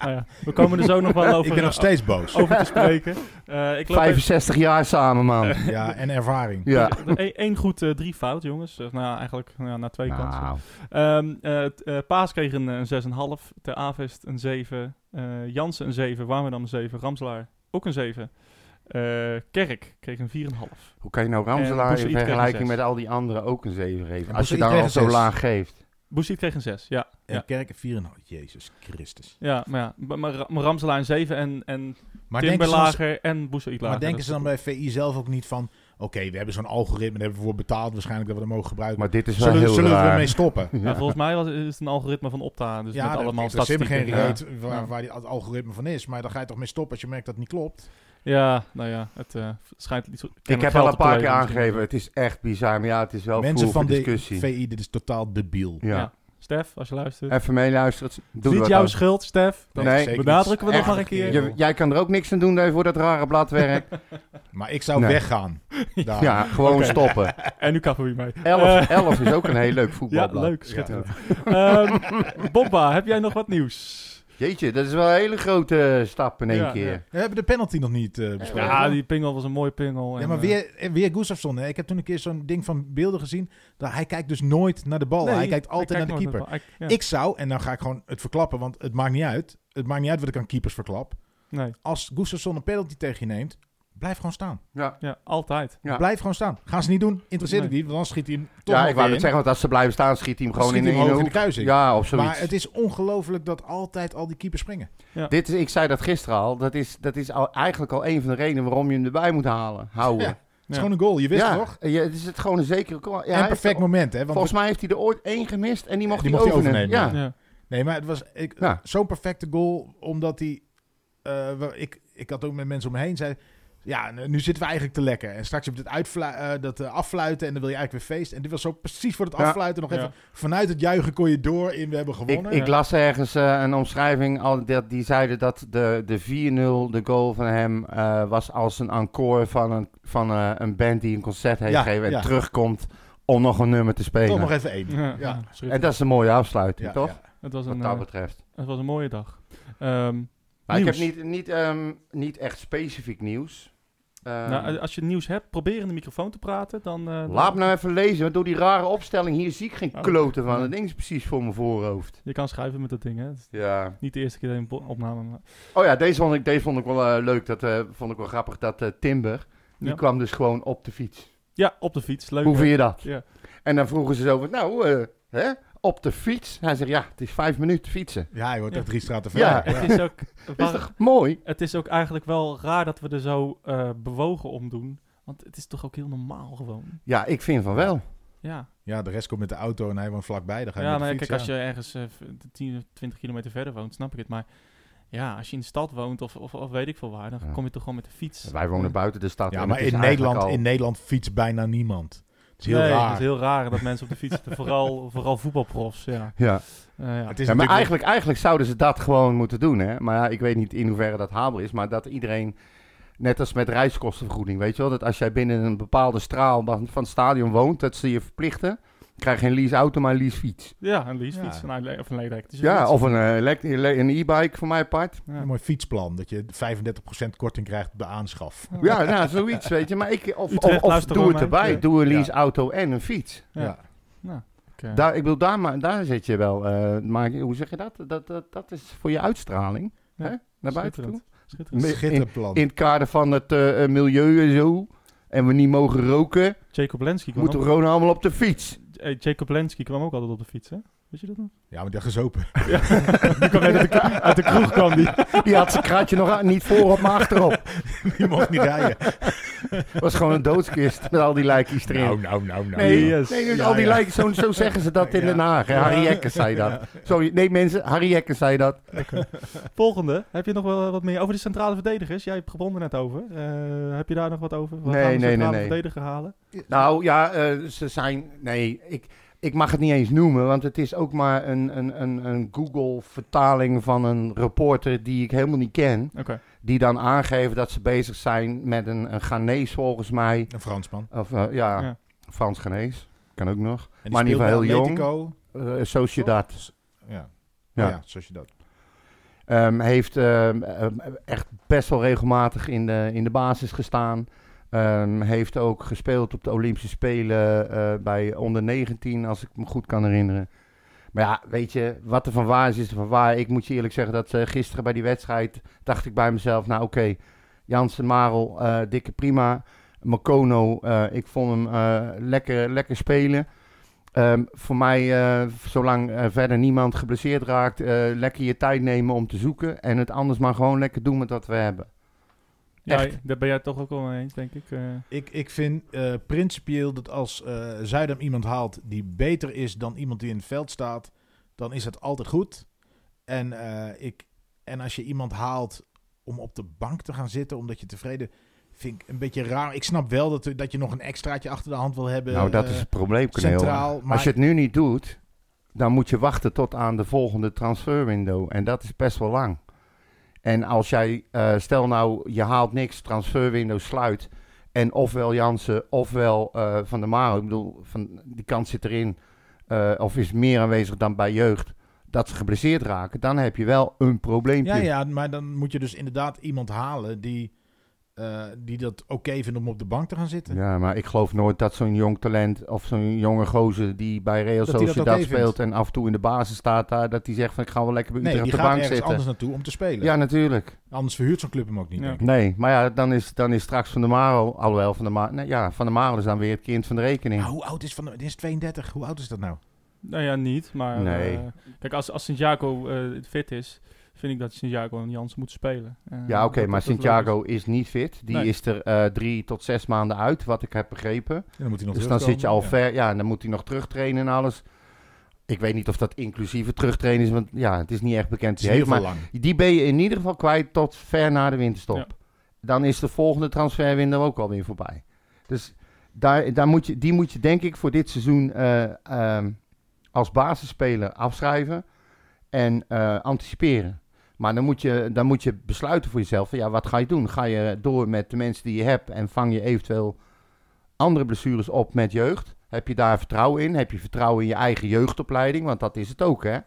[SPEAKER 1] Nou ja, we komen er zo nog wel over,
[SPEAKER 2] (laughs)
[SPEAKER 1] eh,
[SPEAKER 2] Ik ben nog steeds boos.
[SPEAKER 1] over te
[SPEAKER 2] (laughs)
[SPEAKER 1] spreken. Eh, ik loop even-
[SPEAKER 3] 65 jaar samen, man.
[SPEAKER 2] Ja, en ervaring.
[SPEAKER 3] Ja.
[SPEAKER 1] Eén één goed, eh, drie fout, jongens. Eh, nou, ja, eigenlijk nou, ja, naar twee kanten.
[SPEAKER 3] Nou,
[SPEAKER 1] Ehm, eh, t- eh, Paas kreeg een, eh, een 6,5. Ter Avest een 7. eh Jansen een 7. Warmerdam een 7. Ramslaar ook een 7. Eh, Kerk kreeg een 4,5.
[SPEAKER 3] hoe kan je nou
[SPEAKER 1] En
[SPEAKER 3] Ramselaar
[SPEAKER 1] Boussaïd
[SPEAKER 3] in
[SPEAKER 1] kreeg een
[SPEAKER 3] vergelijking
[SPEAKER 1] zes.
[SPEAKER 3] met al die anderen ook een 7 geven?
[SPEAKER 2] En
[SPEAKER 3] Als je
[SPEAKER 2] Boussaïd
[SPEAKER 3] dan
[SPEAKER 2] kreeg
[SPEAKER 3] al
[SPEAKER 2] een
[SPEAKER 3] zo
[SPEAKER 2] zes.
[SPEAKER 3] laag geeft.
[SPEAKER 1] Boesiet kreeg een 6, ja.
[SPEAKER 2] En
[SPEAKER 1] Ja.
[SPEAKER 2] Kerk 4,5. Jezus Christus.
[SPEAKER 1] ja, maar, ja maar, maar Ra- maar Ramselaar een 7 en, en
[SPEAKER 2] Maar denken, ze dan,
[SPEAKER 1] Timberlager en Boesiet lager.
[SPEAKER 2] maar denken
[SPEAKER 1] Dat
[SPEAKER 2] ze dan bij VI zelf ook niet van... Oké, we hebben zo'n algoritme, daar hebben we voor betaald waarschijnlijk dat we dat mogen gebruiken.
[SPEAKER 3] Maar dit is wel
[SPEAKER 2] zullen
[SPEAKER 3] heel
[SPEAKER 2] zullen we
[SPEAKER 3] raar.
[SPEAKER 2] ermee stoppen?
[SPEAKER 1] Ja, volgens mij was, is het een algoritme van Opta, dus met
[SPEAKER 2] dat
[SPEAKER 1] allemaal
[SPEAKER 2] dat zit me
[SPEAKER 1] statistieken.
[SPEAKER 2] geen
[SPEAKER 3] ja.
[SPEAKER 2] reet waar,
[SPEAKER 1] Ja.
[SPEAKER 2] waar die, het algoritme van is. Maar dan ga je toch mee stoppen als je merkt dat het niet klopt.
[SPEAKER 1] Ja, nou ja, het eh, schijnt iets.
[SPEAKER 3] Ik heb
[SPEAKER 1] wel
[SPEAKER 3] al een paar keer aangegeven. Het is echt bizar. Maar ja, het is wel
[SPEAKER 2] Mensen
[SPEAKER 3] voer voor
[SPEAKER 2] van de
[SPEAKER 3] discussie.
[SPEAKER 2] VI, dit is totaal debiel.
[SPEAKER 3] ja.
[SPEAKER 1] Ja. Stef, als je luistert.
[SPEAKER 3] Even meeluisteren. Doe
[SPEAKER 1] niet
[SPEAKER 3] dat
[SPEAKER 1] jouw
[SPEAKER 3] dan.
[SPEAKER 1] schuld, Stef.
[SPEAKER 3] Nee,
[SPEAKER 2] zeker niet.
[SPEAKER 1] benadrukken we nog
[SPEAKER 2] Echt.
[SPEAKER 1] maar een keer.
[SPEAKER 3] Je- jij kan er ook niks aan doen dat je voor dat rare blad (laughs) werkt.
[SPEAKER 2] Maar ik zou
[SPEAKER 3] Nee.
[SPEAKER 2] weggaan. Daar.
[SPEAKER 3] ja, gewoon
[SPEAKER 1] Oké.
[SPEAKER 3] (laughs) stoppen.
[SPEAKER 1] En nu kappen we mee. Eh,
[SPEAKER 3] 11 11 is ook een heel leuk
[SPEAKER 1] ja,
[SPEAKER 3] voetbalblad.
[SPEAKER 1] leuk. Schitterend. (laughs) Ehm, Bobba, heb jij nog wat nieuws?
[SPEAKER 3] Jeetje, dat is wel een hele grote eh, stap in één
[SPEAKER 1] Ja,
[SPEAKER 3] keer.
[SPEAKER 1] ja.
[SPEAKER 2] We hebben de penalty nog niet eh, besproken.
[SPEAKER 1] Ja, die pingel was een mooie pingel.
[SPEAKER 2] Ja,
[SPEAKER 1] en,
[SPEAKER 2] maar
[SPEAKER 1] eh,
[SPEAKER 2] weer, eh, weer Gustafsson. Hè? Ik heb toen een keer zo'n ding van beelden gezien. Dat hij kijkt dus nooit naar de bal.
[SPEAKER 1] nee,
[SPEAKER 2] hij kijkt altijd
[SPEAKER 1] hij
[SPEAKER 2] naar de
[SPEAKER 1] kijkt
[SPEAKER 2] keeper.
[SPEAKER 1] nooit naar de bal. Hij- ja,
[SPEAKER 2] Ik zou, en dan ga ik gewoon het verklappen, want het maakt niet uit. Het maakt niet uit wat ik aan keepers verklap.
[SPEAKER 1] nee,
[SPEAKER 2] Als Gustafsson een penalty tegen je neemt, blijf gewoon staan.
[SPEAKER 3] Ja.
[SPEAKER 1] ja, altijd.
[SPEAKER 3] Ja.
[SPEAKER 2] Blijf gewoon staan. Gaan ze niet doen, interesseert het
[SPEAKER 1] Nee.
[SPEAKER 2] niet, want dan schiet hij hem toch
[SPEAKER 3] Ja,
[SPEAKER 2] nog
[SPEAKER 3] ik wou
[SPEAKER 2] weer
[SPEAKER 3] net zeggen, want als ze blijven staan, schiet hij hem
[SPEAKER 2] in. Dan
[SPEAKER 3] gewoon
[SPEAKER 2] schiet
[SPEAKER 3] in,
[SPEAKER 2] hij hem
[SPEAKER 3] in de
[SPEAKER 2] hoog in de
[SPEAKER 3] hoek.
[SPEAKER 2] kruising.
[SPEAKER 3] Ja, of zoiets.
[SPEAKER 2] maar het is ongelooflijk dat altijd al die keepers springen.
[SPEAKER 3] Dit is, ik zei dat gisteren al, dat is, dat is al, eigenlijk al een van de redenen waarom je hem erbij moet halen, houden.
[SPEAKER 2] Ja, Het is gewoon een goal, je wist
[SPEAKER 3] Ja,
[SPEAKER 2] het toch?
[SPEAKER 3] ja, het is het gewoon een zekere... call. Ja, hij
[SPEAKER 2] en
[SPEAKER 3] heeft
[SPEAKER 2] perfect
[SPEAKER 3] er-
[SPEAKER 2] moment, hè? Want
[SPEAKER 3] volgens mij heeft hij er ooit één gemist en die mocht,
[SPEAKER 2] Die
[SPEAKER 3] hij,
[SPEAKER 2] mocht hij
[SPEAKER 3] overnemen.
[SPEAKER 2] overnemen,
[SPEAKER 3] Ja.
[SPEAKER 1] Ja.
[SPEAKER 2] Nee, maar het was ik,
[SPEAKER 3] Ja.
[SPEAKER 2] zo'n perfecte goal, omdat hij... eh, wa- ik, ik had ook met mensen om me heen, zei... Ja, n- nu zitten we eigenlijk te lekker. En straks heb je het uitfla- eh, dat eh, affluiten en dan wil je eigenlijk weer feest. En dit was zo precies voor het
[SPEAKER 3] Ja.
[SPEAKER 2] affluiten. Nog
[SPEAKER 1] Ja.
[SPEAKER 2] even vanuit het juichen kon je door in, we hebben
[SPEAKER 3] Ik,
[SPEAKER 2] gewonnen.
[SPEAKER 3] ik
[SPEAKER 1] ja.
[SPEAKER 3] las ergens eh, een omschrijving, al, dat, die zeiden dat de, de 4-0, de goal van hem, eh, was als een encore van een, van, eh, een band die een concert heeft
[SPEAKER 2] Ja,
[SPEAKER 3] gegeven en
[SPEAKER 2] ja.
[SPEAKER 3] terugkomt om nog een nummer te
[SPEAKER 2] Toch
[SPEAKER 3] spelen.
[SPEAKER 2] nog even één.
[SPEAKER 1] Ja,
[SPEAKER 2] Ja.
[SPEAKER 1] schitterend.
[SPEAKER 3] En dat is een mooie afsluiting,
[SPEAKER 2] Ja,
[SPEAKER 3] toch?
[SPEAKER 2] ja.
[SPEAKER 1] het, was
[SPEAKER 3] Wat
[SPEAKER 1] een,
[SPEAKER 3] dat
[SPEAKER 1] eh,
[SPEAKER 3] betreft.
[SPEAKER 1] het was een mooie dag. Ehm,
[SPEAKER 3] Maar ik heb
[SPEAKER 1] nieuws.
[SPEAKER 3] niet, niet, ehm, niet echt specifiek nieuws. Ehm,
[SPEAKER 1] nou, als je nieuws hebt, probeer in de microfoon te praten. Dan, eh, dan-
[SPEAKER 3] laat me nou even lezen, want door die rare opstelling hier zie ik geen
[SPEAKER 1] Oh.
[SPEAKER 3] kloten van.
[SPEAKER 1] Ja.
[SPEAKER 3] Dat ding is precies voor mijn voorhoofd.
[SPEAKER 1] Je kan schuiven met dat ding, hè. Het is
[SPEAKER 3] Ja.
[SPEAKER 1] niet de eerste keer dat je een bo- opname maakt.
[SPEAKER 3] Oh ja, deze vond ik, deze vond ik wel eh, leuk. Dat eh, vond ik wel grappig. Dat eh, Timber, die
[SPEAKER 1] Ja.
[SPEAKER 3] kwam dus gewoon op de fiets.
[SPEAKER 1] Ja, op de fiets. Leuk.
[SPEAKER 3] Hoe
[SPEAKER 1] hè?
[SPEAKER 3] vind je dat?
[SPEAKER 1] Ja.
[SPEAKER 3] En dan vroegen ze zo van, nou, eh, hè? op de fiets. Hij zegt, ja, het is vijf minuten fietsen.
[SPEAKER 2] Ja, hij wordt
[SPEAKER 1] Ja.
[SPEAKER 2] echt drie straten verder.
[SPEAKER 3] Ja.
[SPEAKER 1] Het is ook...
[SPEAKER 3] (laughs) Is toch mooi?
[SPEAKER 1] Het is ook eigenlijk wel raar dat we er zo eh, bewogen om doen. Want het is toch ook heel normaal gewoon.
[SPEAKER 3] Ja, ik vind van wel.
[SPEAKER 1] Ja,
[SPEAKER 2] Ja, de rest komt met de auto en hij woont vlakbij. Dan ga je
[SPEAKER 1] ja
[SPEAKER 2] met de
[SPEAKER 1] nou, ja,
[SPEAKER 2] fiets,
[SPEAKER 1] kijk, als
[SPEAKER 2] ja.
[SPEAKER 1] je ergens eh, v- 10 of 20 kilometer verder woont, snap ik het. Maar ja, als je in de stad woont of, of, of weet ik veel waar, dan
[SPEAKER 3] Ja.
[SPEAKER 1] kom je toch gewoon met de fiets.
[SPEAKER 3] Wij wonen buiten de stad.
[SPEAKER 2] Ja,
[SPEAKER 3] en
[SPEAKER 2] maar
[SPEAKER 3] het is
[SPEAKER 2] in
[SPEAKER 3] eigenlijk
[SPEAKER 2] Nederland,
[SPEAKER 3] al-
[SPEAKER 2] in Nederland fietst bijna niemand. Het is heel
[SPEAKER 1] nee,
[SPEAKER 2] raar.
[SPEAKER 1] het is heel raar dat mensen op de fiets zitten. vooral, (laughs) vooral voetbalprofs, ja.
[SPEAKER 3] Ja.
[SPEAKER 1] Eh, ja.
[SPEAKER 2] Het is
[SPEAKER 3] Ja, maar
[SPEAKER 2] natuurlijk-
[SPEAKER 3] eigenlijk, eigenlijk zouden ze dat gewoon moeten doen. Hè? Maar ja, ik weet niet in hoeverre dat haalbaar is. Maar dat iedereen, net als met reiskostenvergoeding, weet je wel. Dat als jij binnen een bepaalde straal van van het stadion woont, dat ze je verplichten. Krijg geen lease auto, maar een lease fiets.
[SPEAKER 1] Ja, een leasefiets
[SPEAKER 2] Ja.
[SPEAKER 1] nou, le- of een elektrische
[SPEAKER 3] Ja,
[SPEAKER 1] fiets.
[SPEAKER 3] of een eh, elect- een e-bike voor mij apart.
[SPEAKER 1] Ja.
[SPEAKER 2] Een mooi fietsplan, dat je 35% korting krijgt op de aanschaf.
[SPEAKER 3] Ja, nou, zoiets, weet je. Maar
[SPEAKER 1] (laughs)
[SPEAKER 3] ik, of,
[SPEAKER 1] Utrecht,
[SPEAKER 3] of, of
[SPEAKER 1] luister
[SPEAKER 3] doe
[SPEAKER 1] wel
[SPEAKER 3] het
[SPEAKER 1] mee.
[SPEAKER 3] erbij.
[SPEAKER 1] Ja.
[SPEAKER 3] Doe een lease auto en een fiets.
[SPEAKER 1] Ja.
[SPEAKER 2] Ja.
[SPEAKER 1] Oké.
[SPEAKER 3] Daar, ik bedoel, daar, ma- daar zit je wel. eh, maar hoe zeg je dat? Dat, dat, dat is voor je uitstraling.
[SPEAKER 1] Ja.
[SPEAKER 3] Hè? Naar buiten toe.
[SPEAKER 1] Schitterend. Schitterend.
[SPEAKER 3] Me- in-
[SPEAKER 2] Schitterplan.
[SPEAKER 3] in het kader van het eh, eh, milieu en zo. En we niet mogen roken.
[SPEAKER 1] Jacob Lenski kwam,
[SPEAKER 3] Moeten
[SPEAKER 1] ook,
[SPEAKER 3] we gewoon allemaal op de fiets.
[SPEAKER 1] eh, Jacob Lenski kwam ook altijd op de fiets, hè? Weet je dat nog?
[SPEAKER 2] Ja, maar die had gezopen.
[SPEAKER 1] (laughs) Die kwam net uit de, kro- uit de kroeg kwam die.
[SPEAKER 2] (laughs)
[SPEAKER 3] Die had zijn kraatje nog aan, niet voorop, maar achterop.
[SPEAKER 2] Die mocht niet rijden.
[SPEAKER 3] was gewoon een doodskist met al die lijkjes erin.
[SPEAKER 2] Nou, nou, nou, nou.
[SPEAKER 3] Nee,
[SPEAKER 2] Ja.
[SPEAKER 3] nee dus
[SPEAKER 2] Ja,
[SPEAKER 3] al die
[SPEAKER 2] ja.
[SPEAKER 3] lijken, zo, zo zeggen ze dat in
[SPEAKER 2] Ja.
[SPEAKER 3] Den Haag. hè. Harry Jekkers zei dat. Sorry, nee mensen, Harry Jekkers zei dat.
[SPEAKER 1] Volgende. Heb je nog wel wat meer over de centrale verdedigers? Jij hebt gewonnen net over. Eh, heb je daar nog wat over? Wat
[SPEAKER 3] Nee,
[SPEAKER 1] gaan we
[SPEAKER 3] nee, nee,
[SPEAKER 1] centrale
[SPEAKER 3] nee.
[SPEAKER 1] verdediger halen?
[SPEAKER 3] Nou ja, eh, ze zijn. Nee, ik, ik mag het niet eens noemen, want het is ook maar een, een, een, een Google-vertaling van een reporter die ik helemaal niet ken.
[SPEAKER 1] Oké.
[SPEAKER 3] Die dan aangeeft dat ze bezig zijn met een, een Ghanese volgens mij.
[SPEAKER 2] Een Fransman.
[SPEAKER 3] Of eh, ja,
[SPEAKER 1] Ja.
[SPEAKER 3] Frans Ghanees. Kan ook nog.
[SPEAKER 2] En die
[SPEAKER 3] Maar in ieder geval
[SPEAKER 2] speelt bij
[SPEAKER 3] heel
[SPEAKER 2] Atletico.
[SPEAKER 3] Eh Sociedad.
[SPEAKER 2] Ja. Oh
[SPEAKER 3] Ja.
[SPEAKER 2] Ja. ja, zoals je dat.
[SPEAKER 3] Ehm, heeft ehm, ehm, echt best wel regelmatig in de, in de basis gestaan. Ehm, heeft ook gespeeld op de Olympische Spelen eh, bij onder 19, als ik me goed kan herinneren. Maar ja, weet je, wat er van waar is, is er van waar. Ik moet je eerlijk zeggen dat eh, gisteren bij die wedstrijd dacht ik bij mezelf, nou oké, Jansen, Marel, eh, dikke prima. Makono, eh, ik vond hem eh, lekker, lekker spelen. Ehm, voor mij, eh, zolang eh, verder niemand geblesseerd raakt, eh, lekker je tijd nemen om te zoeken. En het anders maar gewoon lekker doen met wat we hebben.
[SPEAKER 1] Ja,
[SPEAKER 3] Echt.
[SPEAKER 1] daar ben jij het toch ook wel mee eens, denk ik. eh.
[SPEAKER 2] Ik, ik vind eh, principieel dat als eh Zuidam iemand haalt die beter is dan iemand die in het veld staat, dan is dat altijd goed. En, eh, ik, en als je iemand haalt om op de bank te gaan zitten omdat je tevreden vind ik een beetje raar. Ik snap wel dat, dat je nog een extraatje achter de hand wil hebben.
[SPEAKER 3] nou, dat
[SPEAKER 2] eh,
[SPEAKER 3] is het probleem, Kneel.
[SPEAKER 2] centraal. Maar
[SPEAKER 3] Als je het nu niet doet, dan moet je wachten tot aan de volgende transferwindow. En dat is best wel lang. En als jij, eh, stel nou, je haalt niks, transferwindow sluit. En ofwel Jansen, ofwel eh, Van der Maro. Ik bedoel, van, die kans zit erin. eh, of is meer aanwezig dan bij jeugd. Dat ze geblesseerd raken. Dan heb je wel een probleempje.
[SPEAKER 2] Ja, ja, maar dan moet je dus inderdaad iemand halen die, eh, die dat oké vindt om op de bank te gaan zitten.
[SPEAKER 3] Ja, maar ik geloof nooit dat zo'n jong talent of zo'n jonge gozer die bij Real
[SPEAKER 2] Dat die dat
[SPEAKER 3] Sociedad
[SPEAKER 2] oké
[SPEAKER 3] speelt
[SPEAKER 2] vindt.
[SPEAKER 3] en af en toe in de basis staat daar, dat hij zegt van ik ga wel lekker bij
[SPEAKER 2] Nee,
[SPEAKER 3] Utrecht
[SPEAKER 2] die
[SPEAKER 3] op de
[SPEAKER 2] gaat ergens
[SPEAKER 3] bank zitten.
[SPEAKER 2] anders naartoe om te spelen.
[SPEAKER 3] Ja, natuurlijk.
[SPEAKER 2] Anders verhuurt zo'n club hem ook niet.
[SPEAKER 1] Ja.
[SPEAKER 2] denk ik.
[SPEAKER 3] Nee, maar ja, dan is, dan is straks Van der Maro, alhoewel Van der Maro, nee, ja, Van der Maro is dan weer het kind van de rekening.
[SPEAKER 2] Maar hoe oud is Van der Dit is 32. Hoe oud is dat nou?
[SPEAKER 1] Nou ja, niet. Maar
[SPEAKER 3] Nee.
[SPEAKER 1] eh, kijk, als, als Santiago eh, fit is, vind ik dat Santiago en Jans moeten spelen. Eh,
[SPEAKER 3] ja, oké,
[SPEAKER 1] dat-
[SPEAKER 3] maar
[SPEAKER 1] dat is
[SPEAKER 3] Santiago is niet fit. Die
[SPEAKER 1] Nee.
[SPEAKER 3] is er eh, drie tot zes maanden uit, wat ik heb begrepen.
[SPEAKER 2] Ja, dan moet hij nog
[SPEAKER 3] Dus dan
[SPEAKER 2] terugkomen.
[SPEAKER 3] zit je al
[SPEAKER 2] Ja.
[SPEAKER 3] ver, ja, en dan moet hij nog terugtrainen en alles. Ik weet niet of dat inclusieve terugtrainen is, want ja, het is niet echt bekend.
[SPEAKER 2] Het is
[SPEAKER 3] Hij
[SPEAKER 2] heel
[SPEAKER 3] heeft maar
[SPEAKER 2] veel lang.
[SPEAKER 3] Die ben je in ieder geval kwijt tot ver na de winterstop.
[SPEAKER 1] Ja.
[SPEAKER 3] Dan is de volgende transferwindow ook alweer voorbij. Dus daar, daar moet je, die moet je denk ik voor dit seizoen eh, ehm, als basisspeler afschrijven en eh, anticiperen. Maar dan moet, je, dan moet je besluiten voor jezelf, van, ja, wat ga je doen? Ga je door met de mensen die je hebt en vang je eventueel andere blessures op met jeugd? Heb je daar vertrouwen in? Heb je vertrouwen in je eigen jeugdopleiding? Want dat is het ook, hè?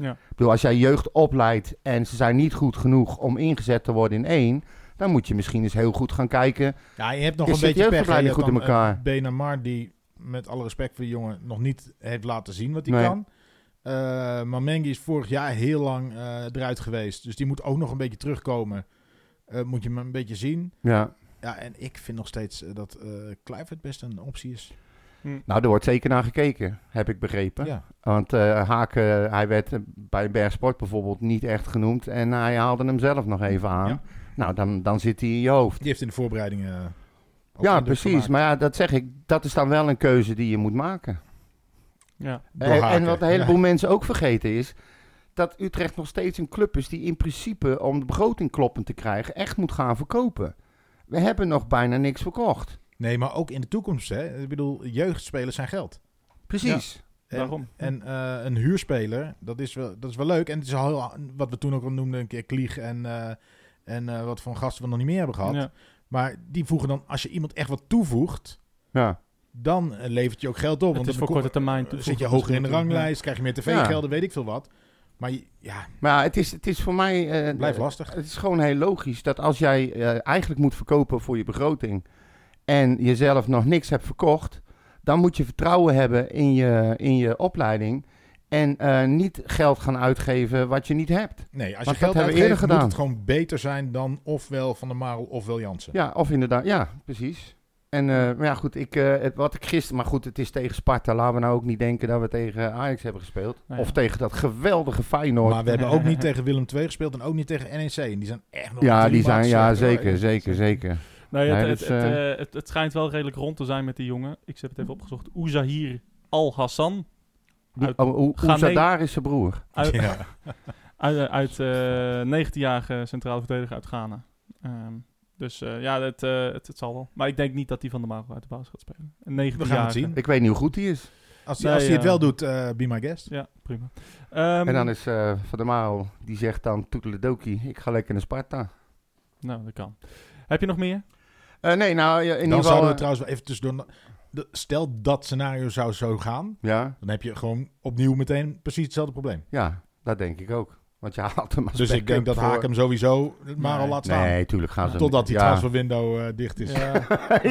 [SPEAKER 3] Ik bedoel, als jij jeugd opleidt en ze zijn niet goed genoeg om ingezet te worden in één, dan moet je misschien eens heel goed gaan kijken.
[SPEAKER 2] Ja, je hebt nog
[SPEAKER 3] Is
[SPEAKER 2] een
[SPEAKER 3] het
[SPEAKER 2] beetje pech. hè. Je hebt
[SPEAKER 3] jeugdopleiding goed in
[SPEAKER 2] dan, eh,
[SPEAKER 3] elkaar?
[SPEAKER 2] Benamar die, met alle respect voor de jongen, nog niet heeft laten zien wat hij
[SPEAKER 3] Nee.
[SPEAKER 2] kan. Eh Mamengi is vorig jaar heel lang eh, eruit geweest. Dus die moet ook nog een beetje terugkomen. Eh, moet je hem een beetje zien.
[SPEAKER 3] Ja.
[SPEAKER 2] Ja, en ik vind nog steeds eh, dat eh Kluivert best een optie is.
[SPEAKER 1] Hm,
[SPEAKER 3] Nou, er wordt zeker naar gekeken, heb ik begrepen.
[SPEAKER 2] Ja.
[SPEAKER 3] Want eh, Haken, hij werd eh, bij Bergsport bijvoorbeeld niet echt genoemd en hij haalde hem zelf nog even aan.
[SPEAKER 2] Ja.
[SPEAKER 3] Nou, dan, dan zit hij in je hoofd.
[SPEAKER 2] Die heeft in de voorbereidingen. eh,
[SPEAKER 3] ja, precies. Maar ja, dat zeg ik, dat is dan wel een keuze die je moet maken.
[SPEAKER 1] wel- Ja.
[SPEAKER 2] Door
[SPEAKER 3] En, en
[SPEAKER 2] Haken,
[SPEAKER 3] wat een
[SPEAKER 2] ja.
[SPEAKER 3] heleboel mensen ook vergeten is. Dat Utrecht nog steeds een club is die in principe om de begroting kloppend te krijgen echt moet gaan verkopen. We hebben nog bijna niks verkocht.
[SPEAKER 2] Nee, maar ook in de toekomst. Hè. Ik bedoel, jeugdspelers zijn geld.
[SPEAKER 3] Precies.
[SPEAKER 2] En-
[SPEAKER 1] Daarom.
[SPEAKER 2] En eh, een huurspeler, dat is, wel, dat is wel leuk. En het is al heel- wat we toen ook al noemden, een keer Klieg en, eh, en eh, wat voor gasten we nog niet meer hebben gehad.
[SPEAKER 1] Ja.
[SPEAKER 2] Maar die voegen dan, als je iemand echt wat toevoegt,
[SPEAKER 3] Ja.
[SPEAKER 2] dan eh, levert je ook geld op.
[SPEAKER 1] Het is
[SPEAKER 2] dan
[SPEAKER 1] voor
[SPEAKER 2] ko-
[SPEAKER 1] korte termijn
[SPEAKER 2] eh, Zit je
[SPEAKER 1] toevoegen
[SPEAKER 2] hoger in de
[SPEAKER 1] natuurlijk, ja.
[SPEAKER 2] ranglijst, krijg je meer tv-gelden, weet ik veel wat. Maar je- ja,
[SPEAKER 3] Maar ja, het is, het is voor mij. eh,
[SPEAKER 2] blijft lastig.
[SPEAKER 3] Het is gewoon heel logisch dat als jij eh, eigenlijk moet verkopen voor je begroting en jezelf nog niks hebt verkocht, dan moet je vertrouwen hebben in je, in je opleiding en eh, niet geld gaan uitgeven wat je niet hebt.
[SPEAKER 2] Nee, als
[SPEAKER 3] dat
[SPEAKER 2] je geld
[SPEAKER 3] hebben we
[SPEAKER 2] uitgeeft, moet
[SPEAKER 3] eerder
[SPEAKER 2] het gewoon beter zijn dan ofwel Van der Marel ofwel Jansen.
[SPEAKER 3] Ja, of inderdaad, ja, precies. En eh, maar ja, goed, ik, eh, het- wat ik gisteren, maar goed, het is tegen Sparta. Laten we nou ook niet denken dat we tegen Ajax hebben gespeeld.
[SPEAKER 1] Nou ja.
[SPEAKER 3] Of tegen dat geweldige Feyenoord.
[SPEAKER 2] Maar we hebben ook (laughs) niet tegen Willem II gespeeld E en ook niet tegen NEC. En die zijn echt nog
[SPEAKER 3] ja,
[SPEAKER 2] drie
[SPEAKER 3] die zijn,
[SPEAKER 2] maanden
[SPEAKER 3] ja,
[SPEAKER 2] slechter.
[SPEAKER 3] zeker, zeker, zeker.
[SPEAKER 1] Nee, het,
[SPEAKER 3] Nee,
[SPEAKER 1] het,
[SPEAKER 3] dus,
[SPEAKER 1] het,
[SPEAKER 3] eh,
[SPEAKER 1] eh, het, het schijnt wel redelijk rond te zijn met die jongen. Ik heb het even opgezocht. Oezahir Al-Hassan.
[SPEAKER 3] Die-
[SPEAKER 1] Uit-
[SPEAKER 3] oh, Oe-
[SPEAKER 1] Ghanese-
[SPEAKER 3] Oezadar is zijn broer.
[SPEAKER 1] Uit,
[SPEAKER 2] Ja.
[SPEAKER 1] (laughs) uit, uit eh, 19-jarige centrale verdediger uit Ghana. Ehm, dus eh, ja, het, eh, het, het zal wel. Maar ik denk niet dat die van de Mago uit de baas gaat spelen. Een 19-jarige.
[SPEAKER 2] We gaan het zien.
[SPEAKER 3] Ik weet niet hoe goed die is.
[SPEAKER 2] Als hij
[SPEAKER 1] Nee,
[SPEAKER 2] als hij het
[SPEAKER 1] ja.
[SPEAKER 2] wel doet, eh, be my guest.
[SPEAKER 1] Ja, prima. Ehm,
[SPEAKER 3] en dan is eh, Van der Marel, die zegt dan toeteledokie, ik ga lekker naar Sparta.
[SPEAKER 1] Nou, dat kan. Heb je nog meer?
[SPEAKER 3] Eh, nee, nou ja, in
[SPEAKER 2] dan
[SPEAKER 3] ieder geval...
[SPEAKER 2] zouden we
[SPEAKER 3] eh,
[SPEAKER 2] trouwens wel even tussendoor... de- stel dat scenario zou zo gaan,
[SPEAKER 3] ja,
[SPEAKER 2] dan heb je gewoon opnieuw meteen precies hetzelfde probleem.
[SPEAKER 3] ja, dat denk ik ook. Want je haalt hem als
[SPEAKER 2] Dus ik denk
[SPEAKER 3] backup
[SPEAKER 2] dat
[SPEAKER 3] voor-
[SPEAKER 2] Haak hem sowieso maar al
[SPEAKER 1] Nee.
[SPEAKER 2] laat staan.
[SPEAKER 3] Nee, tuurlijk gaan ze hem-
[SPEAKER 2] Totdat die
[SPEAKER 3] ja.
[SPEAKER 2] transferwindow eh, dicht is.
[SPEAKER 3] (laughs)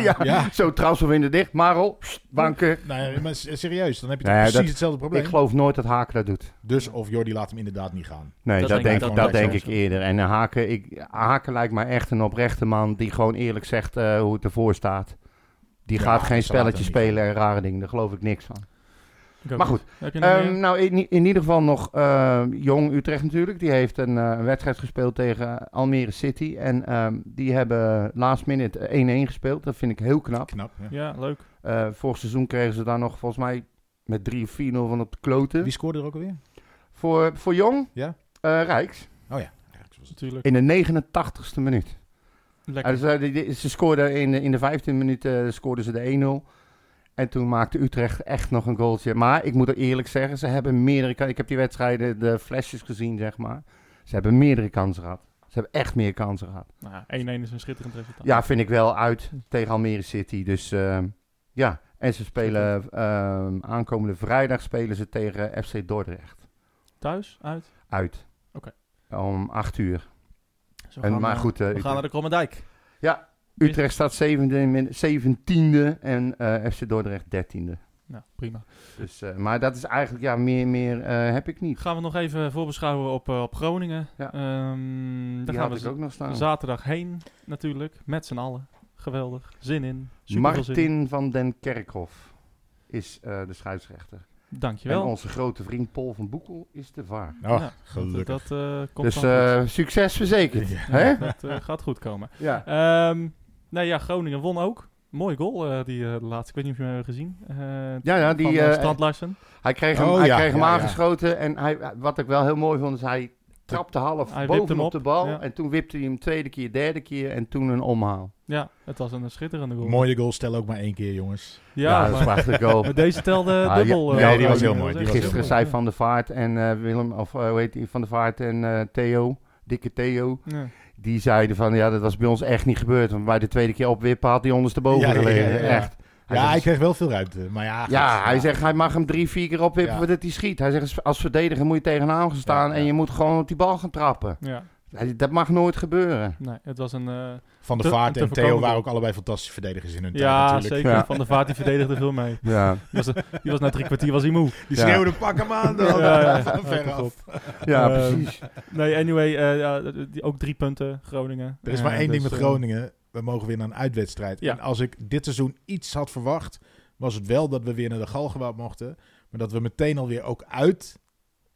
[SPEAKER 3] ja,
[SPEAKER 2] Ja. (laughs)
[SPEAKER 3] (laughs) zo transferwinder dicht. Marel, pst, banken.
[SPEAKER 2] Nee, maar s- serieus, dan heb je toch
[SPEAKER 3] Nee,
[SPEAKER 2] precies
[SPEAKER 3] dat-
[SPEAKER 2] hetzelfde probleem.
[SPEAKER 3] Ik geloof nooit dat Haken dat doet.
[SPEAKER 2] Dus of Jordi laat hem inderdaad niet gaan.
[SPEAKER 3] Nee,
[SPEAKER 1] Dat
[SPEAKER 3] dat,
[SPEAKER 1] denk ik
[SPEAKER 3] denk,
[SPEAKER 1] ook
[SPEAKER 3] ik,
[SPEAKER 1] wel.
[SPEAKER 3] dat denk ik
[SPEAKER 1] Sowieso.
[SPEAKER 3] eerder. En eh, Haken, ik, Haken lijkt mij echt een oprechte man die gewoon eerlijk zegt eh, hoe het ervoor staat. Die
[SPEAKER 2] Ja,
[SPEAKER 3] gaat
[SPEAKER 2] dat
[SPEAKER 3] geen
[SPEAKER 2] zal later
[SPEAKER 3] spelletje
[SPEAKER 2] niet.
[SPEAKER 3] spelen en rare dingen. Daar geloof ik niks van.
[SPEAKER 1] Ik ook
[SPEAKER 3] Maar
[SPEAKER 1] niet. Heb je nog
[SPEAKER 3] Ehm,
[SPEAKER 1] meer?
[SPEAKER 3] nou, in, in ieder geval nog eh, Jong Utrecht natuurlijk. Die heeft een eh, een wedstrijd gespeeld tegen eh, Almere City. En ehm, die hebben last minute 1-1 gespeeld. Dat vind ik heel knap.
[SPEAKER 2] Knap. ja.
[SPEAKER 1] Ja, leuk.
[SPEAKER 3] Eh, vorig seizoen kregen ze daar nog volgens mij met 3 of 4-0 van op de kloten.
[SPEAKER 2] Wie scoorde er ook alweer?
[SPEAKER 3] Voor, voor Jong?
[SPEAKER 2] Ja.
[SPEAKER 3] Eh, Rijks.
[SPEAKER 2] Oh ja.
[SPEAKER 1] Natuurlijk.
[SPEAKER 3] In de 89ste minuut.
[SPEAKER 1] Lekker.
[SPEAKER 3] Eh, dus, eh, die- die- ze scoorden in, de- in de 15e minuut eh, scoorden ze de 1-0. En toen maakte Utrecht echt nog een goaltje. Maar ik moet er eerlijk zeggen, ze hebben meerdere kansen. Ik heb die wedstrijden, de flesjes gezien, zeg maar. Ze hebben meerdere kansen gehad. Ze hebben echt meer kansen gehad.
[SPEAKER 1] Nou ja, 1-1 is een schitterend resultaat.
[SPEAKER 3] Ja, vind ik wel uit tegen Almere City. Dus ehm, ja, en ze spelen ehm, aankomende vrijdag spelen ze tegen FC Dordrecht.
[SPEAKER 1] Thuis, uit.
[SPEAKER 3] Uit.
[SPEAKER 1] Oké.
[SPEAKER 3] Om 8 uur.
[SPEAKER 1] Zo
[SPEAKER 3] En,
[SPEAKER 1] gaan
[SPEAKER 3] maar
[SPEAKER 1] we-
[SPEAKER 3] goed, eh,
[SPEAKER 1] We gaan
[SPEAKER 3] Utrecht-
[SPEAKER 1] naar de Kromme Dijk.
[SPEAKER 3] Utrecht staat 17e, 17e en eh, FC Dordrecht 13e.
[SPEAKER 1] Nou, prima.
[SPEAKER 3] Dus, eh, maar dat is eigenlijk, ja, meer, meer eh, heb ik niet.
[SPEAKER 1] Gaan we nog even voorbeschouwen op, eh, op Groningen.
[SPEAKER 3] Ja.
[SPEAKER 1] Ehm, daar
[SPEAKER 3] Die
[SPEAKER 1] gaan
[SPEAKER 3] had
[SPEAKER 1] we
[SPEAKER 3] ik ook nog staan.
[SPEAKER 1] zaterdag heen natuurlijk. Met z'n allen. Geweldig. Zin in. Super veel zin. in.
[SPEAKER 3] Martin van den Kerkhof is eh, de scheidsrechter. En
[SPEAKER 1] Dankjewel.
[SPEAKER 3] onze grote vriend Paul van Boekel is de VAR.
[SPEAKER 2] Oh,
[SPEAKER 1] Ja,
[SPEAKER 2] gelukkig.
[SPEAKER 1] Dat, dat, eh, komt
[SPEAKER 3] Dus
[SPEAKER 1] wel goed.
[SPEAKER 3] eh, succes verzekerd.
[SPEAKER 2] Ja.
[SPEAKER 1] Ja,
[SPEAKER 3] Hè?
[SPEAKER 1] dat eh, gaat goed komen.
[SPEAKER 3] Ja.
[SPEAKER 1] Ehm nee, ja, Groningen won ook. Mooi goal, eh, die eh, laatste. Ik weet niet of je hem hebt gezien. Eh,
[SPEAKER 3] Ja, ja,
[SPEAKER 1] van
[SPEAKER 3] die,
[SPEAKER 1] eh,
[SPEAKER 3] eh,
[SPEAKER 1] Strand Larsen.
[SPEAKER 3] hij kreeg hem,
[SPEAKER 2] Oh,
[SPEAKER 3] hij
[SPEAKER 2] ja,
[SPEAKER 3] kreeg hem
[SPEAKER 2] ja, ja.
[SPEAKER 3] aangeschoten. En hij, wat ik wel heel mooi vond, is hij trapte half
[SPEAKER 1] Hij wipte
[SPEAKER 3] boven
[SPEAKER 1] hem
[SPEAKER 3] op
[SPEAKER 1] op,
[SPEAKER 3] de bal.
[SPEAKER 1] ja.
[SPEAKER 3] En toen wipte hij hem tweede keer, derde keer. En toen een omhaal.
[SPEAKER 1] Ja, het was een schitterende goal.
[SPEAKER 2] Mooie goal, stel ook maar één keer, jongens.
[SPEAKER 1] Ja,
[SPEAKER 3] dat is
[SPEAKER 1] maar-
[SPEAKER 3] een
[SPEAKER 2] (laughs)
[SPEAKER 3] prachtige goal.
[SPEAKER 1] maar deze telde
[SPEAKER 3] (laughs) Ah, ja,
[SPEAKER 1] dubbel. eh,
[SPEAKER 2] nee, die was heel
[SPEAKER 1] dat
[SPEAKER 2] mooi, die
[SPEAKER 1] echt
[SPEAKER 2] was
[SPEAKER 1] heel
[SPEAKER 3] Gisteren
[SPEAKER 2] heel
[SPEAKER 3] zei
[SPEAKER 1] mooi.
[SPEAKER 3] Van der Vaart en eh, Willem, of eh, hoe heet die, Van der Vaart en eh, Theo, dikke Theo,
[SPEAKER 1] Ja.
[SPEAKER 3] die zeiden van ja, dat was bij ons echt niet gebeurd. Want bij de tweede keer opwippen had hij
[SPEAKER 2] Ja,
[SPEAKER 3] ondersteboven
[SPEAKER 2] ja, ja,
[SPEAKER 3] gelegen.
[SPEAKER 2] ja, ja.
[SPEAKER 3] Echt. Hij
[SPEAKER 2] ja,
[SPEAKER 3] zegt-
[SPEAKER 2] hij kreeg wel veel ruimte. Maar ja, goed.
[SPEAKER 3] ja, hij zegt hij mag hem drie, vier keer opwippen
[SPEAKER 2] Ja.
[SPEAKER 3] voordat hij schiet. Hij zegt als- als verdediger moet je tegenaan gaan staan
[SPEAKER 2] Ja,
[SPEAKER 3] en
[SPEAKER 2] ja.
[SPEAKER 3] je moet gewoon op die bal gaan trappen.
[SPEAKER 1] Ja,
[SPEAKER 3] Hij- Dat mag nooit gebeuren.
[SPEAKER 1] nee, het was een... eh,
[SPEAKER 2] Van de
[SPEAKER 1] te-
[SPEAKER 2] Vaart
[SPEAKER 1] te
[SPEAKER 2] en Theo
[SPEAKER 1] voorkomen
[SPEAKER 2] waren
[SPEAKER 1] goal.
[SPEAKER 2] ook allebei fantastische verdedigers in hun tijd
[SPEAKER 1] ja,
[SPEAKER 2] natuurlijk.
[SPEAKER 1] zeker.
[SPEAKER 3] Ja.
[SPEAKER 1] Van de Vaart, die verdedigde veel mee.
[SPEAKER 3] Ja,
[SPEAKER 1] Die was, die was na drie kwartier was hij moe.
[SPEAKER 2] (laughs) Die
[SPEAKER 3] Ja.
[SPEAKER 2] schreeuwden, pak hem aan dan.
[SPEAKER 1] Ja, ja,
[SPEAKER 2] (laughs) Van
[SPEAKER 1] ja,
[SPEAKER 2] veraf.
[SPEAKER 1] top.
[SPEAKER 3] ja
[SPEAKER 1] Ehm,
[SPEAKER 3] precies.
[SPEAKER 1] Nee, anyway, eh, ja, die- ook drie punten, Groningen.
[SPEAKER 2] Er is
[SPEAKER 1] Eh,
[SPEAKER 2] maar één ding
[SPEAKER 1] dus,
[SPEAKER 2] met
[SPEAKER 1] eh,
[SPEAKER 2] Groningen. We mogen weer naar een uitwedstrijd.
[SPEAKER 1] Ja.
[SPEAKER 2] En als ik dit seizoen iets had verwacht, was het wel dat we weer naar de Galgenwaard mochten. Maar dat we meteen alweer ook uit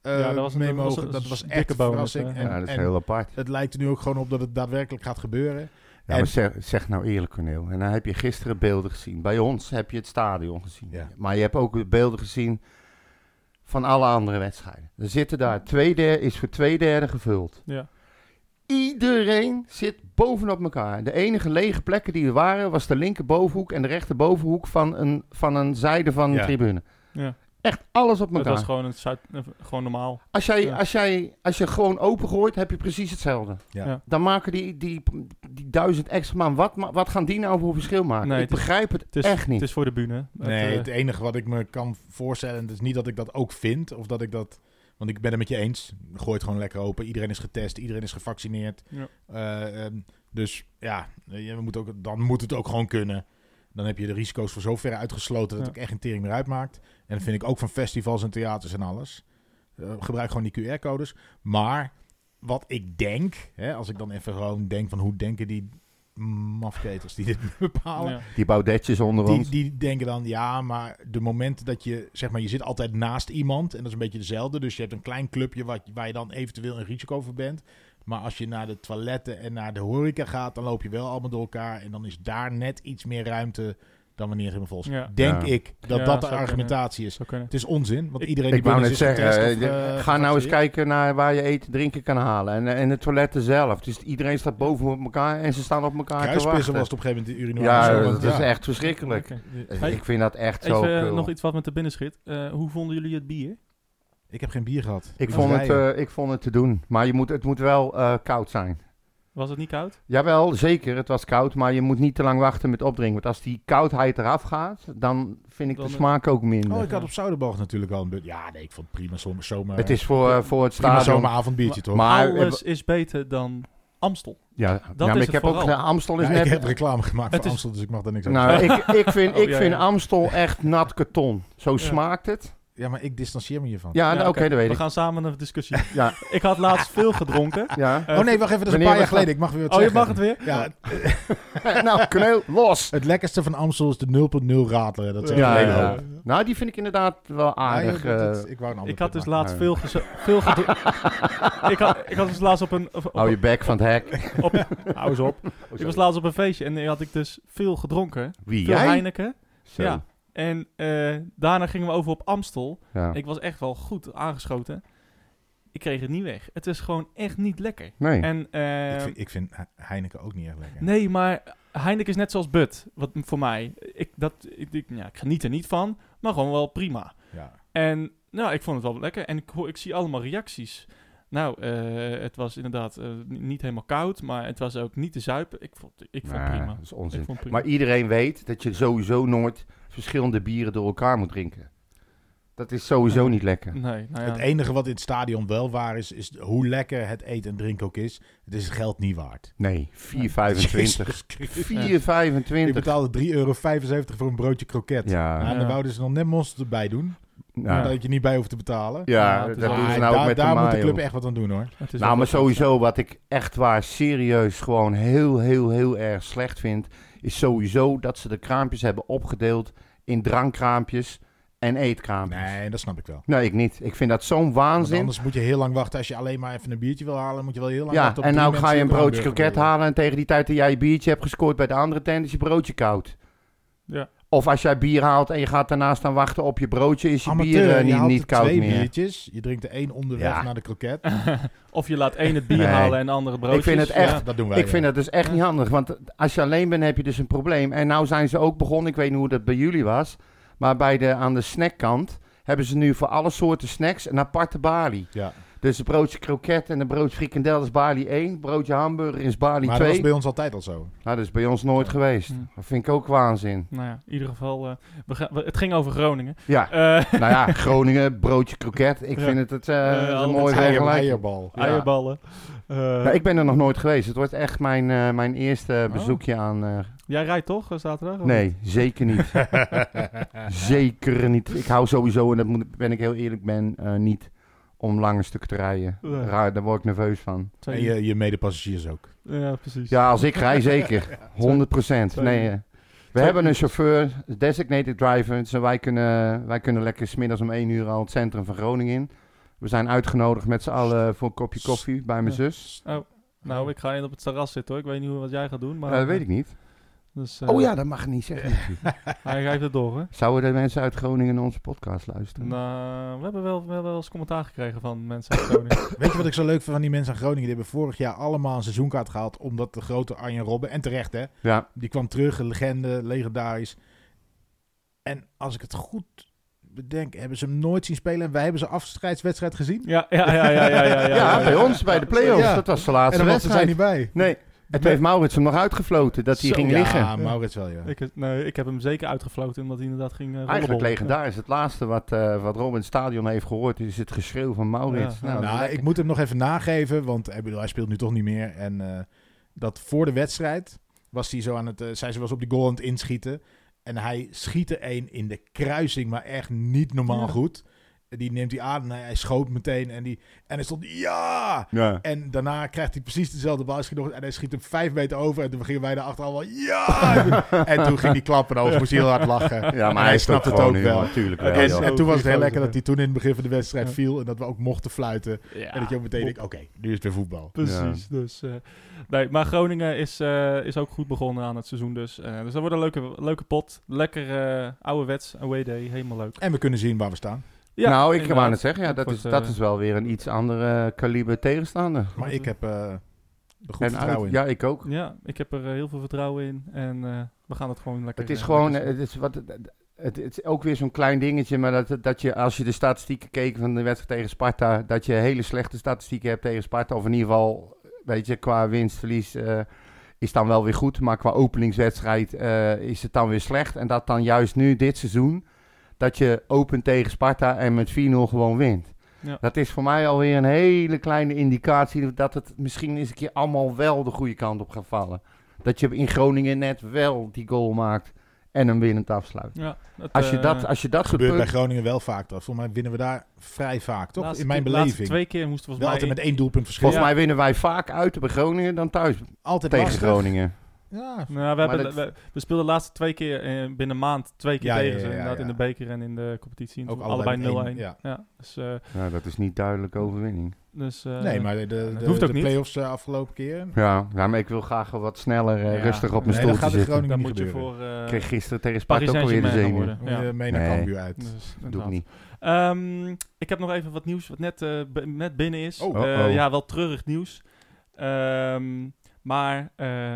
[SPEAKER 2] eh,
[SPEAKER 1] Ja, dat was een-
[SPEAKER 2] mee
[SPEAKER 1] dat was
[SPEAKER 2] mogen.
[SPEAKER 1] een
[SPEAKER 2] dat was
[SPEAKER 1] dikke
[SPEAKER 2] echt een
[SPEAKER 1] bonus,
[SPEAKER 2] verrassing.
[SPEAKER 1] hè.
[SPEAKER 2] En,
[SPEAKER 3] Ja, dat is
[SPEAKER 2] en
[SPEAKER 3] heel apart.
[SPEAKER 2] het lijkt er nu ook gewoon op dat het daadwerkelijk gaat gebeuren.
[SPEAKER 3] Ja,
[SPEAKER 2] En-
[SPEAKER 3] maar zeg, zeg nou eerlijk, Corneel. En dan heb je gisteren beelden gezien. Bij ons heb je het stadion gezien.
[SPEAKER 2] Ja.
[SPEAKER 3] Maar je hebt ook beelden gezien van alle andere wedstrijden. Er zitten daar, twee derde, is voor twee derde gevuld.
[SPEAKER 1] Ja.
[SPEAKER 3] Iedereen zit bovenop elkaar. De enige lege plekken die er waren, was de linkerbovenhoek en de rechterbovenhoek van een, van een zijde van de
[SPEAKER 2] Ja.
[SPEAKER 3] tribune.
[SPEAKER 1] Ja.
[SPEAKER 3] Echt alles op
[SPEAKER 1] Het
[SPEAKER 3] elkaar.
[SPEAKER 1] was gewoon, een Zuid, eh, gewoon normaal.
[SPEAKER 3] Als jij,
[SPEAKER 1] Ja.
[SPEAKER 3] als, jij, als je gewoon opengooit, heb je precies hetzelfde.
[SPEAKER 2] Ja.
[SPEAKER 1] Ja.
[SPEAKER 3] Dan maken die, die, die duizend extra man, wat, ma- wat gaan die nou voor verschil maken?
[SPEAKER 1] Nee,
[SPEAKER 3] ik
[SPEAKER 1] het is-
[SPEAKER 3] begrijp het,
[SPEAKER 1] Het is,
[SPEAKER 3] echt niet.
[SPEAKER 1] Het is voor de bühne. Het,
[SPEAKER 2] nee,
[SPEAKER 1] eh,
[SPEAKER 2] het enige wat ik me kan voorstellen, en het is niet dat ik dat ook vind, of dat ik dat... Want ik ben het met je eens. Gooi het gewoon lekker open. Iedereen is getest, iedereen is gevaccineerd.
[SPEAKER 1] Ja.
[SPEAKER 2] Eh, ehm, dus ja, eh, we moeten ook, dan moet het ook gewoon kunnen. Dan heb je de risico's voor zover uitgesloten dat
[SPEAKER 1] Ja.
[SPEAKER 2] het echt geen tering meer uitmaakt. En dat vind ik ook van festivals en theaters en alles. Eh, gebruik gewoon die QR-codes. Maar wat ik denk, hè, als ik dan even gewoon denk van hoe denken die mafketers die dit (laughs) bepalen.
[SPEAKER 1] ja.
[SPEAKER 3] die baudetjes onder
[SPEAKER 2] Die,
[SPEAKER 3] ons.
[SPEAKER 2] die denken dan, ja, maar de momenten dat je, zeg maar, je zit altijd naast iemand. En dat is een beetje dezelfde. Dus je hebt een klein clubje wat, waar je dan eventueel een risico voor bent. Maar als je naar de toiletten en naar de horeca gaat, dan loop je wel allemaal door elkaar. En dan is daar net iets meer ruimte dan wanneer het helemaal vol is.
[SPEAKER 1] Ja.
[SPEAKER 2] Denk
[SPEAKER 3] Ja.
[SPEAKER 2] ik dat
[SPEAKER 1] Ja,
[SPEAKER 2] dat de
[SPEAKER 1] zou
[SPEAKER 2] argumentatie is.
[SPEAKER 1] Zou kunnen.
[SPEAKER 2] Het is onzin, want
[SPEAKER 1] Ik-
[SPEAKER 2] iedereen die
[SPEAKER 3] Ik wou
[SPEAKER 2] binnen
[SPEAKER 3] net
[SPEAKER 2] is, is
[SPEAKER 3] zeggen,
[SPEAKER 2] getest of,
[SPEAKER 3] eh,
[SPEAKER 2] eh,
[SPEAKER 3] ga nou eens
[SPEAKER 2] gevaccineerd.
[SPEAKER 3] kijken naar waar je eten drinken kan halen. En, en de toiletten zelf. Dus iedereen staat bovenop elkaar en ze staan op elkaar te
[SPEAKER 2] Kruispissen
[SPEAKER 3] wachten.
[SPEAKER 2] was het op een gegeven moment de urinoir.
[SPEAKER 3] ja,
[SPEAKER 2] en zo,
[SPEAKER 3] dat
[SPEAKER 2] want
[SPEAKER 3] is
[SPEAKER 2] ja.
[SPEAKER 3] echt verschrikkelijk.
[SPEAKER 1] Lekker. Hey,
[SPEAKER 3] Ik vind dat echt zo
[SPEAKER 1] even eh,
[SPEAKER 3] kul.
[SPEAKER 1] nog iets wat met de binnenschit. Eh, hoe vonden jullie het bier?
[SPEAKER 2] Ik heb geen bier gehad.
[SPEAKER 3] Ik
[SPEAKER 2] Dus
[SPEAKER 3] vond, het,
[SPEAKER 2] wij-
[SPEAKER 3] eh, ik vond het te doen. Maar je moet, het moet wel eh, koud zijn.
[SPEAKER 1] Was het niet koud?
[SPEAKER 3] Jawel, zeker. Het was koud. Maar je moet niet te lang wachten met opdrinken. Want als die koudheid eraf gaat, dan vind ik
[SPEAKER 1] Dan,
[SPEAKER 3] de
[SPEAKER 1] eh,
[SPEAKER 3] smaak ook minder.
[SPEAKER 2] Oh, ik had op Zouderbalg natuurlijk al een beurt. Ja, nee, ik vond het prima zomer, zomer,
[SPEAKER 3] het is voor, eh, voor het
[SPEAKER 2] prima
[SPEAKER 3] stadion.
[SPEAKER 2] zomeravondbiertje, toch?
[SPEAKER 3] Maar, eh,
[SPEAKER 1] Alles is beter dan Amstel.
[SPEAKER 3] ja, ja, maar
[SPEAKER 1] is
[SPEAKER 3] ik
[SPEAKER 1] het
[SPEAKER 3] heb ook...
[SPEAKER 1] vooral.
[SPEAKER 3] ge- Amstel is
[SPEAKER 2] Ja,
[SPEAKER 3] net...
[SPEAKER 2] ik heb reclame gemaakt
[SPEAKER 1] het
[SPEAKER 2] voor
[SPEAKER 1] is-
[SPEAKER 2] Amstel, dus ik mag daar niks over
[SPEAKER 3] Nou,
[SPEAKER 2] zeggen.
[SPEAKER 3] (laughs) ik, ik vind,
[SPEAKER 1] Oh,
[SPEAKER 3] ik
[SPEAKER 1] ja,
[SPEAKER 3] vind
[SPEAKER 1] ja.
[SPEAKER 3] Amstel echt nat karton. Zo smaakt het.
[SPEAKER 2] Ja, maar ik distancieer me hiervan.
[SPEAKER 3] Ja, nou,
[SPEAKER 1] Ja,
[SPEAKER 3] oké, dat weet
[SPEAKER 1] We
[SPEAKER 3] ik.
[SPEAKER 1] gaan samen een discussie.
[SPEAKER 3] Ja.
[SPEAKER 1] Ik had laatst veel
[SPEAKER 3] (laughs)
[SPEAKER 1] gedronken.
[SPEAKER 3] Ja.
[SPEAKER 1] Eh,
[SPEAKER 2] oh nee, wacht even, dat is een paar
[SPEAKER 3] wanneer
[SPEAKER 2] jaar
[SPEAKER 3] was dat?
[SPEAKER 2] geleden. Ik mag weer wat
[SPEAKER 1] Oh, je
[SPEAKER 2] zeggen.
[SPEAKER 1] mag het weer?
[SPEAKER 2] Ja,
[SPEAKER 3] (laughs) nou, kneel, los.
[SPEAKER 2] het lekkerste van Amstel is de 0.0 radler. Dat zegt
[SPEAKER 3] Ja,
[SPEAKER 2] een hele
[SPEAKER 3] ja.
[SPEAKER 2] hoop.
[SPEAKER 3] Nou, die vind ik inderdaad wel aardig.
[SPEAKER 2] Ah, ja, dat-
[SPEAKER 3] eh.
[SPEAKER 2] dat- ik wou een ander
[SPEAKER 1] Ik had dus
[SPEAKER 2] punt
[SPEAKER 1] laatst
[SPEAKER 3] Ja.
[SPEAKER 1] veel, gezo- veel gedronken. ik, had, ik had dus laatst op een... Op, op-
[SPEAKER 3] Hou Oh, je bek van het hek.
[SPEAKER 1] hou eens op. Ik was laatst op een feestje en eh, had ik dus veel gedronken.
[SPEAKER 3] Wie,
[SPEAKER 1] Veel
[SPEAKER 3] jij?
[SPEAKER 1] Heineken.
[SPEAKER 3] Zo.
[SPEAKER 1] Ja. En eh, daarna gingen we over op Amstel.
[SPEAKER 3] Ja.
[SPEAKER 1] Ik was echt wel goed aangeschoten. Ik kreeg het niet weg. Het is gewoon echt niet lekker.
[SPEAKER 3] Nee.
[SPEAKER 1] En, eh,
[SPEAKER 2] maken. Ik vind, ik vind He- Heineken ook niet erg lekker.
[SPEAKER 1] Nee, maar Heineken is net zoals Bud. Wat m- voor mij. Ik, dat, ik, ik- ja, ik geniet er niet van, maar gewoon wel prima.
[SPEAKER 2] Ja.
[SPEAKER 1] En nou, ik vond het wel lekker. En ik, hoor, ik zie allemaal reacties. Nou, eh, het was inderdaad eh, ni- niet helemaal koud, maar het was ook niet te zuipen. Ik vond, ik vond
[SPEAKER 3] Nah,
[SPEAKER 1] prima.
[SPEAKER 3] Nou, Dat is
[SPEAKER 1] Ik
[SPEAKER 3] onzin.
[SPEAKER 1] vond prima.
[SPEAKER 3] Maar iedereen weet dat je sowieso nooit verschillende bieren door elkaar moet drinken. Dat is sowieso niet lekker.
[SPEAKER 1] nee, nou ja.
[SPEAKER 2] Het e- enige wat in het stadion wel waar is, is hoe lekker het eten en drinken ook is. Het is het geld niet waard.
[SPEAKER 3] Nee, 4,25.
[SPEAKER 2] (laughs) Jezus Christus.
[SPEAKER 3] 4,25.
[SPEAKER 2] Ik betaalde 3,75 euro voor een broodje kroket.
[SPEAKER 3] Ja,
[SPEAKER 2] Nou, en dan
[SPEAKER 1] Ja.
[SPEAKER 2] wouden ze nog net monster erbij doen.
[SPEAKER 3] nou,
[SPEAKER 2] Dat je niet bij hoeft te betalen.
[SPEAKER 1] Ja,
[SPEAKER 3] ja,
[SPEAKER 1] het is
[SPEAKER 3] dat
[SPEAKER 1] wel-
[SPEAKER 3] doen
[SPEAKER 2] Ah,
[SPEAKER 3] ze nou ook
[SPEAKER 2] daar-
[SPEAKER 3] met de
[SPEAKER 2] daar moet de
[SPEAKER 3] mayo.
[SPEAKER 2] club echt dus wat aan doen hoor.
[SPEAKER 1] het is
[SPEAKER 3] Nou,
[SPEAKER 1] wel
[SPEAKER 3] maar
[SPEAKER 1] goed.
[SPEAKER 3] sowieso wat ik echt waar serieus gewoon heel, heel, heel erg slecht vind, is sowieso dat ze de kraampjes hebben opgedeeld in drankkraampjes en eetkraampjes. Nee,
[SPEAKER 2] Nee, dat snap ik wel.
[SPEAKER 3] ik niet. Ik vind dat zo'n
[SPEAKER 2] Want
[SPEAKER 3] waanzin.
[SPEAKER 2] anders moet je heel lang wachten. Als je alleen maar even een biertje wil halen, moet je wel heel lang
[SPEAKER 3] Ja,
[SPEAKER 2] wachten. op
[SPEAKER 3] en
[SPEAKER 2] drie
[SPEAKER 3] nou ga
[SPEAKER 2] mensen
[SPEAKER 3] je een
[SPEAKER 2] die
[SPEAKER 3] broodje
[SPEAKER 2] hamburger
[SPEAKER 3] kroket
[SPEAKER 2] willen.
[SPEAKER 3] halen en tegen die tijd dat jij je biertje hebt gescoord bij de andere tent is je broodje koud.
[SPEAKER 1] Ja.
[SPEAKER 3] Of als jij bier haalt en je gaat daarna staan wachten op je broodje, is je bier
[SPEAKER 2] Amateur,
[SPEAKER 3] eh,
[SPEAKER 2] je
[SPEAKER 3] niet,
[SPEAKER 2] haalt
[SPEAKER 3] niet
[SPEAKER 2] er
[SPEAKER 3] koud
[SPEAKER 2] twee
[SPEAKER 3] meer.
[SPEAKER 2] biertjes. Je drinkt er één onderweg
[SPEAKER 3] Ja.
[SPEAKER 2] naar de kroket.
[SPEAKER 1] Of je laat één het bier
[SPEAKER 3] Nee.
[SPEAKER 1] halen en de andere broodjes.
[SPEAKER 3] Ik vind het echt-
[SPEAKER 1] Ja.
[SPEAKER 2] Dat doen wij.
[SPEAKER 3] Ik vind dat dus echt niet handig, want als je alleen bent heb je dus een probleem. En nou zijn ze ook begonnen, ik weet niet hoe dat bij jullie was, maar bij de, aan de snackkant hebben ze nu voor alle soorten snacks een aparte balie.
[SPEAKER 2] Ja.
[SPEAKER 3] Dus een broodje kroket en een broodje frikandel is balie 1, broodje hamburger is balie
[SPEAKER 2] Maar dat
[SPEAKER 3] 2.
[SPEAKER 2] was bij ons altijd al zo.
[SPEAKER 3] Nou, dat is bij ons nooit geweest.
[SPEAKER 1] Hmm.
[SPEAKER 3] Dat vind ik ook waanzin.
[SPEAKER 1] Nou ja, in ieder geval, eh, we gaan, we- het ging over Groningen.
[SPEAKER 3] Ja,
[SPEAKER 1] Eh (laughs)
[SPEAKER 3] nou ja, Groningen, broodje kroket. Ik
[SPEAKER 1] Ja.
[SPEAKER 3] vind het, het eh,
[SPEAKER 1] Eh,
[SPEAKER 3] een
[SPEAKER 1] altijd
[SPEAKER 3] mooi
[SPEAKER 2] Eier-
[SPEAKER 3] vergelijking.
[SPEAKER 2] eierbal.
[SPEAKER 3] Ja.
[SPEAKER 1] Eierballen. Eh,
[SPEAKER 3] Ja, ik ben er nog nooit geweest. Het wordt echt mijn, eh, mijn eerste
[SPEAKER 2] Oh.
[SPEAKER 3] bezoekje aan... eh,
[SPEAKER 1] Jij rijdt toch eh, zaterdag? of niet?
[SPEAKER 3] Nee, zeker niet. Zeker niet. Ik hou sowieso, en dat moet, ben ik heel eerlijk, ben eh, niet om lange stukken te rijden.
[SPEAKER 1] Nee.
[SPEAKER 3] Raar, daar word ik nerveus van.
[SPEAKER 2] (laughs) En
[SPEAKER 1] Twee-
[SPEAKER 2] je, je medepassagiers ook.
[SPEAKER 1] Ja, precies.
[SPEAKER 3] Ja, als ik rij
[SPEAKER 1] (laughs)
[SPEAKER 3] zeker. 100 procent.
[SPEAKER 1] Twee-
[SPEAKER 3] Nee, eh, we
[SPEAKER 1] twee
[SPEAKER 3] hebben een
[SPEAKER 1] uurtjes.
[SPEAKER 3] chauffeur, designated driver. Dus wij kunnen, wij kunnen lekker smiddags om 1 uur al het centrum van Groningen in. We zijn uitgenodigd met z'n allen voor een kopje koffie bij mijn
[SPEAKER 1] Ja.
[SPEAKER 3] zus.
[SPEAKER 1] Nou, ik ga in op het terras zitten hoor. Ik weet niet hoe, wat jij gaat doen, maar...
[SPEAKER 3] Eh, dat weet ik niet.
[SPEAKER 1] Dus, eh,
[SPEAKER 3] Oh ja, dat mag niet zeggen. natuurlijk.
[SPEAKER 1] Hij geeft het door, hè?
[SPEAKER 3] (laughs) Zouden de mensen uit Groningen naar onze podcast luisteren?
[SPEAKER 1] Nou, we hebben wel, we hebben wel eens commentaar gekregen van mensen uit
[SPEAKER 2] (laughs)
[SPEAKER 1] Groningen.
[SPEAKER 2] Weet je wat ik zo leuk vind van die mensen aan Groningen? Die hebben vorig jaar allemaal een seizoenkaart gehaald. Omdat de grote Arjen Robben, en terecht hè,
[SPEAKER 3] Ja,
[SPEAKER 2] die kwam terug. Een legende, legendarisch. En als ik het goed bedenk, hebben ze hem nooit zien spelen. En wij hebben zijn afscheidswedstrijd gezien.
[SPEAKER 1] ja, ja, ja, ja, ja, ja,
[SPEAKER 3] ja,
[SPEAKER 1] ja.
[SPEAKER 3] bij ons, bij de play-offs.
[SPEAKER 2] Ja.
[SPEAKER 3] Dat was de
[SPEAKER 2] en
[SPEAKER 3] laatste
[SPEAKER 2] dan was ze
[SPEAKER 3] wedstrijd.
[SPEAKER 2] zijn niet bij.
[SPEAKER 3] Nee, en toen heeft Maurits hem nog uitgefloten dat hij
[SPEAKER 1] Zo,
[SPEAKER 3] ging
[SPEAKER 2] ja,
[SPEAKER 3] liggen.
[SPEAKER 2] Maurits wel, ja.
[SPEAKER 1] Ik, eh, nee, ik heb hem zeker uitgefloten, omdat hij inderdaad ging... eh,
[SPEAKER 3] Eigenlijk
[SPEAKER 1] rollenbollen.
[SPEAKER 3] legendarisch. Het laatste wat, eh wat Rob in het stadion heeft gehoord is het geschreeuw van Maurits.
[SPEAKER 1] Ja.
[SPEAKER 3] nou,
[SPEAKER 2] nou,
[SPEAKER 3] lekker.
[SPEAKER 2] ik moet hem nog even nageven, want ik bedoel, hij speelt nu toch niet meer. En eh, dat voor de wedstrijd was hij zo aan het, eh, zijn ze was op die goal aan het inschieten. En hij schiet er een in de kruising, maar echt niet normaal
[SPEAKER 1] Ja.
[SPEAKER 2] goed. Die neemt hij aan en hij hij schoot meteen. En, die, en hij stond, ja!
[SPEAKER 3] Ja.
[SPEAKER 2] En daarna krijgt hij precies dezelfde bal. Schiet nog, en hij schiet hem vijf meter over. En toen gingen wij daarachter allemaal, ja! en toen ging die klappen over. Moest heel hard lachen.
[SPEAKER 3] Ja,
[SPEAKER 2] En
[SPEAKER 3] maar hij snapt het ook wel. Natuurlijk wel.
[SPEAKER 2] En,
[SPEAKER 3] joh.
[SPEAKER 2] en toen was het heel
[SPEAKER 1] Zo,
[SPEAKER 2] lekker
[SPEAKER 1] ja.
[SPEAKER 2] dat hij toen in het begin van de wedstrijd
[SPEAKER 1] Ja.
[SPEAKER 2] viel. En dat we ook mochten fluiten. En dat je ook meteen denkt, oké, nu is het weer voetbal.
[SPEAKER 1] Precies, dus... eh, nee, maar Groningen is, eh, is ook goed begonnen aan het seizoen dus. Eh, dus dat wordt een leuke, leuke pot. Lekker oude ouderwets, away day, helemaal leuk.
[SPEAKER 2] En we kunnen zien waar we staan.
[SPEAKER 1] Ja,
[SPEAKER 3] nou, ik wou
[SPEAKER 1] inderdaad.
[SPEAKER 3] net zeggen, ja, dat,
[SPEAKER 1] Wordt,
[SPEAKER 3] is,
[SPEAKER 1] eh,
[SPEAKER 3] dat is wel weer een iets andere eh, kaliber tegenstander.
[SPEAKER 2] Maar ik heb eh er goed
[SPEAKER 3] En
[SPEAKER 2] vertrouwen
[SPEAKER 3] uit-
[SPEAKER 2] in.
[SPEAKER 3] Ja, ik ook.
[SPEAKER 1] Ja, ik heb er eh, heel veel vertrouwen in. En eh, we gaan het gewoon lekker...
[SPEAKER 3] Het is
[SPEAKER 1] eh,
[SPEAKER 3] gewoon, eh,
[SPEAKER 1] lekker
[SPEAKER 3] het is, wat, het, het is ook weer zo'n klein dingetje, maar dat, dat je als je de statistieken keek van de wedstrijd tegen Sparta, dat je hele slechte statistieken hebt tegen Sparta, of in ieder geval, weet je, qua winst, verlies, eh, is dan wel weer goed, maar qua openingswedstrijd eh, is het dan weer slecht. En dat dan juist nu, dit seizoen, dat je opent tegen Sparta en met 4-0 gewoon wint.
[SPEAKER 1] Ja.
[SPEAKER 3] Dat is voor mij alweer een hele kleine indicatie dat het misschien eens een keer allemaal wel de goede kant op gaat vallen. Dat je in Groningen net wel die goal maakt en hem winnend afsluit.
[SPEAKER 1] Ja, het,
[SPEAKER 3] Als je
[SPEAKER 1] eh,
[SPEAKER 3] dat, als je dat soort
[SPEAKER 2] gebeurt bij
[SPEAKER 3] punten...
[SPEAKER 2] Groningen wel vaak. Dat. Volgens mij winnen we daar vrij vaak, toch?
[SPEAKER 1] laatste
[SPEAKER 2] in mijn
[SPEAKER 1] keer- laatste
[SPEAKER 2] beleving.
[SPEAKER 1] twee keer moesten we
[SPEAKER 2] Wel altijd met één doelpunt verschil.
[SPEAKER 3] Volgens mij winnen wij vaak uit bij Groningen dan thuis
[SPEAKER 2] altijd
[SPEAKER 3] tegen
[SPEAKER 2] lastig.
[SPEAKER 3] Groningen.
[SPEAKER 2] Ja,
[SPEAKER 1] Nou, we,
[SPEAKER 3] Maar
[SPEAKER 1] hebben,
[SPEAKER 3] dat-
[SPEAKER 1] we, we speelden de laatste twee keer eh, binnen een maand twee keer
[SPEAKER 2] Ja, ja,
[SPEAKER 1] tegen ze.
[SPEAKER 2] ja, ja,
[SPEAKER 1] inderdaad
[SPEAKER 2] ja.
[SPEAKER 1] in de beker en in de competitie. En
[SPEAKER 2] Ook
[SPEAKER 1] toen
[SPEAKER 2] allebei met
[SPEAKER 1] allebei 0-1.
[SPEAKER 2] één,
[SPEAKER 1] Ja.
[SPEAKER 2] ja.
[SPEAKER 1] dus, eh,
[SPEAKER 3] Ja, dat is niet duidelijke overwinning.
[SPEAKER 1] dus, eh,
[SPEAKER 2] nee, maar de, de, de,
[SPEAKER 1] hoeft ook
[SPEAKER 2] de
[SPEAKER 1] niet.
[SPEAKER 2] play-offs eh, afgelopen keer.
[SPEAKER 3] Ja, ja, maar ik wil graag wat sneller eh,
[SPEAKER 1] Ja.
[SPEAKER 3] rustig op mijn
[SPEAKER 2] Nee, dat
[SPEAKER 3] stoeltje
[SPEAKER 2] gaat in
[SPEAKER 3] zitten.
[SPEAKER 2] Groningen
[SPEAKER 1] daar
[SPEAKER 2] niet
[SPEAKER 1] moet je
[SPEAKER 2] gebeuren.
[SPEAKER 1] voor eh,
[SPEAKER 3] Ik kreeg gisteren tegen
[SPEAKER 1] Paris
[SPEAKER 3] Sparta ook alweer de
[SPEAKER 1] Saint-Germain gaan
[SPEAKER 3] zenuwen.
[SPEAKER 1] worden. Ja.
[SPEAKER 2] Eh, Mee naar
[SPEAKER 3] Nee.
[SPEAKER 2] Cambuur uit.
[SPEAKER 1] Dus,
[SPEAKER 3] Doe ik
[SPEAKER 1] inderdaad.
[SPEAKER 3] niet.
[SPEAKER 1] Ehm, ik heb nog even wat nieuws wat net, eh, b- net binnen is.
[SPEAKER 2] Oh.
[SPEAKER 1] Eh,
[SPEAKER 3] Uh-oh.
[SPEAKER 1] Ja, wel treurig nieuws. Ehm, maar eh,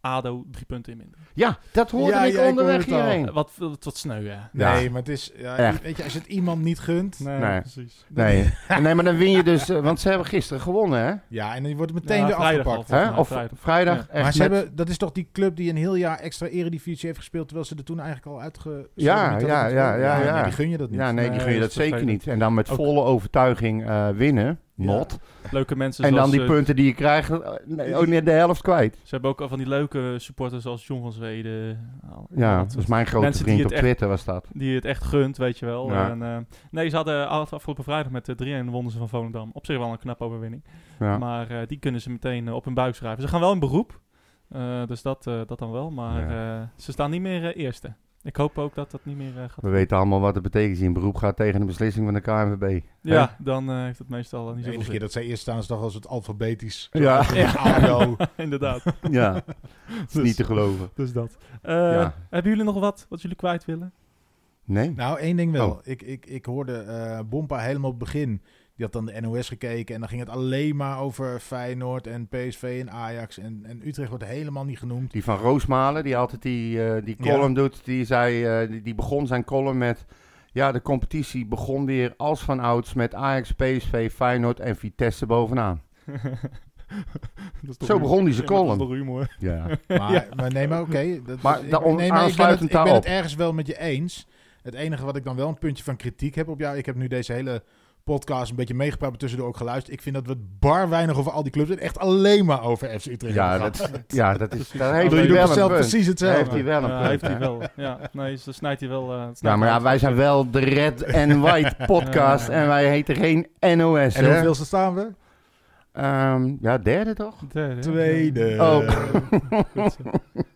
[SPEAKER 1] ADO drie punten in minder. Eh,
[SPEAKER 3] Ja, dat hoorde
[SPEAKER 2] Ja,
[SPEAKER 3] ik
[SPEAKER 2] ja, ik
[SPEAKER 3] onderweg
[SPEAKER 2] hoorde het al.
[SPEAKER 3] hierheen.
[SPEAKER 1] Wat, wat, wat sneu, ja.
[SPEAKER 3] Ja.
[SPEAKER 2] Nee, maar het is... ja,
[SPEAKER 3] Echt.
[SPEAKER 2] weet je, als je het iemand niet gunt...
[SPEAKER 3] Nee.
[SPEAKER 1] precies.
[SPEAKER 3] Nee. (laughs) nee, maar dan win je dus... eh, want ze hebben gisteren gewonnen, hè?
[SPEAKER 2] (laughs) Ja, en die wordt meteen
[SPEAKER 1] Ja,
[SPEAKER 2] weer
[SPEAKER 1] vrijdag
[SPEAKER 2] afgepakt.
[SPEAKER 1] al. Volgens
[SPEAKER 3] hè?
[SPEAKER 1] mij
[SPEAKER 3] Of
[SPEAKER 1] vrijdag.
[SPEAKER 3] vrijdag.
[SPEAKER 1] Ja.
[SPEAKER 3] echt
[SPEAKER 2] maar ze
[SPEAKER 3] met-
[SPEAKER 2] hebben, dat is toch die club die een heel jaar extra eredivisie heeft gespeeld... terwijl ze er toen eigenlijk al uitge...
[SPEAKER 3] Ja,
[SPEAKER 2] niet hadden
[SPEAKER 3] ja,
[SPEAKER 2] moeten
[SPEAKER 3] ja,
[SPEAKER 2] worden?
[SPEAKER 3] ja,
[SPEAKER 2] nee,
[SPEAKER 3] ja.
[SPEAKER 2] die gun je dat niet.
[SPEAKER 3] Ja, nee, die
[SPEAKER 1] Nee,
[SPEAKER 3] gun je
[SPEAKER 1] dat
[SPEAKER 3] dat
[SPEAKER 1] is
[SPEAKER 3] zeker
[SPEAKER 1] vervelend.
[SPEAKER 3] niet. En dan met
[SPEAKER 1] Ook-
[SPEAKER 3] volle overtuiging eh, winnen,
[SPEAKER 2] Ja.
[SPEAKER 3] not.
[SPEAKER 1] Leuke mensen
[SPEAKER 3] en dan
[SPEAKER 1] zoals,
[SPEAKER 3] die
[SPEAKER 1] eh,
[SPEAKER 3] punten die je krijgt, eh, nee, ook niet de helft kwijt.
[SPEAKER 1] Ze hebben ook al van die leuke supporters als John van Zweden. Al-
[SPEAKER 3] Ja,
[SPEAKER 1] dat
[SPEAKER 3] dat
[SPEAKER 1] soort-
[SPEAKER 3] is mijn grote
[SPEAKER 1] mensen die
[SPEAKER 3] vriend
[SPEAKER 1] het
[SPEAKER 3] op
[SPEAKER 1] echt-
[SPEAKER 3] Twitter was dat.
[SPEAKER 1] Die het echt gunt, weet je wel.
[SPEAKER 3] Ja.
[SPEAKER 1] En, eh, nee, ze hadden af- afgelopen vrijdag met de 3-1 wonnen ze van Volendam. Op zich wel een knappe overwinning.
[SPEAKER 3] Ja.
[SPEAKER 1] Maar eh, die kunnen ze meteen eh, op hun buik schrijven. Ze gaan wel in beroep. eh, dus dat, eh, dat dan wel. Maar eh, ze staan niet meer eh, eerste. Ik hoop ook dat dat niet meer eh, gaat.
[SPEAKER 3] We weten allemaal wat het betekent als je in beroep gaat tegen een beslissing van de KNVB.
[SPEAKER 1] Ja, dan eh, heeft het meestal niet
[SPEAKER 2] De
[SPEAKER 1] zoveel
[SPEAKER 2] enige keer
[SPEAKER 1] zin.
[SPEAKER 2] dat zij eerst staan is toch als het alfabetisch...
[SPEAKER 1] (laughs)
[SPEAKER 3] (laughs) Ja.
[SPEAKER 2] Ja. ADO.
[SPEAKER 3] (laughs)
[SPEAKER 1] Inderdaad.
[SPEAKER 3] Ja, Het is niet te geloven.
[SPEAKER 1] Dus dat.
[SPEAKER 3] (laughs)
[SPEAKER 1] Eh,
[SPEAKER 3] Ja.
[SPEAKER 1] Hebben jullie nog wat wat jullie kwijt
[SPEAKER 3] (laughs)
[SPEAKER 1] willen?
[SPEAKER 3] Nee?
[SPEAKER 2] Nou, één ding
[SPEAKER 3] Oh.
[SPEAKER 2] wel. Ik, ik, ik hoorde eh, Bompa helemaal op het begin. Die had dan de NOS gekeken en dan ging het alleen maar over Feyenoord en PSV en Ajax. En, en Utrecht wordt helemaal niet genoemd.
[SPEAKER 3] Die van Roosmalen, die altijd die, eh, die
[SPEAKER 2] Ja.
[SPEAKER 3] column doet, die, zei, eh, die, die begon zijn column met... Ja, de competitie begon weer als van ouds met Ajax, PSV, Feyenoord en Vitesse bovenaan.
[SPEAKER 1] Dat is toch
[SPEAKER 3] Zo
[SPEAKER 1] humor.
[SPEAKER 3] begon hij zijn
[SPEAKER 1] Ja, maar dat is
[SPEAKER 3] column.
[SPEAKER 1] toch humor.
[SPEAKER 3] Ja.
[SPEAKER 2] Maar, maar nee, maar oké. dat-
[SPEAKER 3] Maar
[SPEAKER 2] ik-
[SPEAKER 3] daarom
[SPEAKER 2] nee, maar ik ben, het,
[SPEAKER 3] aansluitend
[SPEAKER 2] ik ben
[SPEAKER 3] daarop.
[SPEAKER 2] het ergens wel met je eens. Het enige wat ik dan wel een puntje van kritiek heb op jou. Ik heb nu deze hele podcast een beetje meegepraat, maar tussendoor ook geluisterd. Ik vind dat we het bar weinig over al die clubs en echt alleen maar over FC Utrecht
[SPEAKER 3] Ja,
[SPEAKER 2] hebben gehad.
[SPEAKER 3] dat, ja, dat is... Daar
[SPEAKER 2] Ik
[SPEAKER 3] heeft
[SPEAKER 2] bedoel,
[SPEAKER 3] hij
[SPEAKER 2] je doet
[SPEAKER 3] wel een
[SPEAKER 2] zelf
[SPEAKER 3] punt.
[SPEAKER 2] precies
[SPEAKER 3] Daar heeft
[SPEAKER 2] hetzelfde.
[SPEAKER 3] hij wel een
[SPEAKER 1] Ja,
[SPEAKER 3] punt,
[SPEAKER 1] heeft
[SPEAKER 3] hè.
[SPEAKER 1] hij wel. Ja, nee, ze snijdt hij wel. eh, het
[SPEAKER 3] Ja,
[SPEAKER 1] snijdt hij
[SPEAKER 3] maar ja,
[SPEAKER 1] uit.
[SPEAKER 3] wij zijn wel de Red and White podcast en wij heten geen NOS,
[SPEAKER 2] En
[SPEAKER 3] hè?
[SPEAKER 2] hoeveel staan we?
[SPEAKER 3] Ehm, ja, derde toch?
[SPEAKER 1] Derde, hè?
[SPEAKER 2] Tweede.
[SPEAKER 1] Ja.
[SPEAKER 3] Oh.
[SPEAKER 1] Goed zo.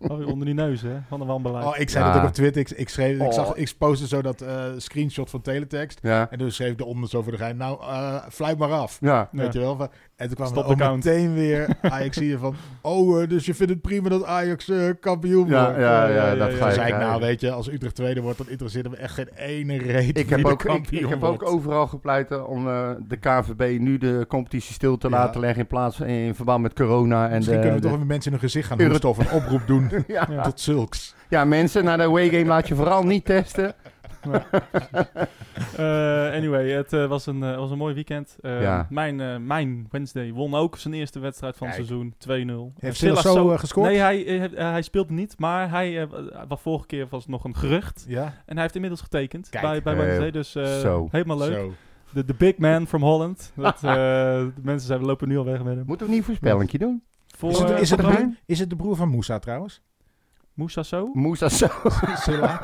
[SPEAKER 1] Alweer onder die neus, hè? Van de wanbeleid.
[SPEAKER 2] Oh, ik zei
[SPEAKER 3] Ja.
[SPEAKER 2] dat ook op Twitter. Ik, ik, schreef, ik, zag,
[SPEAKER 3] Oh.
[SPEAKER 2] ik postte zo dat eh, screenshot van teletext.
[SPEAKER 3] Ja.
[SPEAKER 2] En toen schreef ik eronder zo voor de gein. Nou, eh fluit maar af.
[SPEAKER 3] Ja.
[SPEAKER 1] Ja.
[SPEAKER 2] Weet je wel? Van- En toen kwam
[SPEAKER 1] Stop
[SPEAKER 2] er
[SPEAKER 1] de
[SPEAKER 2] ook
[SPEAKER 1] count.
[SPEAKER 2] meteen
[SPEAKER 3] (laughs)
[SPEAKER 2] weer Ajax hier van... Oh, eh, dus je vindt het prima dat Ajax eh, kampioen wordt.
[SPEAKER 3] Ja, ja, ja,
[SPEAKER 1] ja, ja,
[SPEAKER 3] dat
[SPEAKER 1] ja.
[SPEAKER 3] ga
[SPEAKER 2] Toen
[SPEAKER 3] ik
[SPEAKER 2] zei ik,
[SPEAKER 3] krijgen.
[SPEAKER 2] nou weet je, als Utrecht tweede wordt, dan interesseert me echt geen ene reet.
[SPEAKER 3] Ik
[SPEAKER 2] wie
[SPEAKER 3] heb,
[SPEAKER 2] de
[SPEAKER 3] ook, ik,
[SPEAKER 2] kampioen
[SPEAKER 3] ik heb ook
[SPEAKER 2] wordt.
[SPEAKER 3] overal gepleit eh, om eh, de KVB nu de competitie stil te
[SPEAKER 2] Ja.
[SPEAKER 3] laten leggen in plaats in, verband met corona. En
[SPEAKER 2] Misschien
[SPEAKER 3] de,
[SPEAKER 2] kunnen we
[SPEAKER 3] de-
[SPEAKER 2] toch even mensen in hun gezicht gaan
[SPEAKER 3] Euro-
[SPEAKER 2] hoesten of een oproep doen
[SPEAKER 3] (laughs) ja.
[SPEAKER 1] Ja.
[SPEAKER 2] tot zulks.
[SPEAKER 3] ja, mensen, naar de away game laat je vooral niet testen.
[SPEAKER 1] (laughs) Eh, anyway, het eh, was, een, eh, was een mooi weekend. Eh,
[SPEAKER 3] Ja.
[SPEAKER 1] mijn, eh, mijn Wednesday won ook zijn eerste wedstrijd van het
[SPEAKER 2] Kijk.
[SPEAKER 1] seizoen 2-0.
[SPEAKER 2] Heeft
[SPEAKER 1] Silas
[SPEAKER 2] Silas zo eh, gescoord?
[SPEAKER 1] Nee, hij, eh, heeft- eh, hij speelde niet, maar hij, eh, wat vorige keer was nog een gerucht.
[SPEAKER 2] Ja,
[SPEAKER 1] En hij heeft inmiddels getekend
[SPEAKER 2] Kijk.
[SPEAKER 1] bij, bij
[SPEAKER 3] Eh,
[SPEAKER 1] Wednesday, dus eh,
[SPEAKER 3] zo.
[SPEAKER 1] helemaal leuk.
[SPEAKER 2] zo.
[SPEAKER 1] De de big man from
[SPEAKER 2] (laughs)
[SPEAKER 1] Holland. Dat, eh, de mensen zijn, we lopen nu al weg met hem.
[SPEAKER 3] Moeten we niet voorspellingje doen?
[SPEAKER 1] Voor,
[SPEAKER 2] Is het,
[SPEAKER 1] eh,
[SPEAKER 2] is, het de
[SPEAKER 1] Brian?
[SPEAKER 2] broer, is het de broer van Moussa trouwens?
[SPEAKER 1] Moussa Sow?
[SPEAKER 3] Moussa Sow.
[SPEAKER 2] Silla.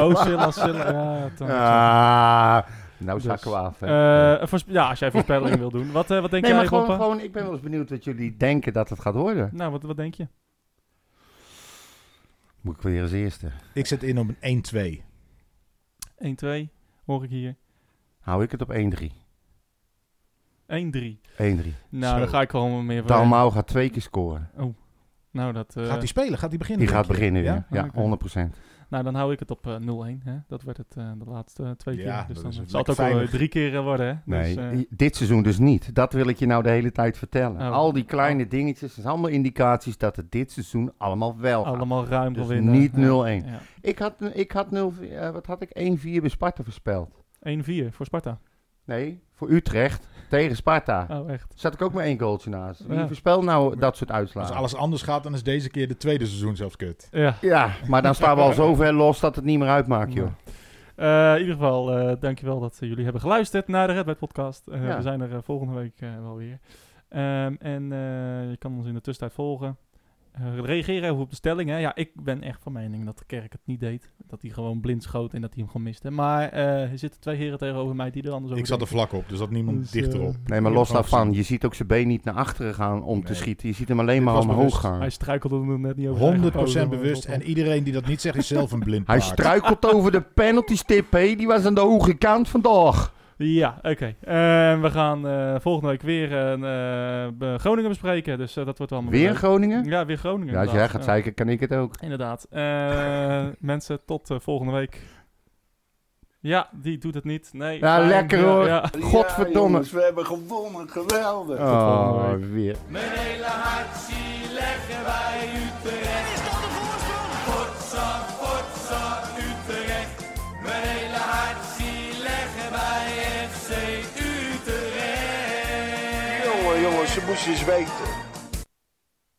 [SPEAKER 1] Oh, Silla, Silla. Ja, dan-
[SPEAKER 3] Ah, nou
[SPEAKER 1] Dus,
[SPEAKER 3] zakken we af. hè.
[SPEAKER 1] Eh, een voorspe- ja, als jij voorspelling wil doen. Wat, eh, wat denk
[SPEAKER 3] nee,
[SPEAKER 1] jij,
[SPEAKER 3] maar gewoon,
[SPEAKER 1] Boppa?
[SPEAKER 3] gewoon, ik ben wel eens benieuwd wat jullie denken dat het gaat worden.
[SPEAKER 1] Nou, wat, wat denk je?
[SPEAKER 3] Moet ik weer als eerste.
[SPEAKER 2] Ik zet in op een 1-2.
[SPEAKER 1] 1, 2, hoor ik hier.
[SPEAKER 3] Hou ik het op 1-3. 1-3.
[SPEAKER 1] 1, 3. Nou,
[SPEAKER 2] Zo.
[SPEAKER 1] dan ga ik gewoon meer voor.
[SPEAKER 3] Dalmau gaat twee keer scoren.
[SPEAKER 1] Nou, dat, eh,
[SPEAKER 2] Gaat hij spelen? Gaat hij beginnen?
[SPEAKER 3] Die gaat
[SPEAKER 2] denk je?
[SPEAKER 3] beginnen weer.
[SPEAKER 2] Ja?
[SPEAKER 1] Ja?
[SPEAKER 3] Ja,
[SPEAKER 1] Oké.
[SPEAKER 3] 100%.
[SPEAKER 1] nou, dan hou ik het op eh, 0-1. Hè? Dat werd het eh, de laatste eh, twee keer.
[SPEAKER 2] Ja,
[SPEAKER 1] dus
[SPEAKER 2] dat
[SPEAKER 1] dan
[SPEAKER 2] is
[SPEAKER 1] zal het
[SPEAKER 2] lekker
[SPEAKER 1] ook wel eh,
[SPEAKER 2] veilig.
[SPEAKER 1] drie keer eh, worden. Hè?
[SPEAKER 3] Nee,
[SPEAKER 1] Dus, eh,
[SPEAKER 3] i- dit seizoen dus niet. Dat wil ik je nou de hele tijd vertellen.
[SPEAKER 1] Oh.
[SPEAKER 3] Al die kleine dingetjes, dat zijn allemaal indicaties dat het dit seizoen allemaal wel gaat.
[SPEAKER 1] allemaal ruim
[SPEAKER 3] Dus
[SPEAKER 1] gewinnen.
[SPEAKER 3] niet
[SPEAKER 1] Ja,
[SPEAKER 3] 0-1.
[SPEAKER 1] ja.
[SPEAKER 3] Ik had, ik had 0, eh, wat had ik? 1-4 bij Sparta voorspeld.
[SPEAKER 1] 1-4 voor Sparta.
[SPEAKER 3] Nee, voor Utrecht tegen Sparta.
[SPEAKER 1] Oh, echt.
[SPEAKER 3] Zat ik ook maar één goaltje naast. Wie
[SPEAKER 1] Ja.
[SPEAKER 3] voorspelt nou dat soort
[SPEAKER 2] Als
[SPEAKER 3] uitslagen?
[SPEAKER 2] alles anders gaat, dan is deze keer de tweede seizoen zelfs kut.
[SPEAKER 1] Ja.
[SPEAKER 3] Ja, maar dan staan we al zo ver los dat het niet meer uitmaakt, joh.
[SPEAKER 1] Eh, in ieder geval, eh, dankjewel dat eh, jullie hebben geluisterd naar de Red Bad Podcast. Eh,
[SPEAKER 3] Ja.
[SPEAKER 1] We zijn er eh, volgende week eh, wel weer. Ehm, en eh, je kan ons in de tussentijd volgen. Eh, reageer even op de stelling. Hè. Ja, ik ben echt van mening dat de kerk het niet deed. Dat hij gewoon blind schoot en dat hij hem gewoon miste. Maar eh, er zitten twee heren tegenover mij die er anders over
[SPEAKER 2] Ik zat er
[SPEAKER 1] denken.
[SPEAKER 2] vlak op, dus dat niemand
[SPEAKER 1] Dus, eh,
[SPEAKER 2] dichterop.
[SPEAKER 3] Nee, maar
[SPEAKER 2] Ik
[SPEAKER 3] los
[SPEAKER 2] heb het
[SPEAKER 3] daarvan,
[SPEAKER 2] gewoon
[SPEAKER 3] je ziet ook zijn been niet naar achteren gaan om te
[SPEAKER 2] Nee.
[SPEAKER 3] schieten. Je ziet hem alleen
[SPEAKER 2] Dit
[SPEAKER 3] maar
[SPEAKER 2] was
[SPEAKER 3] omhoog
[SPEAKER 2] bewust.
[SPEAKER 3] gaan.
[SPEAKER 1] Hij
[SPEAKER 3] Hij,
[SPEAKER 1] struikelde er net niet over. zijn eigen
[SPEAKER 2] 100%
[SPEAKER 1] poten,
[SPEAKER 2] bewust.
[SPEAKER 1] maar dat
[SPEAKER 2] En iedereen die dat niet zegt, is zelf een blind paard.
[SPEAKER 3] struikelt over de penalty stip, hé. Die was aan de hoge kant vandaag.
[SPEAKER 1] wel. Ja, oké. Ehm, we gaan eh, volgende week weer een, eh, be- Groningen bespreken. Dus eh, dat wordt allemaal
[SPEAKER 3] Weer
[SPEAKER 1] leuk.
[SPEAKER 3] Groningen?
[SPEAKER 1] Ja, weer Groningen.
[SPEAKER 3] Ja, als jij
[SPEAKER 1] inderdaad.
[SPEAKER 3] gaat
[SPEAKER 1] Ja.
[SPEAKER 3] zeiken, kan ik het ook.
[SPEAKER 1] Inderdaad.
[SPEAKER 3] (laughs)
[SPEAKER 1] Eh, mensen, tot eh, volgende week. Ja, die doet het niet. Nee.
[SPEAKER 3] Ja,
[SPEAKER 1] fijn.
[SPEAKER 3] lekker
[SPEAKER 1] Ja,
[SPEAKER 3] hoor.
[SPEAKER 1] ja.
[SPEAKER 3] Godverdomme.
[SPEAKER 5] jongens, we hebben gewonnen. Geweldig.
[SPEAKER 1] volgende
[SPEAKER 3] Oh, weer.
[SPEAKER 4] Mijn hele hart zie leggen wij Utrecht. Is dat de voorsprong? Potsa, potsa, Utrecht. Mijn hele hart zie leggen wij FC Utrecht.
[SPEAKER 5] Jongen, jongens, ze moesten eens weten.